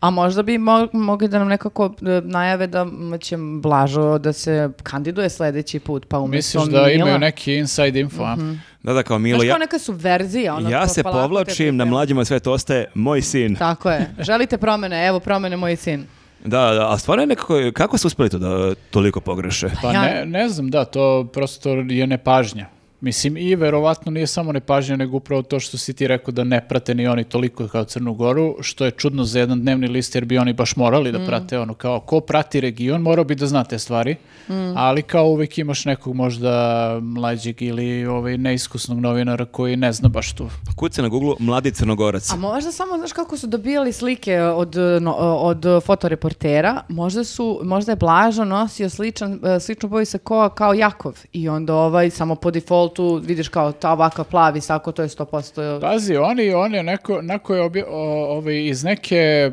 Speaker 1: A možda bi mo- mogli da nam nekako e, najave da će Blažo da se kandiduje sljedeći put, pa umjesto
Speaker 2: Misliš da imaju
Speaker 1: Mila- Mhm.
Speaker 2: neki inside info, a?
Speaker 4: Da, da, kao Milo,
Speaker 1: Znaš
Speaker 4: ja,
Speaker 1: kao neka subverzija. Ono,
Speaker 4: ja
Speaker 1: kao
Speaker 4: se
Speaker 1: polako te
Speaker 4: povlačim, na
Speaker 1: priprema.
Speaker 4: mlađima sve to ostaje moj sin.
Speaker 1: Tako je. Želite promene? Evo promene moj sin.
Speaker 4: Da, da, a stvarno je nekako, kako su uspeli to da e, toliko pogreše?
Speaker 2: Pa
Speaker 1: Ja-
Speaker 2: ne, ne znam, da, to prosto je nepažnja. Mislim, i verovatno nije samo nepažnja, nego upravo to što si ti rekao da ne prate ni oni toliko kao Crnu Goru, što je čudno za jedan dnevni list, jer bi oni baš
Speaker 1: Mm.
Speaker 2: morali da prate ono, kao ko prati region, morao bi da zna te stvari,
Speaker 1: Mm.
Speaker 2: ali kao uvek imaš nekog možda mlađeg ili ovaj, neiskusnog novinara koji ne zna baš tu.
Speaker 4: Kuca na Google mladi Crnogorac.
Speaker 1: Pa- A možda samo, znaš kako su dobijali slike od, e, no, e, od e, fotoreportera, možda, su, možda je Blažo nosio sličan, e, sličnu boju sa koja kao Jakov i onda ovaj samo po defaultu vidiš kao ta ovakav plavi sako, to je 100%.
Speaker 2: Pazi, oni, on je neko, neko je obje- o- ovaj, iz neke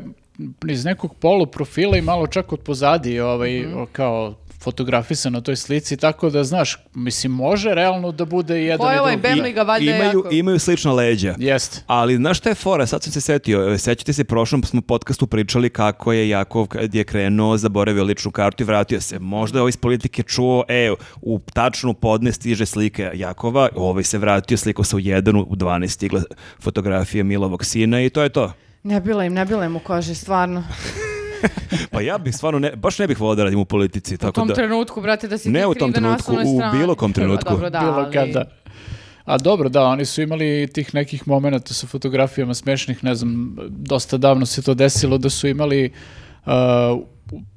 Speaker 2: iz nekog poluprofila i malo čak od pozadi ovaj,
Speaker 1: Mhm.
Speaker 2: o, kao fotografisan na toj slici, tako da znaš, mislim, može realno da bude i jedan
Speaker 1: Ko je
Speaker 2: i
Speaker 1: ovaj
Speaker 2: drugi.
Speaker 1: Bemli ga valjda je
Speaker 4: imaju,
Speaker 1: Jakov?
Speaker 4: imaju slična leđa.
Speaker 2: Jest.
Speaker 4: Ali znaš šta je fora, sad sam se setio, e, sećate se, prošlom smo podcastu pričali kako je Jakov kad je krenuo, zaboravio ličnu kartu i vratio se. Možda je ovaj iz politike čuo, e, u tačnu podne stiže slike Jakova, ovaj se vratio, slikao se u 1, u 12 stigla fotografija Milovog sina i to je to.
Speaker 1: Ne bila im, ne bila im u koži, stvarno.
Speaker 4: Pa ja bih stvarno, ne, baš ne bih volao da radim u politici,
Speaker 1: U
Speaker 4: tako
Speaker 1: tom
Speaker 4: da...
Speaker 1: trenutku, brate, da si
Speaker 4: Ne
Speaker 1: ti
Speaker 4: u tom
Speaker 1: kriv da na
Speaker 4: trenutku,
Speaker 1: osnovnoj
Speaker 4: u
Speaker 1: strani.
Speaker 4: bilo kom trenutku.
Speaker 1: Dobro, da,
Speaker 2: Bilo
Speaker 1: ali-
Speaker 2: kada. A dobro, da, oni su imali tih nekih momenata sa fotografijama smešnih, ne znam, dosta davno se to desilo da su imali uh,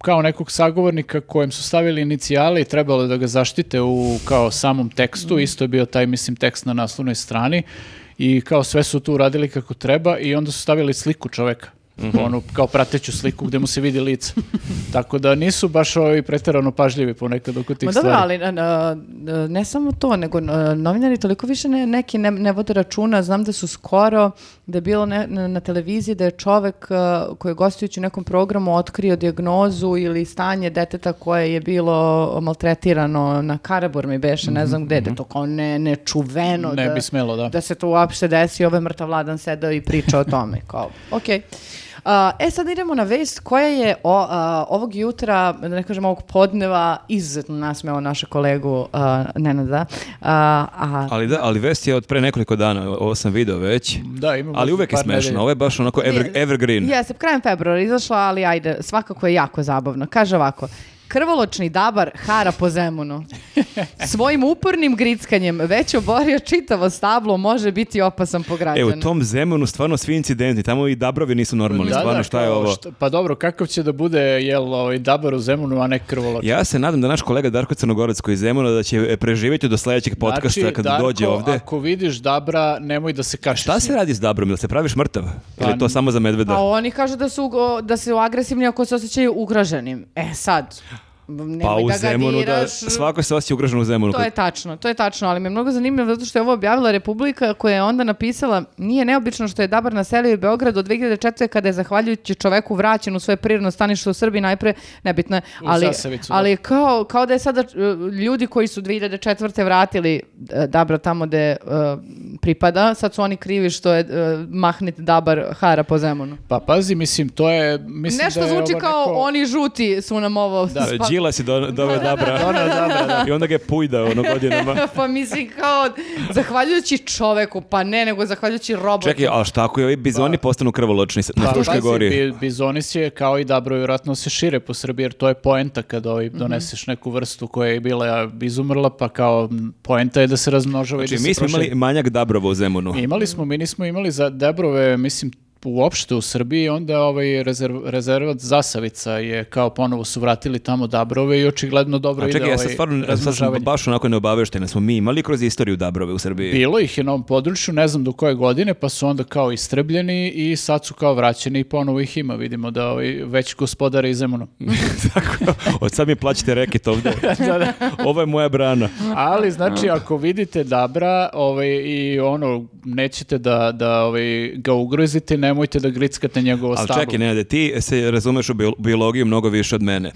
Speaker 2: kao nekog sagovornika kojem su stavili inicijale i trebalo je da ga zaštite u kao samom
Speaker 1: Mm.
Speaker 2: tekstu, isto je bio taj, mislim, tekst na naslovnoj strani i kao sve su tu uradili kako treba i onda su stavili sliku čoveka.
Speaker 1: Mhm.
Speaker 2: onu kao prateću sliku gde mu se vidi lice. Tako da nisu baš ovi preterano pažljivi ponekad oko tih
Speaker 1: Ma
Speaker 2: stvari.
Speaker 1: dobro, ali na- na- ne samo to, nego na, novinari toliko više ne, neki ne, ne vode računa. Znam da su skoro, da je bilo ne- na, na televiziji da je čovek uh, koji je gostujući u nekom programu otkrio dijagnozu ili stanje deteta koje je bilo maltretirano na Karaburmi beše, ne znam gde, da je to kao ne, nečuveno.
Speaker 2: Ne bi smelo, da.
Speaker 1: ono, Da se to uopšte desi, ovaj mrtav vladan sedao i pričao o tome. Kao, okej. A, e, sad idemo na vest koja je o, a, ovog jutra, da ne kažem ovog podneva, izuzetno nasmeo naša kolegu a, Nenada. A, a,
Speaker 4: Ali da, ali vest je od pre nekoliko dana, o- ovo sam video već.
Speaker 2: Da, imamo
Speaker 4: Ali uvek je
Speaker 2: par
Speaker 4: smešno,
Speaker 2: nedelja.
Speaker 4: ovo je baš onako ever,
Speaker 1: Je-
Speaker 4: evergreen.
Speaker 1: Jeste, krajem februara izašla, ali ajde, svakako je jako zabavno. Kaže ovako, krvoločni dabar hara po Zemunu. Svojim upornim grickanjem već oborio čitavo stablo, može biti opasan po
Speaker 4: E,
Speaker 1: građane.
Speaker 4: u tom Zemunu stvarno svi incidenti, tamo i dabrovi nisu normalni,
Speaker 2: Da,
Speaker 4: stvarno
Speaker 2: da,
Speaker 4: šta je
Speaker 2: kao
Speaker 4: ovo?
Speaker 2: šta- pa dobro, kakav će da bude jel, ovaj, dabar u Zemunu, a ne krvoloč?
Speaker 4: Ja se nadam da naš kolega Darko Crnogorac koji je iz Zemuna da će e, preživjeti do sledećeg podcasta
Speaker 2: Znači,
Speaker 4: kad
Speaker 2: Darko,
Speaker 4: dođe ovde.
Speaker 2: ako vidiš dabra, nemoj da se kašiš.
Speaker 4: Šta
Speaker 2: s njim.
Speaker 4: se radi s dabrom? Jel se praviš mrtav?
Speaker 2: Pa
Speaker 4: Ili je to
Speaker 2: n-
Speaker 4: samo za medveda?
Speaker 1: Pa oni kažu da su, o, da su agresivni ako se osjećaju ugroženim. E sad, nemoj
Speaker 4: Pa u
Speaker 1: da ga
Speaker 4: Zemunu da
Speaker 1: diraš.
Speaker 4: svako se osjeća ugroženo u Zemunu.
Speaker 1: To je tačno, to je tačno, ali me je mnogo zanimljivo zato što je ovo objavila Republika koja je onda napisala nije neobično što je Dabar naselio i Beograd od 2004. kada je zahvaljujući čoveku vraćen u svoje prirodno stanište u Srbiji najpre nebitno, je,
Speaker 2: U
Speaker 1: ali,
Speaker 2: Sasavicu, da.
Speaker 1: ali kao, kao da je sada e, ljudi koji su 2004. vratili e, Dabra tamo gde e, pripada, sad su oni krivi što je e, mahnit Dabar hara po Zemunu.
Speaker 2: Pa pazi, mislim, to je... Mislim
Speaker 1: Nešto
Speaker 2: da je
Speaker 1: zvuči
Speaker 2: ovo
Speaker 1: kao
Speaker 2: neko-
Speaker 1: oni žuti su nam ovo
Speaker 4: Da,
Speaker 1: spa-
Speaker 4: Đila si do, doveo dabra.
Speaker 2: Doneo dabra, da.
Speaker 4: I onda ga je pujdao ono godinama.
Speaker 1: pa mislim kao zahvaljujući čoveku, pa ne, nego zahvaljujući robotu.
Speaker 4: Čekaj, ali šta ako i ovi bizoni postanu krvoločni s- na
Speaker 2: Pa,
Speaker 4: Fruškoj
Speaker 2: pazi,
Speaker 4: gori?
Speaker 2: bi- bizoni će kao i dabro vjerojatno se šire po Srbiji, jer to je poenta kada ovaj
Speaker 4: Mhm.
Speaker 2: doneseš neku vrstu koja je bila izumrla, pa kao m, poenta je da se razmnožava i
Speaker 4: Znači,
Speaker 2: da se
Speaker 4: mi smo
Speaker 2: proširi.
Speaker 4: imali manjak dabrova u Zemunu.
Speaker 2: Imali smo, pa, mi nismo imali za Debrove, mislim, uopšte u Srbiji, onda ovaj rezerv, rezervat Zasavica je kao ponovo su vratili tamo Dabrove i očigledno dobro
Speaker 4: A čekaj,
Speaker 2: ide
Speaker 4: ja sam
Speaker 2: ovaj
Speaker 4: stvarno sad sam
Speaker 2: razmnožavanje.
Speaker 4: baš onako neobavešten. Smo mi imali kroz istoriju dabrove u Srbiji.
Speaker 2: Bilo ih je na ovom području, ne znam do koje godine, pa su onda kao istrebljeni i sad su kao vraćeni i ponovo ih ima. Vidimo da ovaj, već gospodare iz Zemuna.
Speaker 4: Od sad mi plaćate reket ovde. Ovo je moja brana.
Speaker 2: Ali znači ako vidite Dabra ovaj, i ono nećete da, da ovaj, ga ugrozite, nemojte da grickate njegovo
Speaker 4: Ali
Speaker 2: stablo.
Speaker 4: čekaj, Nenade, ti se razumeš u bio- biologiju mnogo više od mene.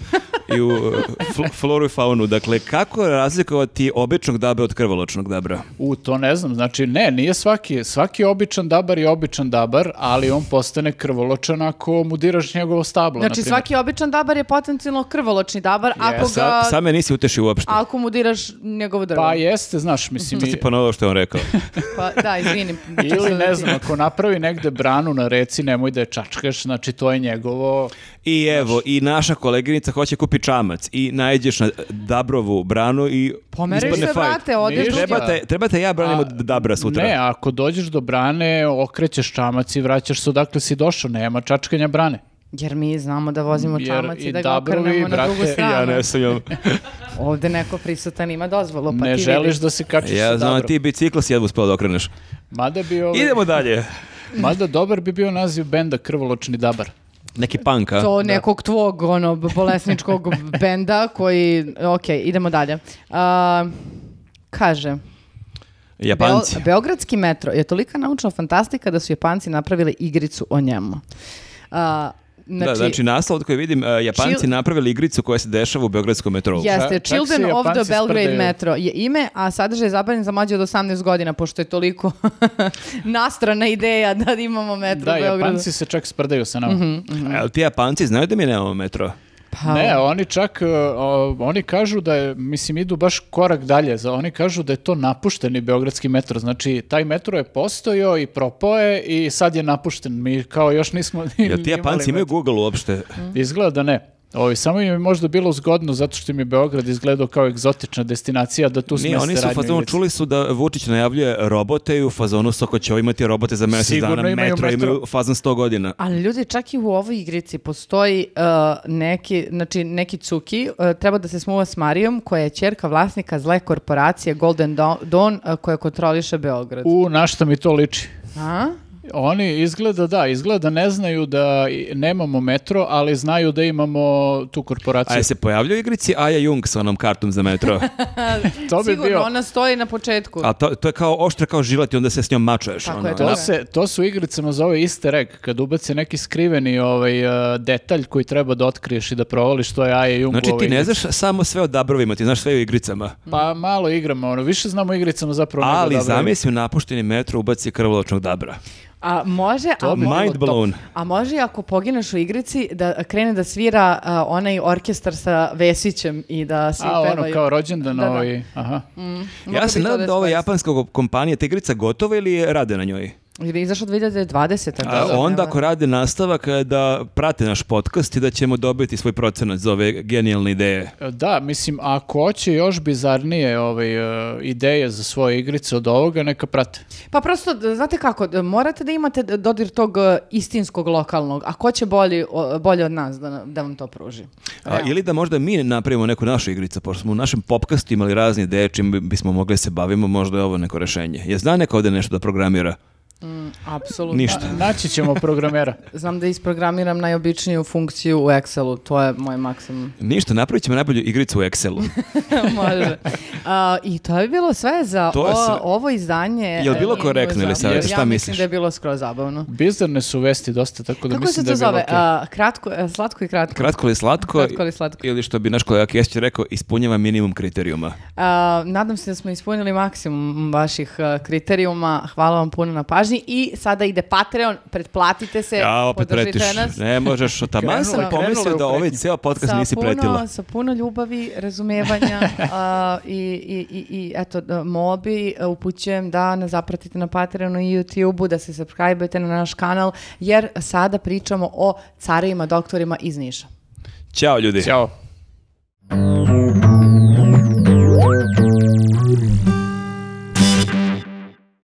Speaker 4: I u e, fl- floru i faunu. Dakle, kako razlikovati običnog dabra od krvoločnog dabra?
Speaker 2: U, to ne znam, znači ne, nije svaki, svaki običan dabar je običan dabar, ali on postane krvoločan ako mu diraš njegovo stablo,
Speaker 1: Znači
Speaker 2: na primjer.
Speaker 1: svaki običan dabar je potencijalno krvoločni dabar ako
Speaker 4: Sa,
Speaker 1: ga
Speaker 4: sad me nisi utešio uopšte.
Speaker 1: ako mu diraš njegovo drvo.
Speaker 2: Pa jeste, znaš, mislim, i-
Speaker 4: Ti ponovio što je on rekao.
Speaker 1: Pa da, izvinim. Znači,
Speaker 2: ili ne znam, ako napravi negde branu na reci, nemoj da je čačkaš, znači to je njegovo,
Speaker 4: I evo, i naša koleginica hoće kupi čamac i najđeš na Dabrovu branu i
Speaker 1: Pomeriš se,
Speaker 4: ispadne fajt.
Speaker 1: brate, odeš
Speaker 2: Ništa.
Speaker 1: drugim.
Speaker 4: Trebate, trebate ja branim
Speaker 2: A,
Speaker 4: od Dabra E, sutra.
Speaker 2: ne, ako dođeš do brane, okrećeš čamac i vraćaš se odakle si došao, nema čačkanja brane.
Speaker 1: Jer mi znamo da vozimo
Speaker 2: Jer
Speaker 1: čamac i
Speaker 2: i
Speaker 1: da ga
Speaker 2: dabrovi,
Speaker 1: okrenemo na drugu
Speaker 2: brate,
Speaker 1: stranu.
Speaker 4: ja ne sumnjam.
Speaker 1: Ovde neko prisutan ima dozvolu, pa
Speaker 2: ne
Speaker 1: ti
Speaker 2: želiš
Speaker 1: vidiš.
Speaker 2: da se kačiš
Speaker 4: ja
Speaker 2: sa
Speaker 4: znam, a
Speaker 2: dabrom.
Speaker 4: ti bicikl si jedva uspeo da okreneš.
Speaker 2: Mada bi ovaj,
Speaker 4: Idemo dalje.
Speaker 2: mada dobar bi bio naziv benda Krvoločni dabar.
Speaker 4: Neki punk, a?
Speaker 1: To nekog tvog, ono, bolesničkog benda koji... Ok, idemo dalje. A, kaže,
Speaker 4: Japanci.
Speaker 1: Beo- Beogradski metro je tolika naučna fantastika da su Japanci napravili igricu o njemu. A, znači,
Speaker 4: da, znači naslov od koji vidim, e, Japanci
Speaker 1: Čil-
Speaker 4: napravili igricu koja se dešava u Beogradskom metrou.
Speaker 1: Jeste,
Speaker 2: Čak- čak se
Speaker 1: Children
Speaker 2: i
Speaker 1: of the
Speaker 2: Japanci
Speaker 1: Belgrade
Speaker 2: sprdaju.
Speaker 1: Metro je ime, a sadržaj je zabranjen za mlađe od 18 godina, pošto je toliko nastrana ideja da imamo metro
Speaker 2: Da,
Speaker 1: u Beogradu.
Speaker 2: Japanci se čak sprdaju sa nama.
Speaker 1: Mhm.
Speaker 4: Ali ti Japanci znaju da mi nemamo metro.
Speaker 1: Pa,
Speaker 2: Ne, oni čak, uh, o, oni kažu da je, mislim, idu baš korak dalje, za, oni kažu da je to napušteni beogradski metro, znači taj metro je postojao i propao je i sad je napušten, mi kao još nismo ni-
Speaker 4: Jel ti
Speaker 2: ni imali
Speaker 4: Japanci imaju Google uopšte?
Speaker 2: metro. Izgleda da ne. Ovi, samo im je možda bilo zgodno zato što im je Beograd izgledao kao egzotična destinacija da tu smeste
Speaker 4: Nije, oni su u
Speaker 2: radnju
Speaker 4: fazonu,
Speaker 2: ulicu.
Speaker 4: čuli su da Vučić najavljuje robote i u fazonu Soko će imati robote za mjesec
Speaker 2: Sigurno
Speaker 4: dana,
Speaker 2: imaju
Speaker 4: metro,
Speaker 2: metro.
Speaker 4: imaju fazon 100 godina.
Speaker 1: Ali ljudi, čak i u ovoj igrici postoji uh, neki, znači neki cuki, uh, treba da se smuva s Marijom, koja je čerka vlasnika zle korporacije Golden Dawn, Dawn, uh, koja kontroliše Beograd.
Speaker 2: U, na šta mi to liči?
Speaker 1: A?
Speaker 2: Oni izgleda, da, izgleda ne znaju da i- nemamo metro, ali znaju da imamo tu
Speaker 4: A
Speaker 2: korporaciju.
Speaker 4: je se pojavljaju igrici Aja Jung sa onom kartom za metro?
Speaker 2: to bi
Speaker 1: Sigurno,
Speaker 2: bio-
Speaker 1: ona stoji na početku.
Speaker 4: A to, to je kao oštra kao žilat i onda se s njom mačuješ.
Speaker 1: Tako
Speaker 4: ono.
Speaker 1: je, to
Speaker 2: To,
Speaker 1: Da.
Speaker 2: se, to su igricama zove easter egg, kad ubaci neki skriveni ovaj, e, detalj koji treba da otkriješ i da provališ, to je Aja Jung.
Speaker 4: Znači ti ne znaš samo sve o dabrovima, ti znaš sve o igricama.
Speaker 2: Pa malo igramo, ono, više znamo o igricama zapravo. nego
Speaker 4: Ali
Speaker 2: dobro.
Speaker 4: zamisli u napušteni metro ubaci krvoločnog dabra.
Speaker 1: A može, a, mo-
Speaker 4: Mind blown.
Speaker 1: a može i ako pogineš u igrici da krene da svira a, onaj orkestar sa Vesićem i da svi
Speaker 2: A, ono,
Speaker 1: pevaju.
Speaker 2: kao rođendan
Speaker 1: Da, da.
Speaker 2: ovaj, aha.
Speaker 1: Moglo
Speaker 4: Ja
Speaker 1: bi
Speaker 4: se
Speaker 1: to
Speaker 4: nadam da ova
Speaker 1: je
Speaker 4: japanska go- kompanija, ta igrica gotova ili je rade na njoj?
Speaker 1: spasi. Jer je izašao 2020.
Speaker 4: A
Speaker 1: tako da
Speaker 4: onda
Speaker 1: nema-
Speaker 4: ako rade nastavak e, da prate naš podcast i da ćemo dobiti svoj procenat za ove genijalne ideje.
Speaker 2: Da, mislim, ako hoće još bizarnije ovaj, e, ideje za svoje igrice od ovoga, neka prate.
Speaker 1: Pa prosto, d- znate kako, d- morate da imate d- dodir tog e, istinskog lokalnog, a ko će bolji, o- bolje od nas da, na- da vam to pruži?
Speaker 4: A, ili da možda mi napravimo neku našu igricu, pošto smo u našem popkastu imali razne ideje čim bi- bismo mogli se bavimo, možda je ovo neko rešenje. Je zna neko ovde nešto da programira?
Speaker 1: Mm, Apsolutno.
Speaker 4: Ništa.
Speaker 2: Naći ćemo programera.
Speaker 1: Znam da isprogramiram najobičniju funkciju u Excelu, to je moj maksimum.
Speaker 4: Ništa, napravit ćemo najbolju igricu u Excelu.
Speaker 1: Može. A, I to je bilo sve za
Speaker 4: To je
Speaker 1: o-
Speaker 4: sve.
Speaker 1: ovo izdanje.
Speaker 4: Jel bilo
Speaker 1: e,
Speaker 4: korektno ili
Speaker 1: Ingleza.
Speaker 4: savjet? Šta
Speaker 1: Ja mislim
Speaker 4: misliš?
Speaker 1: da je bilo skroz zabavno.
Speaker 2: Bizarne su vesti dosta, tako da
Speaker 1: Kako
Speaker 2: mislim
Speaker 1: se to
Speaker 2: da je bilo
Speaker 1: zove?
Speaker 2: okej.
Speaker 1: A, kratko, e, slatko i kratko.
Speaker 4: Kratko li slatko?
Speaker 1: Kratko li slatko.
Speaker 4: Ili što bi naš kolega Kesić rekao, ispunjava minimum kriterijuma.
Speaker 1: A, nadam se da smo ispunili maksimum vaših e, kriterijuma. Hvala vam puno na pažnji. I sada ide Patreon, pretplatite se,
Speaker 4: Ja opet
Speaker 1: podržite
Speaker 4: pretiš.
Speaker 1: nas.
Speaker 4: Ne možeš, taman sam
Speaker 2: Krenula- krenula
Speaker 4: pomislio
Speaker 2: je
Speaker 4: da
Speaker 2: u
Speaker 4: ovaj
Speaker 2: pretnju.
Speaker 4: ceo podcast nisi
Speaker 1: puno,
Speaker 4: pretila.
Speaker 1: Sa puno ljubavi, razumevanja a, i, i, i, i eto, da, molbi e, upućujem da nas zapratite na Patreonu i YouTubeu, da se subscribe na naš kanal, jer sada pričamo o carima, doktorima iz Niša.
Speaker 4: Ćao ljudi.
Speaker 2: Ćao.